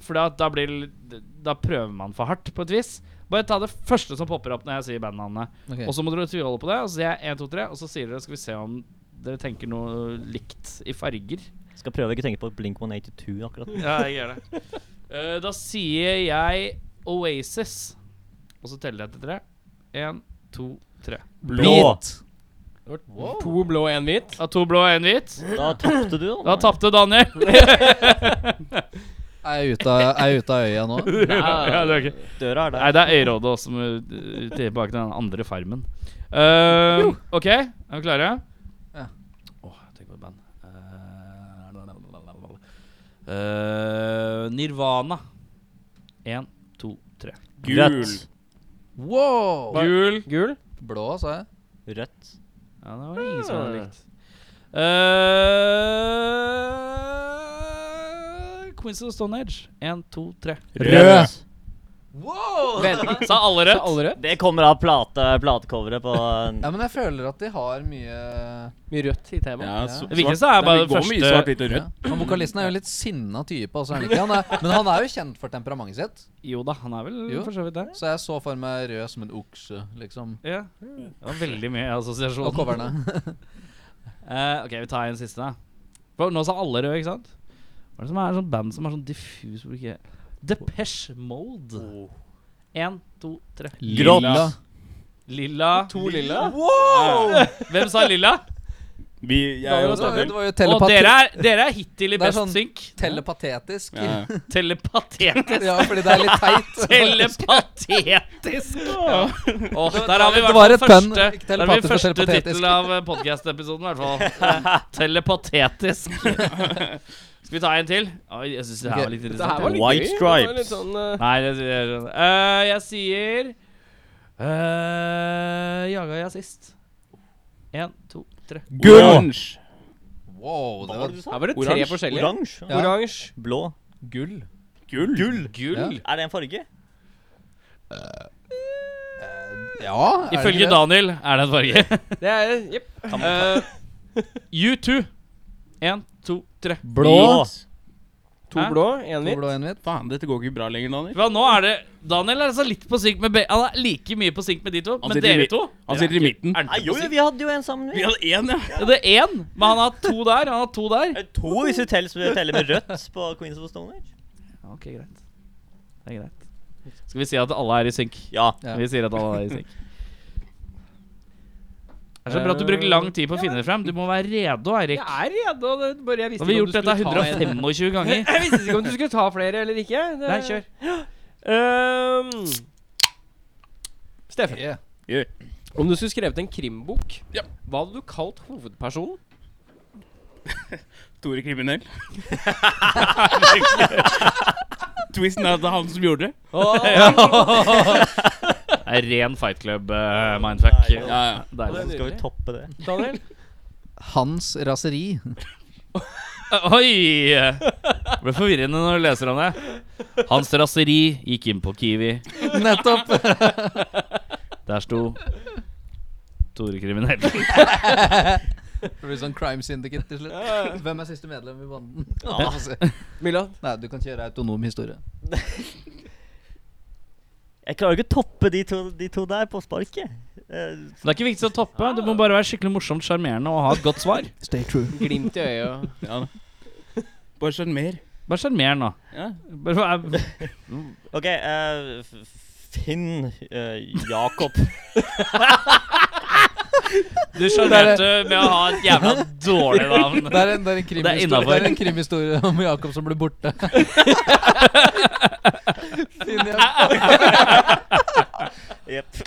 Speaker 2: for da, da blir det- Da prøver man for hardt, på et vis. Bare ta det første som popper opp når jeg sier bandnavnet.
Speaker 5: Ok.
Speaker 2: Og så må dere tviholde på det. Og så sier jeg 1, 2, 3, og så sier dere Skal vi se om dere tenker noe likt i farger.
Speaker 6: Skal prøve å ikke tenke på Blink 182 akkurat. nå.
Speaker 2: Ja, jeg gjør det. Eh, da sier jeg Oasis. Og så teller jeg til tre. Én, to, tre.
Speaker 6: Blå!
Speaker 3: To blå og én hvit.
Speaker 2: Da to blå og én hvit.
Speaker 6: Da tapte du,
Speaker 2: Da tapte Daniel.
Speaker 5: Er jeg ute av- er jeg ute av øya nå?
Speaker 2: ja, det er ok.
Speaker 6: Døra er
Speaker 2: Nei,
Speaker 6: der.
Speaker 2: det er Øyrådet også som er uh, tilbake til den andre farmen. Eh, OK, er vi klare?
Speaker 5: Ja.
Speaker 2: Åh, tenk på et band. Eh, lalalala. Eh, Nirvana. Én, to, tre.
Speaker 4: Gul.
Speaker 6: Rødt.
Speaker 5: Wow!
Speaker 2: Gul.
Speaker 3: Gul.
Speaker 5: Blå, sa jeg.
Speaker 6: Rødt.
Speaker 2: Ja, det var det ingen som hadde likt. Uh, Queens of the Stone Age. Én, to, tre.
Speaker 5: Rød.
Speaker 2: Sa alle rødt?
Speaker 3: Alle rødt.
Speaker 6: Det kommer av plate, platecoveret på
Speaker 5: Ja, men jeg føler at de har mye
Speaker 3: Mye rødt i temaet.
Speaker 4: Ja, så-
Speaker 2: Det viktigste er
Speaker 4: svart-
Speaker 2: bare
Speaker 4: det går
Speaker 2: første-
Speaker 4: mye svart, hvitt og
Speaker 5: ja.
Speaker 4: rødt.
Speaker 5: Men vokalisten er jo litt sinna type. Altså, er han ikke? Han er, men han er jo kjent for temperamentet sitt.
Speaker 2: Jo da, han er vel
Speaker 5: Jo.
Speaker 2: for så vidt der.
Speaker 5: Så jeg så for meg rød som en okse, liksom.
Speaker 2: Ja. Det var veldig mye assosiasjon.
Speaker 5: Og coverne.
Speaker 2: Eh, ok, vi tar en siste, da. For nå sa alle røde, ikke sant? Hva er det som er sånn band som er sånn diffus hvor ikke Depeche Mode. Én, to, tre.
Speaker 6: Grått.
Speaker 5: Lilla.
Speaker 2: Lilla.
Speaker 3: To lilla.
Speaker 2: Hvem sa lilla?
Speaker 4: Vi, jeg
Speaker 5: Det
Speaker 4: og
Speaker 5: var jo- det
Speaker 4: Daniel.
Speaker 5: var jo
Speaker 2: Og
Speaker 5: telepati
Speaker 2: dere er, dere er hittil i
Speaker 5: Det er
Speaker 2: Best
Speaker 5: sånn-
Speaker 2: Sync.
Speaker 5: telepatetisk.
Speaker 4: Ja,
Speaker 5: Ja.
Speaker 4: ja.
Speaker 2: Telepatetisk.
Speaker 5: fordi det er litt teit.
Speaker 2: Telepatetisk! Åh, der har vi i
Speaker 5: Det
Speaker 2: hvert
Speaker 5: var
Speaker 2: fall
Speaker 5: et bønn,
Speaker 2: første,
Speaker 5: ikke
Speaker 2: der har vi
Speaker 5: telepatisk, men
Speaker 2: første
Speaker 5: telepatetisk.
Speaker 2: tittel av eh, podcast-episoden, i hvert fall. Telepatetisk. Skal vi ta en til? Oi, jeg synes det her
Speaker 5: Ok,
Speaker 2: var litt
Speaker 3: Det her
Speaker 2: interessant.
Speaker 3: var litt gøy.
Speaker 6: White
Speaker 3: Det var litt
Speaker 6: stripes.
Speaker 3: sånn, eh,
Speaker 2: Nei, det sier jeg ikke. Eh, Jeg sier uh, Jaga jeg sist. Én, to, tre.
Speaker 4: Orange.
Speaker 5: Wow, det var
Speaker 3: her var det tre
Speaker 4: Oransje.
Speaker 3: forskjellige.
Speaker 6: Oransje.
Speaker 5: Ja.
Speaker 3: Oransje.
Speaker 6: Blå.
Speaker 5: gull.
Speaker 4: Gull.
Speaker 2: Gull.
Speaker 6: Er det en farge?
Speaker 5: Ja, er det
Speaker 2: Ifølge
Speaker 5: ikke det?
Speaker 2: Daniel er det en farge.
Speaker 3: Det er Jepp.
Speaker 2: Eh, U2. Én, to, tre.
Speaker 5: Blå.
Speaker 3: To
Speaker 2: Hæ?
Speaker 3: blå, én
Speaker 5: To
Speaker 3: hvit.
Speaker 5: blå, en hvit.
Speaker 4: Faen, dette går ikke bra lenger, Daniel.
Speaker 2: Hva, nå er det Daniel er altså litt på synk med be Han er like mye på synk med Altså, de to,
Speaker 4: Han
Speaker 2: men
Speaker 4: sitter i
Speaker 2: dere
Speaker 4: mi-
Speaker 2: to
Speaker 4: han sitter i
Speaker 2: dere er ikke-
Speaker 4: midten.
Speaker 2: er dere
Speaker 6: Nei,
Speaker 2: på
Speaker 6: jo, jo,
Speaker 3: altså-
Speaker 2: synk?
Speaker 6: vi hadde jo en sammen.
Speaker 4: Vi
Speaker 6: vi.
Speaker 4: hadde én, ja.
Speaker 2: Ja, Det er én, men han har to der. Han har to der.
Speaker 6: Er det Eh, To hvis vi teller, så vi teller med rødt på Queens of the Stone Age.
Speaker 2: Ja, Ok, greit. Det er greit. Skal vi si at alle er i synk?
Speaker 6: Ja.
Speaker 5: Ja.
Speaker 2: Vi sier at alle er i synk. Det er så bra at du bruker lang tid på å finne det frem. Du må være rede, Eirik.
Speaker 3: Jeg er redd, og det bare jeg
Speaker 2: Nå
Speaker 3: visste
Speaker 2: har vi
Speaker 3: ikke om
Speaker 2: gjort
Speaker 3: du
Speaker 2: dette
Speaker 3: skulle ta en-
Speaker 2: 125 ganger.
Speaker 3: Jeg visste ikke om du skulle ta flere eller ikke. Det-
Speaker 2: Nei, kjør.
Speaker 3: Ehm, Steffen,
Speaker 5: Yeah.
Speaker 4: Ja.
Speaker 3: om du skulle skrevet en krimbok,
Speaker 4: Ja.
Speaker 3: hva hadde du kalt hovedpersonen?
Speaker 4: Tore kriminell. Twisten er at det er han som gjorde det.
Speaker 2: Det er ren Fight Club-mindfuck.
Speaker 6: Nei,
Speaker 4: Ja, ja.
Speaker 6: Så
Speaker 2: Deilig.
Speaker 6: skal vi toppe det.
Speaker 3: Daniel?
Speaker 5: Hans raseri.
Speaker 2: Oi! Ble forvirrende når du leser om det. Hans raseri gikk inn på Kiwi.
Speaker 5: Nettopp.
Speaker 2: Der sto Tore kriminell.
Speaker 5: Det blir sånn crime syndicate til slutt. Hvem er siste medlem i banden?
Speaker 6: Ja.
Speaker 5: Få se.
Speaker 3: Milla?
Speaker 5: Nei, du kan kjøre autonom historie.
Speaker 6: Jeg klarer ikke å toppe de to, de to der på sparket. Eh,
Speaker 2: Det er ikke viktig å toppe. Det må bare være skikkelig morsomt, sjarmerende og ha et godt svar.
Speaker 5: Stay true.
Speaker 3: Glimt i øyet.
Speaker 4: ja da. Bare sjarmer.
Speaker 2: Vær sjarmerende, da.
Speaker 4: Ja.
Speaker 2: Bare vær-
Speaker 6: OK, eh, f- Finn eh, Jakob.
Speaker 2: Du sjarmerte med å ha et jævla dårlig
Speaker 5: Det
Speaker 2: navn.
Speaker 5: er en, det er en
Speaker 2: Det er
Speaker 5: krimhistorie
Speaker 2: innenfor.
Speaker 5: det er en krimhistorie om Jakob som ble borte. Finn Jakob.
Speaker 6: Jepp.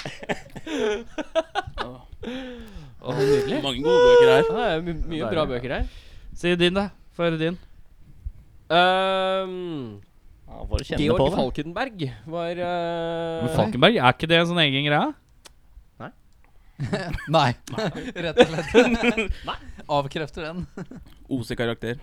Speaker 4: Mange gode bøker her.
Speaker 3: Det er my mye bra bøker her.
Speaker 2: Si din, da. Få høre din.
Speaker 3: Ehm,
Speaker 6: Ja, bare kjenne på
Speaker 3: Georg
Speaker 6: det.
Speaker 3: Falkenberg var eh,
Speaker 2: Men Falkenberg, er ikke det en sånn egen greie?
Speaker 5: Nei. Rett og slett. Avkrefter den.
Speaker 4: OC-karakter.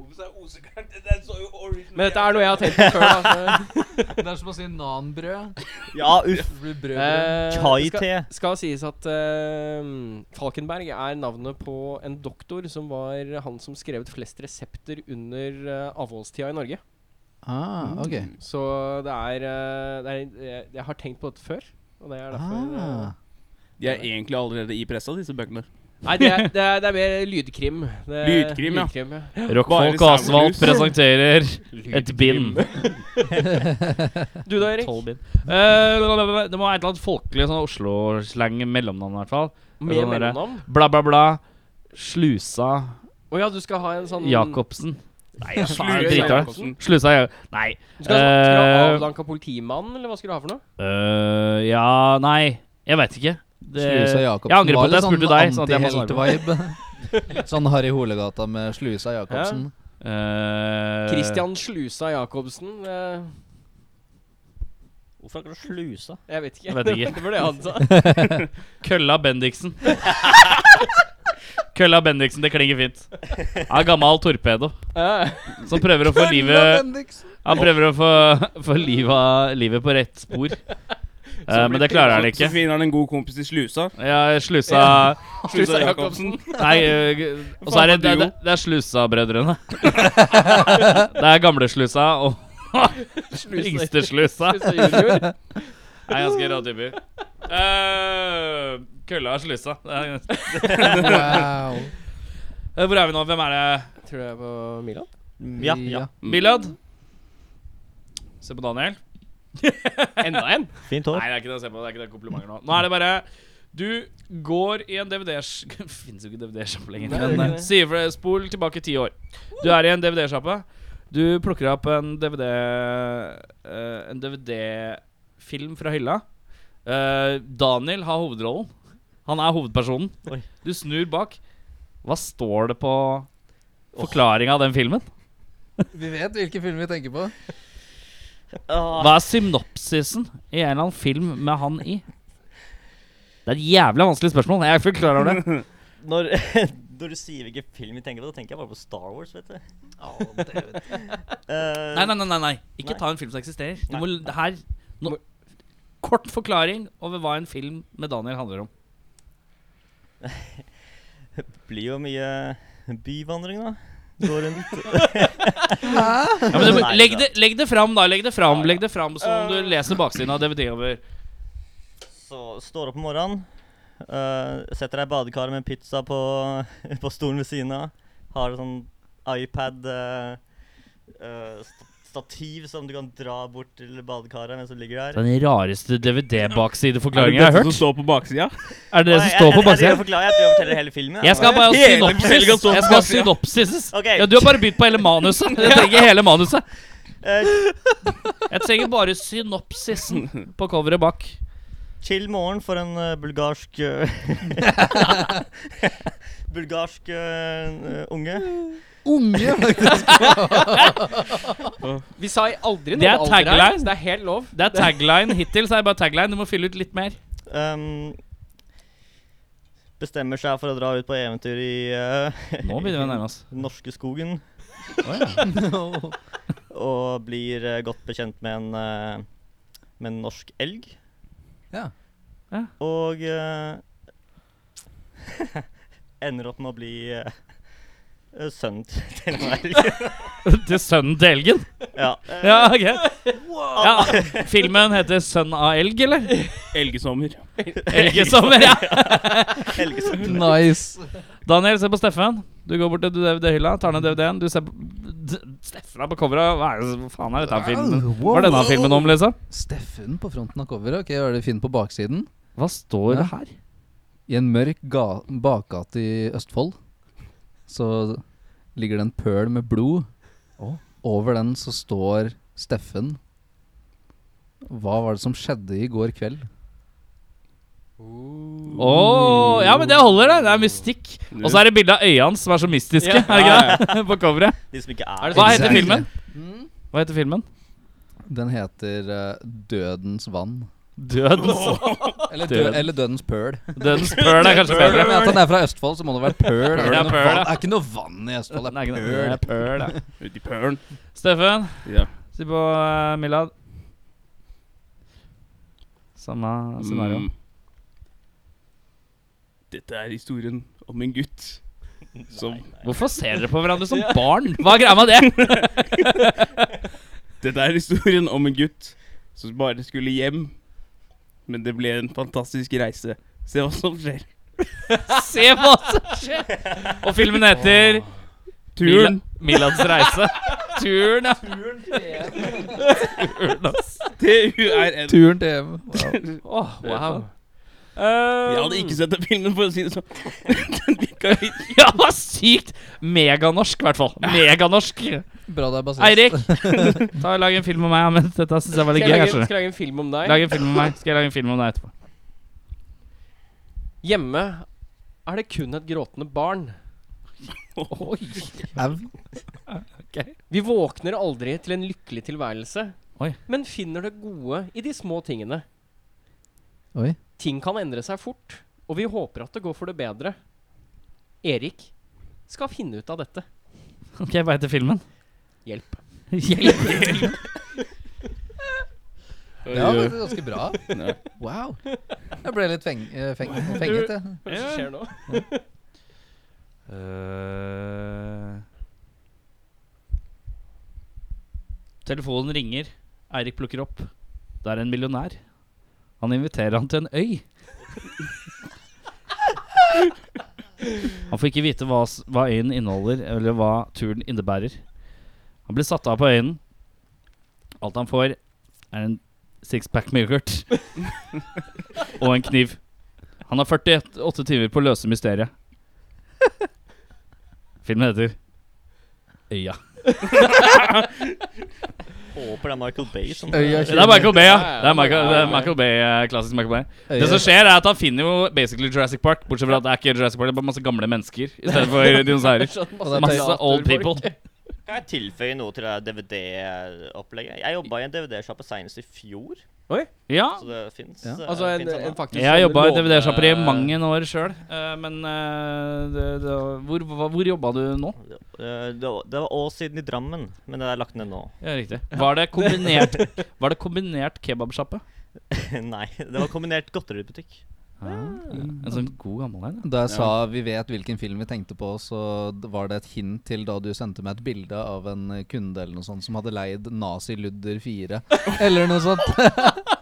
Speaker 4: Ols er osekart. Den så jo original
Speaker 3: Men dette er noe jeg har tenkt på før. da, så-
Speaker 5: Det er som å si nanbrød.
Speaker 6: Ja, uff.
Speaker 5: Det blir brød.
Speaker 3: Eh, skal-
Speaker 6: Chai-te.
Speaker 3: Skal sies at eh, Falkenberg er navnet på en doktor som var han som skrev ut flest resepter under eh, avholdstida i Norge.
Speaker 5: Ah, ok.
Speaker 3: Så det er, eh, det er jeg, jeg har tenkt på dette før, og det er derfor eh,
Speaker 5: Ah.
Speaker 4: De er egentlig allerede i pressa, disse bøkene.
Speaker 3: Nei, det er, det, er, det er mer lydkrim. Det,
Speaker 4: Lydkrim, ja.
Speaker 3: ja.
Speaker 4: Bare
Speaker 2: Rockfolk og
Speaker 4: soundcruise.
Speaker 2: Asfalt presenterer et bind.
Speaker 3: Du da, Erik?
Speaker 2: Tolv bind. Eh, det må være et eller annet folkelig sånn Oslo-slang mellomnavn, i hvert fall.
Speaker 3: Med
Speaker 2: Sånn derre
Speaker 3: mellomnavn?
Speaker 2: Bla, bla, bla. Slusa
Speaker 3: Å ja, du skal ha en sånn
Speaker 2: Jacobsen. Nei, faen,
Speaker 4: Slusa
Speaker 2: driter i
Speaker 4: Jacobsen.
Speaker 2: det. Slusa Ja- Nei.
Speaker 3: Du skal, skal du
Speaker 2: Eh,
Speaker 3: ha avdanka politimann, eller hva skal du ha for noe?
Speaker 2: øh, ja, nei. Jeg veit ikke.
Speaker 5: Slusa Jacobsen
Speaker 2: jeg angrer på
Speaker 5: var
Speaker 2: at jeg
Speaker 5: litt
Speaker 2: spurte deg. Sånn at jeg må svare på.
Speaker 5: anti-helt-vibe. sånn Harry Holegata med Slusa Jacobsen.
Speaker 2: Eh,
Speaker 3: Christian Slusa Jacobsen? eh,
Speaker 6: Hvorfor akkurat slusa?
Speaker 3: jeg vet ikke.
Speaker 2: Jeg vet ikke.
Speaker 3: det var det han sa.
Speaker 2: Kølla Bendiksen. Kølla Bendiksen, det klinger fint. Er gammal torpedo
Speaker 3: Eh,
Speaker 2: som prøver å få livet Han prøver å få, få livet, livet på rett spor. Eh, men det klarer han
Speaker 4: Så
Speaker 2: ikke.
Speaker 4: finner han en god kompis i slusa.
Speaker 2: Ja, slusa
Speaker 4: Slusa Jacobsen.
Speaker 2: Nei, øh, og så er det, det, det, det er Slusa-brødrene. Det er gamle Slusa og yngste Slusa.
Speaker 3: Slusa junior.
Speaker 2: Det er ganske rå typer. Eh, kølla og Slusa. Det er ganske-
Speaker 5: Wow.
Speaker 2: Eh, Hvor er vi nå? Hvem er det?
Speaker 3: Tror du jeg er på Milan?
Speaker 6: Ja, ja.
Speaker 2: Milad? Se på Daniel.
Speaker 3: Enda en?
Speaker 6: Fint hår.
Speaker 2: Nei, det er ikke det å se på. Det er ikke det komplimenter nå. Nå er det bare Du går i en DVD-sjappe Fins jo ikke DVD-sjappe lenger.
Speaker 3: Nei, det er
Speaker 2: Men
Speaker 3: ikke det.
Speaker 2: si ifra- spol tilbake ti år. Du er i en DVD-sjappe. Du plukker opp en DVD eh, En DVD-film fra hylla. Eh, Daniel har hovedrollen. Han er hovedpersonen.
Speaker 6: Oi.
Speaker 2: Du snur bak. Hva står det på forklaringa av den filmen?
Speaker 5: Vi vet hvilken film vi tenker på.
Speaker 6: Ah,
Speaker 2: Hva er synopsisen i en eller annen film med han i? Det er et jævlig vanskelig spørsmål. Jeg er fullt klar over det.
Speaker 6: når, når du sier hvilken film vi tenker på, da tenker jeg bare på Star Wars, vet du. Eh,
Speaker 2: Nei, nei, nei, nei, nei. Ikke
Speaker 6: Nei.
Speaker 2: ta en film som eksisterer. Du
Speaker 6: Nei.
Speaker 2: må, det her nå, Kort forklaring over hva en film med Daniel handler om.
Speaker 6: blir jo mye byvandring, da. Går rundt.
Speaker 2: Ja, men du,
Speaker 6: Nei,
Speaker 2: legg,
Speaker 6: da.
Speaker 2: det, legg det fram, da. Legg det
Speaker 6: Ja,
Speaker 2: fram
Speaker 6: ja.
Speaker 2: Legg det fram som om du leser baksiden av DVD over.
Speaker 6: Så altså, står opp om morgenen, eh, setter deg i badekaret med pizza på, på stolen ved siden av. Har en sånn iPad eh, eh, st stativ som du kan dra bort til badekaret mens du ligger der.
Speaker 2: Den rareste
Speaker 4: Er
Speaker 2: DVD-baksideforklaringen
Speaker 4: det
Speaker 2: jeg har
Speaker 4: dette som
Speaker 2: hørt.
Speaker 4: står på baksida?
Speaker 2: Er det det som
Speaker 6: Nei,
Speaker 2: står på
Speaker 6: jeg, jeg, jeg,
Speaker 2: baksiden?
Speaker 6: forklarer, jeg tror jeg forteller hele filmen.
Speaker 2: Jeg skal bare ha
Speaker 4: Hele
Speaker 2: synopsis.
Speaker 4: fortellingen står på
Speaker 2: Jeg skal ha
Speaker 4: baksiden.
Speaker 2: synopsis.
Speaker 6: Ok.
Speaker 2: Ja, du har bare begynt på hele manuset. Jeg trenger hele manuset.
Speaker 6: Eh,
Speaker 2: Jeg trenger bare synopsisen på coveret bak.
Speaker 6: Chill morgen for en eh, bulgarsk eh, Bulgarsk eh, unge.
Speaker 5: Unge, faktisk.
Speaker 3: Vi sa aldri noe
Speaker 2: Det er
Speaker 3: om alder her,
Speaker 2: tagline.
Speaker 3: så det er helt lov.
Speaker 2: Det er tagline hittil, så er det bare tagline. Du må fylle ut litt mer.
Speaker 6: Um, bestemmer seg for å dra ut på eventyr i eh,
Speaker 2: Nå begynner vi å nærme oss.
Speaker 6: den norske skogen. Og blir eh, godt bekjent med en, eh, med en norsk elg.
Speaker 5: Ja.
Speaker 6: Og eh, ender opp med å bli eh, eh, sønnen til- til en elg.
Speaker 2: Til sønnen til elgen?
Speaker 6: ja.
Speaker 2: Eh. Ja, ok. Ja, filmen heter 'Sønn av elg', eller?
Speaker 4: Elgesommer.
Speaker 2: Elgesommer, ja.
Speaker 6: Elgesønnen.
Speaker 5: Nice.
Speaker 2: Daniel, se på Steffen. Du går bort til DVD-hylla, tar ned DVD-en. Du ser på D- Steffen er på coveret. Hva er det som- faen er dette her filmen? Hva er denne filmen om, liksom?
Speaker 5: Steffen på fronten av coveret. Ok, Hva er det Finn på baksiden?
Speaker 2: Hva står det her?
Speaker 5: I en mørk ga bakgate i Østfold så ligger det en pøl med blod. Over den så står Steffen. Hva var det som skjedde i går kveld?
Speaker 2: Åh, ja, men det holder, det. Det er mystikk. Og så er det bilde av øya hans som er så mystiske, er det ikke det? På coveret.
Speaker 6: De som ikke er
Speaker 2: Hva heter
Speaker 5: Exactly.
Speaker 2: filmen? Hva heter filmen?
Speaker 5: Den heter eh, Dødens vann.
Speaker 2: Død.
Speaker 5: Eller, død,
Speaker 2: Død.
Speaker 5: eller Dødens pøl.
Speaker 2: Dødens pøl er kanskje bedre.
Speaker 5: Men at han er fra Østfold, så må det være pøl. Er det,
Speaker 2: Ja,
Speaker 5: noe
Speaker 2: pøl,
Speaker 5: vann-
Speaker 2: ja.
Speaker 5: er ikke noe vann i Østfold, det
Speaker 2: Nei,
Speaker 5: er
Speaker 2: ikke
Speaker 5: pøl.
Speaker 2: det. Det er pøl, ja.
Speaker 4: Uti pølen.
Speaker 2: Steffen,
Speaker 4: Ja.
Speaker 2: si på eh, Milad. Samme scenario.
Speaker 4: Mm. Dette er historien om en gutt som
Speaker 2: Hvorfor ser dere på hverandre som barn? Hva er greia med det?
Speaker 4: Dette er historien om en gutt som bare skulle hjem, men det ble en fantastisk reise. Se hva som skjer.
Speaker 2: Se hva som skjer! Og filmen heter
Speaker 4: Turen
Speaker 2: Mila- Milads reise. Turen, ja.
Speaker 4: T-U-R-N.
Speaker 5: Turen til hjem. Wow.
Speaker 2: Åh, wow.
Speaker 3: Eh,
Speaker 4: Jeg hadde ikke sett den filmen, for å si det sånn. Den liker jeg ikke.
Speaker 2: Ja, det var sykt meganorsk, i hvert fall. Meganorsk.
Speaker 5: Bra det er bassist.
Speaker 2: Eirik, ta og lag en film om meg. Ja, men dette syns jeg var litt
Speaker 3: Skal
Speaker 2: gøy.
Speaker 3: jeg, lage,
Speaker 2: kanskje.
Speaker 3: skal jeg lage en film om deg?
Speaker 2: Lag en film om meg. Skal jeg lage en film om deg etterpå?
Speaker 3: Hjemme er det kun et gråtende barn.
Speaker 5: Au.
Speaker 3: Vi våkner aldri til en lykkelig tilværelse,
Speaker 2: Oi.
Speaker 3: men finner det gode i de små tingene.
Speaker 5: Oi.
Speaker 3: Ting kan endre seg fort, og vi håper at det går for det bedre. Erik skal finne ut av dette.
Speaker 2: Ok, Hva heter filmen?
Speaker 3: Hjelp.
Speaker 2: Hjelp.
Speaker 5: Det var faktisk ganske bra. Wow. Jeg ble litt feng, eh, feng, fenget,
Speaker 3: Hva
Speaker 5: jeg.
Speaker 3: er det som skjer nå?
Speaker 2: Eh. Telefonen ringer. Eirik plukker opp. Det er en millionær. Han inviterer han til en øy. Han får ikke vite hva, s- hva øyen inneholder, eller hva turen innebærer. Han blir satt av på øyen. Alt han får, er en sixpack med yoghurt og en kniv. Han har 48 timer på å løse mysteriet. Filmen heter Øya.
Speaker 6: Håper det er Michael Bay som
Speaker 5: Øya
Speaker 2: Det er Michael Bay, ja.
Speaker 3: Ja, ja,
Speaker 2: Det er Michael,
Speaker 3: ja,
Speaker 2: det
Speaker 3: ja,
Speaker 2: er
Speaker 3: ja.
Speaker 2: Michael Bay, eh, Klassisk Michael Bay.
Speaker 5: Øya-
Speaker 2: Det som skjer, er at han finner jo basically Jurassic Park. Bortsett fra at det er ikke Jurassic Park, det er bare masse gamle mennesker i stedet for dinosaurer.
Speaker 5: Og det er
Speaker 2: Masse old people.
Speaker 6: Kan jeg tilføye noe til det DVD-opplegget? Jeg jobba i en DVD-sjappe senest i fjor,
Speaker 2: Ja.
Speaker 6: så det eh, fins.
Speaker 5: Ja.
Speaker 3: Altså en, en faktisk
Speaker 2: Jeg har
Speaker 3: sånn
Speaker 2: jobba i
Speaker 3: lov-
Speaker 2: DVD-sjapper i mange år sjøl, men eh, det, det, hvor, hva- hvor jobba du nå?
Speaker 6: det, var- det var år siden i Drammen, men det er lagt ned nå.
Speaker 2: Ja, riktig. Var det kombinert, var det kombinert kebabsjappe?
Speaker 6: Nei, det var kombinert godteributikk.
Speaker 2: Ja, en sånn god gammel en. ja.
Speaker 5: Da jeg sa vi vet hvilken film vi tenkte på, så d- var det et hint til da du sendte meg et bilde av en eh, kunde eller noe sånt som hadde leid Nazi-Ludder 4. Eller noe sånt.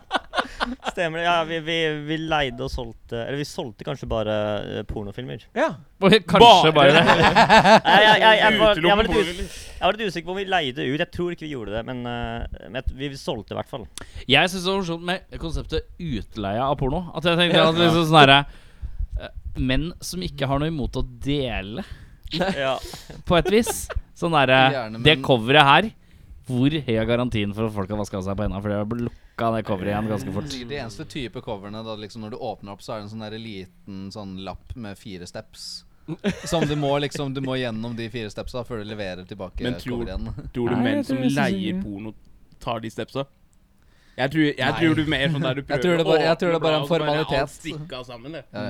Speaker 6: Stemmer det. Ja, vi, vi, vi leide og solgte Eller vi solgte kanskje bare eh, pornofilmer.
Speaker 3: Ja.
Speaker 2: Oi, Kanskje bare det.
Speaker 6: Nei, jeg, jeg, jeg, var, jeg, var litt,
Speaker 4: Utelukkende
Speaker 6: us- jeg var litt usikker på om vi leide ut. Jeg tror ikke vi gjorde det, men, eh, men jeg- vi solgte i hvert fall.
Speaker 2: Jeg syns det var morsomt med konseptet utleie av porno. At jeg tenkte at liksom sånn herre eh, Menn som ikke har noe imot å dele,
Speaker 6: Ja.
Speaker 2: på et vis. Sånn derre
Speaker 5: Gjerne,
Speaker 2: Det
Speaker 5: men-
Speaker 2: coveret her Hvor høy er garantien for at folk har vaska seg på henda? For det har lukka det coveret igjen ganske fort.
Speaker 5: De eneste type coverne da, liksom, når du åpner opp, så er det en sånn der liten sånn lapp med fire steps. Som du må liksom Du må gjennom de fire stepsa før du leverer tilbake
Speaker 4: Men tror-
Speaker 5: coveret igjen.
Speaker 4: Tror du
Speaker 2: Nei,
Speaker 4: menn
Speaker 2: jeg
Speaker 4: som
Speaker 2: tror jeg synes
Speaker 4: leier
Speaker 2: ikke-
Speaker 4: porno, tar de stepsa? Jeg tror, jeg tror du mer sånn der du prøver
Speaker 5: tror det bare- jeg
Speaker 4: å
Speaker 5: tror det
Speaker 4: åpne
Speaker 5: bare er en
Speaker 4: bladet, og så
Speaker 5: formalitet.
Speaker 4: Bare alt stikka sammen, det.
Speaker 5: Ja,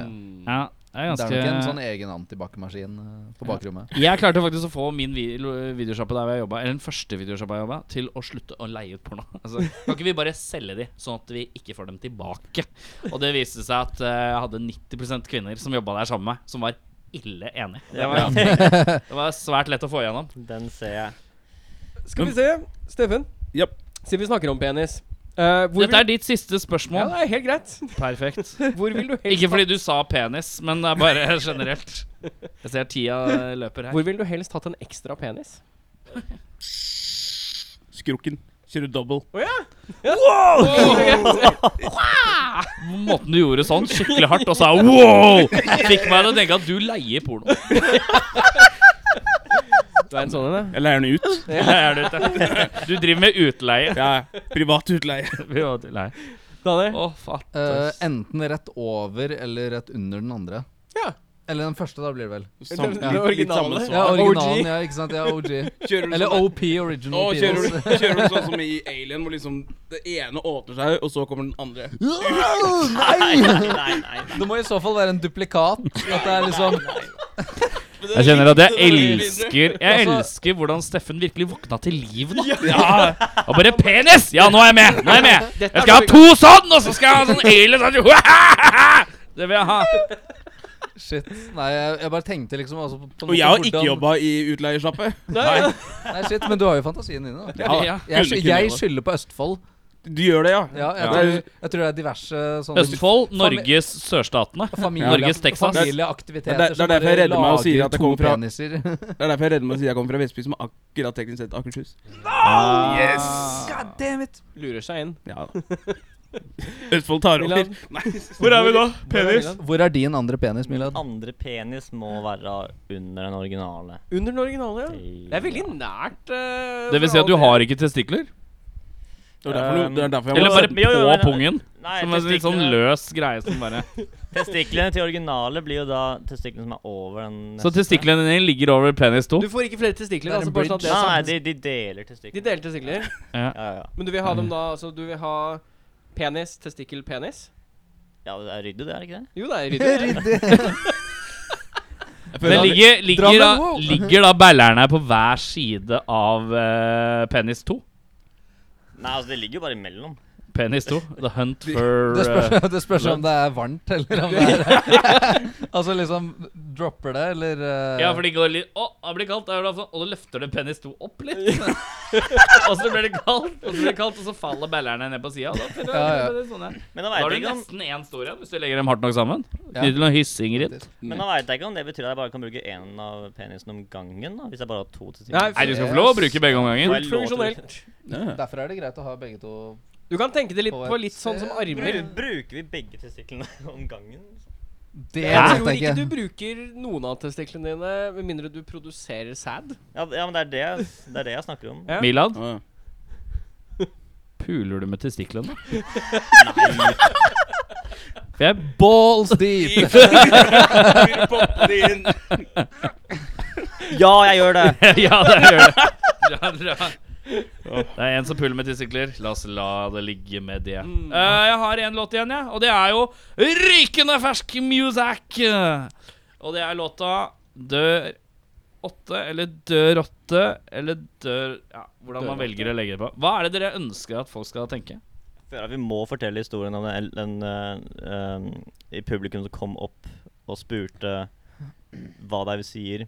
Speaker 5: ja.
Speaker 2: Ja, det er
Speaker 5: Det er nok en sånn
Speaker 2: Mm. ganske
Speaker 5: egen antibac-maskin eh, på bakrommet.
Speaker 2: Jeg klarte faktisk å få min vi videosjappe der hvor jeg jobbet, eller den første videosjappa jeg jobba, til å slutte å leie ut porno. Altså, kan ikke vi bare selge de, sånn at vi ikke får dem tilbake? Og det viste seg at eh, jeg hadde 90 kvinner som jobba der sammen med meg, som var ille enig. Det var, det var svært lett å få igjennom.
Speaker 6: Den ser jeg.
Speaker 3: Skal vi se. Steffen,
Speaker 4: Japp.
Speaker 3: siden vi snakker om penis eh, hvor
Speaker 2: Dette
Speaker 3: vil-
Speaker 2: er ditt siste
Speaker 3: ja,
Speaker 2: spørsmål.
Speaker 3: det er helt greit.
Speaker 2: Perfekt.
Speaker 3: Hvor vil du helst
Speaker 2: Ikke fordi du sa penis, men det er bare generelt. Jeg ser tida løper her.
Speaker 3: Hvor vil du helst hatt en ekstra penis?
Speaker 4: Skrukken. Kjører double.
Speaker 2: Måten du gjorde sånn skikkelig hardt og sa wow, fikk meg til å tenke at du leier porno.
Speaker 3: Du er en sånn en,
Speaker 4: Jeg leier den ut.
Speaker 2: Det er du, ikke. du driver med utleie.
Speaker 4: Ja, privat utleie.
Speaker 2: Vi var til- Nei.
Speaker 3: ja. Daniel?
Speaker 2: Å, fatt.
Speaker 5: Eh, enten rett over eller rett under den andre.
Speaker 3: Ja.
Speaker 5: Eller den første, da blir det vel.
Speaker 4: Sam,
Speaker 3: Det
Speaker 4: litt, litt
Speaker 3: originale.
Speaker 4: samme
Speaker 5: Ja,
Speaker 4: svar.
Speaker 5: originalen, ja. Ikke sant? Ja, OG.
Speaker 4: Kjører du
Speaker 5: Eller
Speaker 4: sånn-
Speaker 5: OP, Original
Speaker 4: Å, kjører,
Speaker 5: Peoples.
Speaker 4: du, kjører du sånn som i Alien, hvor liksom det ene åpner seg, og så kommer den andre?
Speaker 5: Wow,
Speaker 6: Nei,
Speaker 5: Nei!
Speaker 6: nei, nei.
Speaker 5: Det må i så fall være en duplikat. At det er liksom
Speaker 2: Jeg kjenner at jeg elsker Jeg elsker hvordan Steffen virkelig våkna til liv nå. Ja. Og bare 'penis'! Ja, nå er jeg med! Nå er jeg med Jeg skal ha to sånn, og så skal jeg ha sånn hele sånn Det vil jeg ha.
Speaker 5: Shit. Nei, jeg, jeg bare tenkte liksom altså, på- på en
Speaker 4: Og
Speaker 5: måte
Speaker 4: jeg har ikke
Speaker 5: hvordan-
Speaker 4: jobba i utleiersjappe.
Speaker 2: Nei.
Speaker 5: Nei, shit, men du har jo fantasien inne. da
Speaker 2: Ja.
Speaker 5: Jeg,
Speaker 4: Kunne-
Speaker 5: sky-
Speaker 4: kunne
Speaker 5: jeg
Speaker 4: det.
Speaker 5: skylder på Østfold.
Speaker 4: Du gjør det, ja?
Speaker 5: Ja, jeg,
Speaker 2: Ja.
Speaker 5: Tror, jeg tror det er diverse sånne
Speaker 2: Østfold, Norges sørstatene.
Speaker 5: familie-
Speaker 2: Norges Texas.
Speaker 5: Familieaktiviteter.
Speaker 4: Det er- det er
Speaker 5: som
Speaker 4: derfor jeg
Speaker 5: bare
Speaker 4: redder meg og sier
Speaker 5: lager
Speaker 4: at jeg
Speaker 5: to
Speaker 4: kommer fra-
Speaker 5: peniser.
Speaker 4: Det er derfor jeg er redd med å si jeg kommer fra Vestby, som akkurat teknisk sett Akershus.
Speaker 5: God damn it!
Speaker 3: Lurer seg inn.
Speaker 4: Ja da. Østfold tar over.
Speaker 3: Milan.
Speaker 4: Nei.
Speaker 2: Hvor er vi da?
Speaker 3: Penis.
Speaker 5: Hvor er din andre penis, Milad?
Speaker 6: Andre penis må være under den originale.
Speaker 3: Under den originale, ja. Det er veldig nært. eh,
Speaker 2: Det vil si at du har ikke testikler?
Speaker 4: Det er derfor, det er derfor jeg
Speaker 2: Eller
Speaker 4: må
Speaker 2: bare
Speaker 6: Jo, jo,
Speaker 2: på
Speaker 6: men-
Speaker 2: pungen?
Speaker 6: Nei,
Speaker 2: Som en litt sånn
Speaker 6: testiklene-
Speaker 2: løs greie som bare
Speaker 6: Testiklene til originale blir jo da testiklene som er over den
Speaker 2: Så testiklene dine ligger over penis 2?
Speaker 3: Du får ikke flere testikler.
Speaker 5: Det er en
Speaker 3: Altså, bare sånn at det
Speaker 6: Nei,
Speaker 3: er
Speaker 6: nei,
Speaker 3: sant.
Speaker 6: de, de deler testiklene.
Speaker 3: De deler testikler.
Speaker 6: Ja, ja.
Speaker 3: Men du vil ha dem da Altså, du vil ha penis, testikkel, penis?
Speaker 6: ja, det er ryddig, det, er det ikke det?
Speaker 3: Jo, det er ryddig. det.
Speaker 2: Men
Speaker 4: Jeg føler at-
Speaker 2: ligger, ligger,
Speaker 5: Drammen,
Speaker 2: da,
Speaker 5: wow.
Speaker 2: ligger da ballerne på hver side av eh, penis 2?
Speaker 6: Nei, altså, det ligger jo bare imellom.
Speaker 2: Penis 2? The hunt for
Speaker 5: Det
Speaker 2: eh,
Speaker 5: spørs, det spørs om det er varmt, eller om det er Altså liksom Dropper det, eller eh,
Speaker 2: Ja, for de går litt Å, det blir kaldt. Da er det sånn, og da løfter det penis 2 opp litt. og så blir det kaldt, og så blir det kaldt, og så faller ballerne ned på sida. Da, fyller
Speaker 5: Ja, ja.
Speaker 2: det med sånne.
Speaker 6: Men da
Speaker 2: da har
Speaker 6: veit
Speaker 2: du
Speaker 6: jeg, ikke om-
Speaker 2: nesten én stor igjen, hvis du legger dem hardt nok sammen.
Speaker 5: Ja.
Speaker 2: Knyter noen hyssinger hit.
Speaker 6: men da vet jeg ikke om det betyr at jeg bare kan bruke én av penisen om gangen, da, hvis jeg bare har to
Speaker 3: Nei,
Speaker 6: testikler.
Speaker 2: Nei, du skal få lov å bruke begge om gangen.
Speaker 6: Får jeg lov til det?
Speaker 3: Funksjonelt.
Speaker 4: Ja, ja.
Speaker 5: Derfor er det greit å ha begge to
Speaker 3: Du kan tenke det litt
Speaker 5: På
Speaker 3: på
Speaker 5: et
Speaker 3: litt sånn som armer.
Speaker 6: Bru- Bruker vi begge testiklene om gangen?
Speaker 5: Det
Speaker 3: Jeg tror ikke
Speaker 5: vet
Speaker 3: du
Speaker 5: jeg ikke.
Speaker 3: bruker noen av testiklene dine med mindre du produserer sæd.
Speaker 6: Ja, ja men det er det, jeg- det er det jeg snakker om.
Speaker 3: Ja.
Speaker 2: Milad,
Speaker 4: Ja, ja.
Speaker 2: puler du med testiklene?
Speaker 6: Nei.
Speaker 2: For jeg
Speaker 5: Balls deep!
Speaker 4: Vil poppe det inn.
Speaker 6: Ja, jeg gjør det!
Speaker 2: ja, det gjør det. Dra, dra. Det er en som puller med testikler. La oss la det ligge med det. Eh, jeg har en låt igjen, jeg. og det er jo rykende fersk music. Og det er låta Dør åtte, eller Dør åtte, eller Dør Ja, hvordan man velger å legge det på. Hva er det dere ønsker at folk skal tenke?
Speaker 6: Føler at vi må fortelle historien om den, den eh, ehm, i publikum som kom opp og spurte hva det er vi sier.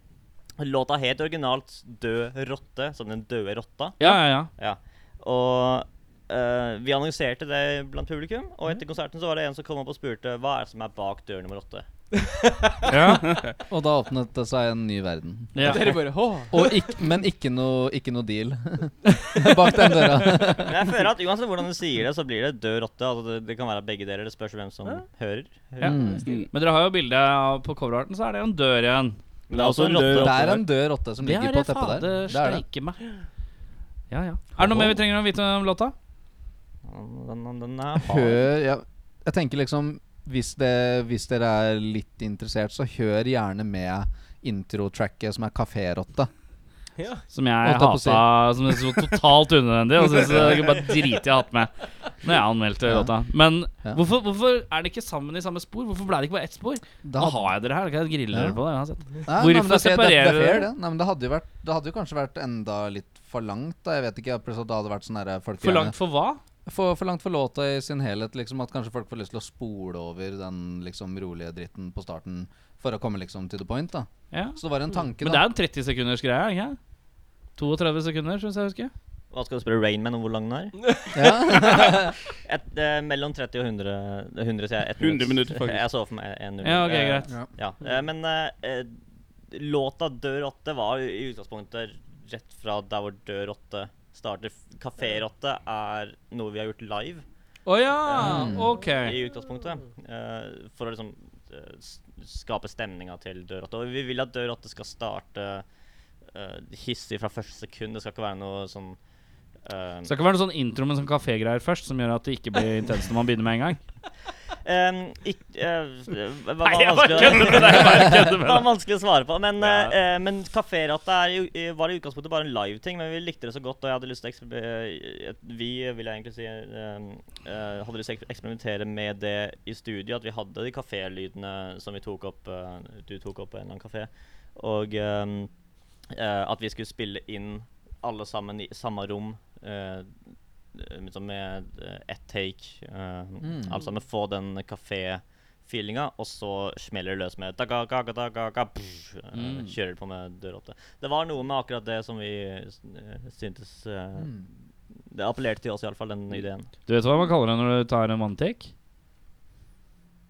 Speaker 6: Låta het originalt 'Død rotte', som den døde rotta.
Speaker 2: Ja, ja, ja.
Speaker 6: Ja. Og eh, vi annonserte det blant publikum, og etter konserten så var det en som kom opp og spurte hva er det som er bak dør nummer åtte.
Speaker 5: Og da åpnet det seg en ny verden.
Speaker 2: ja.
Speaker 3: Dere bare Hå.
Speaker 5: Og ikk- men ikke noe, ikke noe deal bak den døra.
Speaker 6: Men jeg føler at uansett hvordan du sier det, så blir det død rotte. Altså det, det kan være begge deler. Det spørs hvem som hører.
Speaker 5: Mm.
Speaker 2: Men dere har jo bilde av- på coverarten, så er det jo en dør igjen.
Speaker 4: Men det er også en død
Speaker 5: Det er
Speaker 4: rotte.
Speaker 5: en død rotte som
Speaker 2: Det
Speaker 5: ligger
Speaker 2: er
Speaker 5: på
Speaker 2: det
Speaker 5: teppet der.
Speaker 2: fader
Speaker 5: Det er det.
Speaker 2: steike meg. Ja, ja. Er det noe mer vi trenger å vite om låta?
Speaker 6: Den, den, den er hard.
Speaker 5: Hør ja. Jeg tenker liksom hvis, det, hvis dere er litt interessert, så hør gjerne med introtracket som er Kaférotte.
Speaker 2: Som
Speaker 5: Holdt
Speaker 2: jeg
Speaker 5: jeg på å
Speaker 2: hata
Speaker 5: si.
Speaker 2: Som jeg så totalt unødvendig. Og synes jeg kunne bare drite i å ha hatt med Når jeg anmeldte låta. Men
Speaker 5: Ja.
Speaker 2: hvorfor, hvorfor er det ikke sammen i samme spor? Hvorfor ble det ikke bare ett spor? Da har jeg dere her. Da kan jeg grille
Speaker 5: Ja.
Speaker 2: dere på det uansett.
Speaker 5: Nei,
Speaker 2: Hvorfor
Speaker 5: nei, men det er fair- det-
Speaker 2: separerer
Speaker 5: det? er
Speaker 2: dere?
Speaker 5: fair, det. Nei, men det hadde, jo vært, det hadde jo kanskje vært enda litt for langt. Da. Jeg vet ikke, plutselig at det hadde vært sånn derre folk
Speaker 2: For
Speaker 5: gjerne-
Speaker 2: langt for hva?
Speaker 5: for, for langt for låta i sin helhet. Liksom At kanskje folk får lyst til å spole over den liksom rolige dritten på starten for å komme liksom to the point. da
Speaker 2: Ja.
Speaker 5: Så det var en tanke,
Speaker 2: Men det
Speaker 5: da.
Speaker 2: er en 30 sekunders greie, er det ikke? 32 sekunder, syns jeg å huske.
Speaker 6: Hva skal du spørre Rainman om hvor lang den er?
Speaker 5: Ja.
Speaker 6: Et, eh, mellom 30 og 100 eh, 100, sier jeg.
Speaker 4: 100 minutter, faktisk.
Speaker 6: Jeg så for meg en null.
Speaker 2: Ja, ok,
Speaker 6: Eh,
Speaker 2: greit.
Speaker 5: Ja.
Speaker 6: Ja, eh, Men eh, eh, låta 'Dør rotte' var jo i utgangspunktet rett fra der hvor 'Dør rotte' starter. 'Kafé rotte' er noe vi har gjort live.
Speaker 2: Å ja! Ok.
Speaker 6: i utgangspunktet. eh, for å liksom eh, s- skape stemninga til Dør 8. Og vi vil at Dør 8 skal starte eh, hissig fra første sekund. Det skal ikke være noe sånn eh,
Speaker 2: Mm. Skal ikke være noe sånn intro med sånn kafégreier først, som gjør at det ikke blir intenst når man begynner med en gang.
Speaker 6: em, Ehm, ikk- eh, hva- hva
Speaker 2: Nei, jeg bare
Speaker 6: vanskelig-
Speaker 2: kødder med deg, jeg bare kødder med
Speaker 6: Det var
Speaker 2: deg.
Speaker 6: vanskelig å svare på. Men,
Speaker 2: Ja.
Speaker 6: eh, eh, men Café Ratta er jo- eh, var i utgangspunktet bare en live-ting, men vi likte det så godt, og jeg hadde lyst til å eksper- eh, eh, Vi, eh, vil jeg egentlig si, eh, eh, hadde lyst til å eksper- eksperimentere med det i studio, at vi hadde de kafélydene som vi tok opp eh, Du tok opp på en eller annen kafé. Og ehm, eh, at vi skulle spille inn alle sammen i samme rom. eh, liksom med eh, ett take. eh,
Speaker 5: Mm.
Speaker 6: Alle sammen få den kafé-feelinga, og så smeller det løs med daga, gaga, daga, ga, pff, eh,
Speaker 2: Mm.
Speaker 6: Kjører på med døråpne. Det var noe med akkurat det som vi eh, syntes eh,
Speaker 5: Mm.
Speaker 6: Det appellerte til oss, iallfall, den ideen.
Speaker 2: Du vet hva man kaller det når du tar en one take?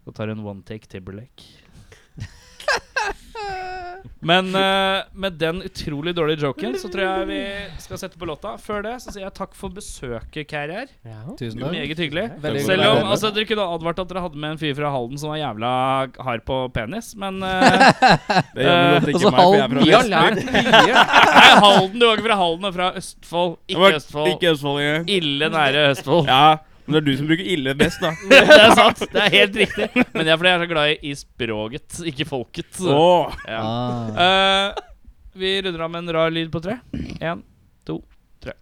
Speaker 2: Du tar en one take Timberlake. Men eh, med den utrolig dårlige joken så tror jeg vi skal sette på låta. Før det så sier jeg takk for besøket, Carrier.
Speaker 5: Tusen takk.
Speaker 2: Meget hyggelig.
Speaker 5: Veldig
Speaker 2: Selv
Speaker 5: hyggelig å være
Speaker 2: om
Speaker 5: med.
Speaker 2: altså, dere kunne advart at dere hadde med en fyr fra Halden som var jævla hard på penis, men eh,
Speaker 4: Det gjør vel at
Speaker 5: Eh,
Speaker 4: det
Speaker 5: altså,
Speaker 4: ikke meg,
Speaker 5: Halden-
Speaker 4: for jeg er fra
Speaker 3: Vi har
Speaker 4: Vestby.
Speaker 3: lært mye.
Speaker 2: Nei, Halden! Du var ikke fra Halden, du er fra Østfold.
Speaker 4: Jeg
Speaker 2: Ikke
Speaker 4: var-
Speaker 2: Østfold.
Speaker 4: Ikke Østfold engang.
Speaker 2: Ille nære Østfold.
Speaker 4: Ja, men det er du som bruker ille best, da.
Speaker 2: det er sant. Det er helt riktig. Men det er fordi jeg er så glad i, i språket, ikke folket.
Speaker 4: Åh.
Speaker 2: Ja.
Speaker 5: Ah.
Speaker 2: Eh, vi runder av med en rar lyd på tre. Én, to, tre.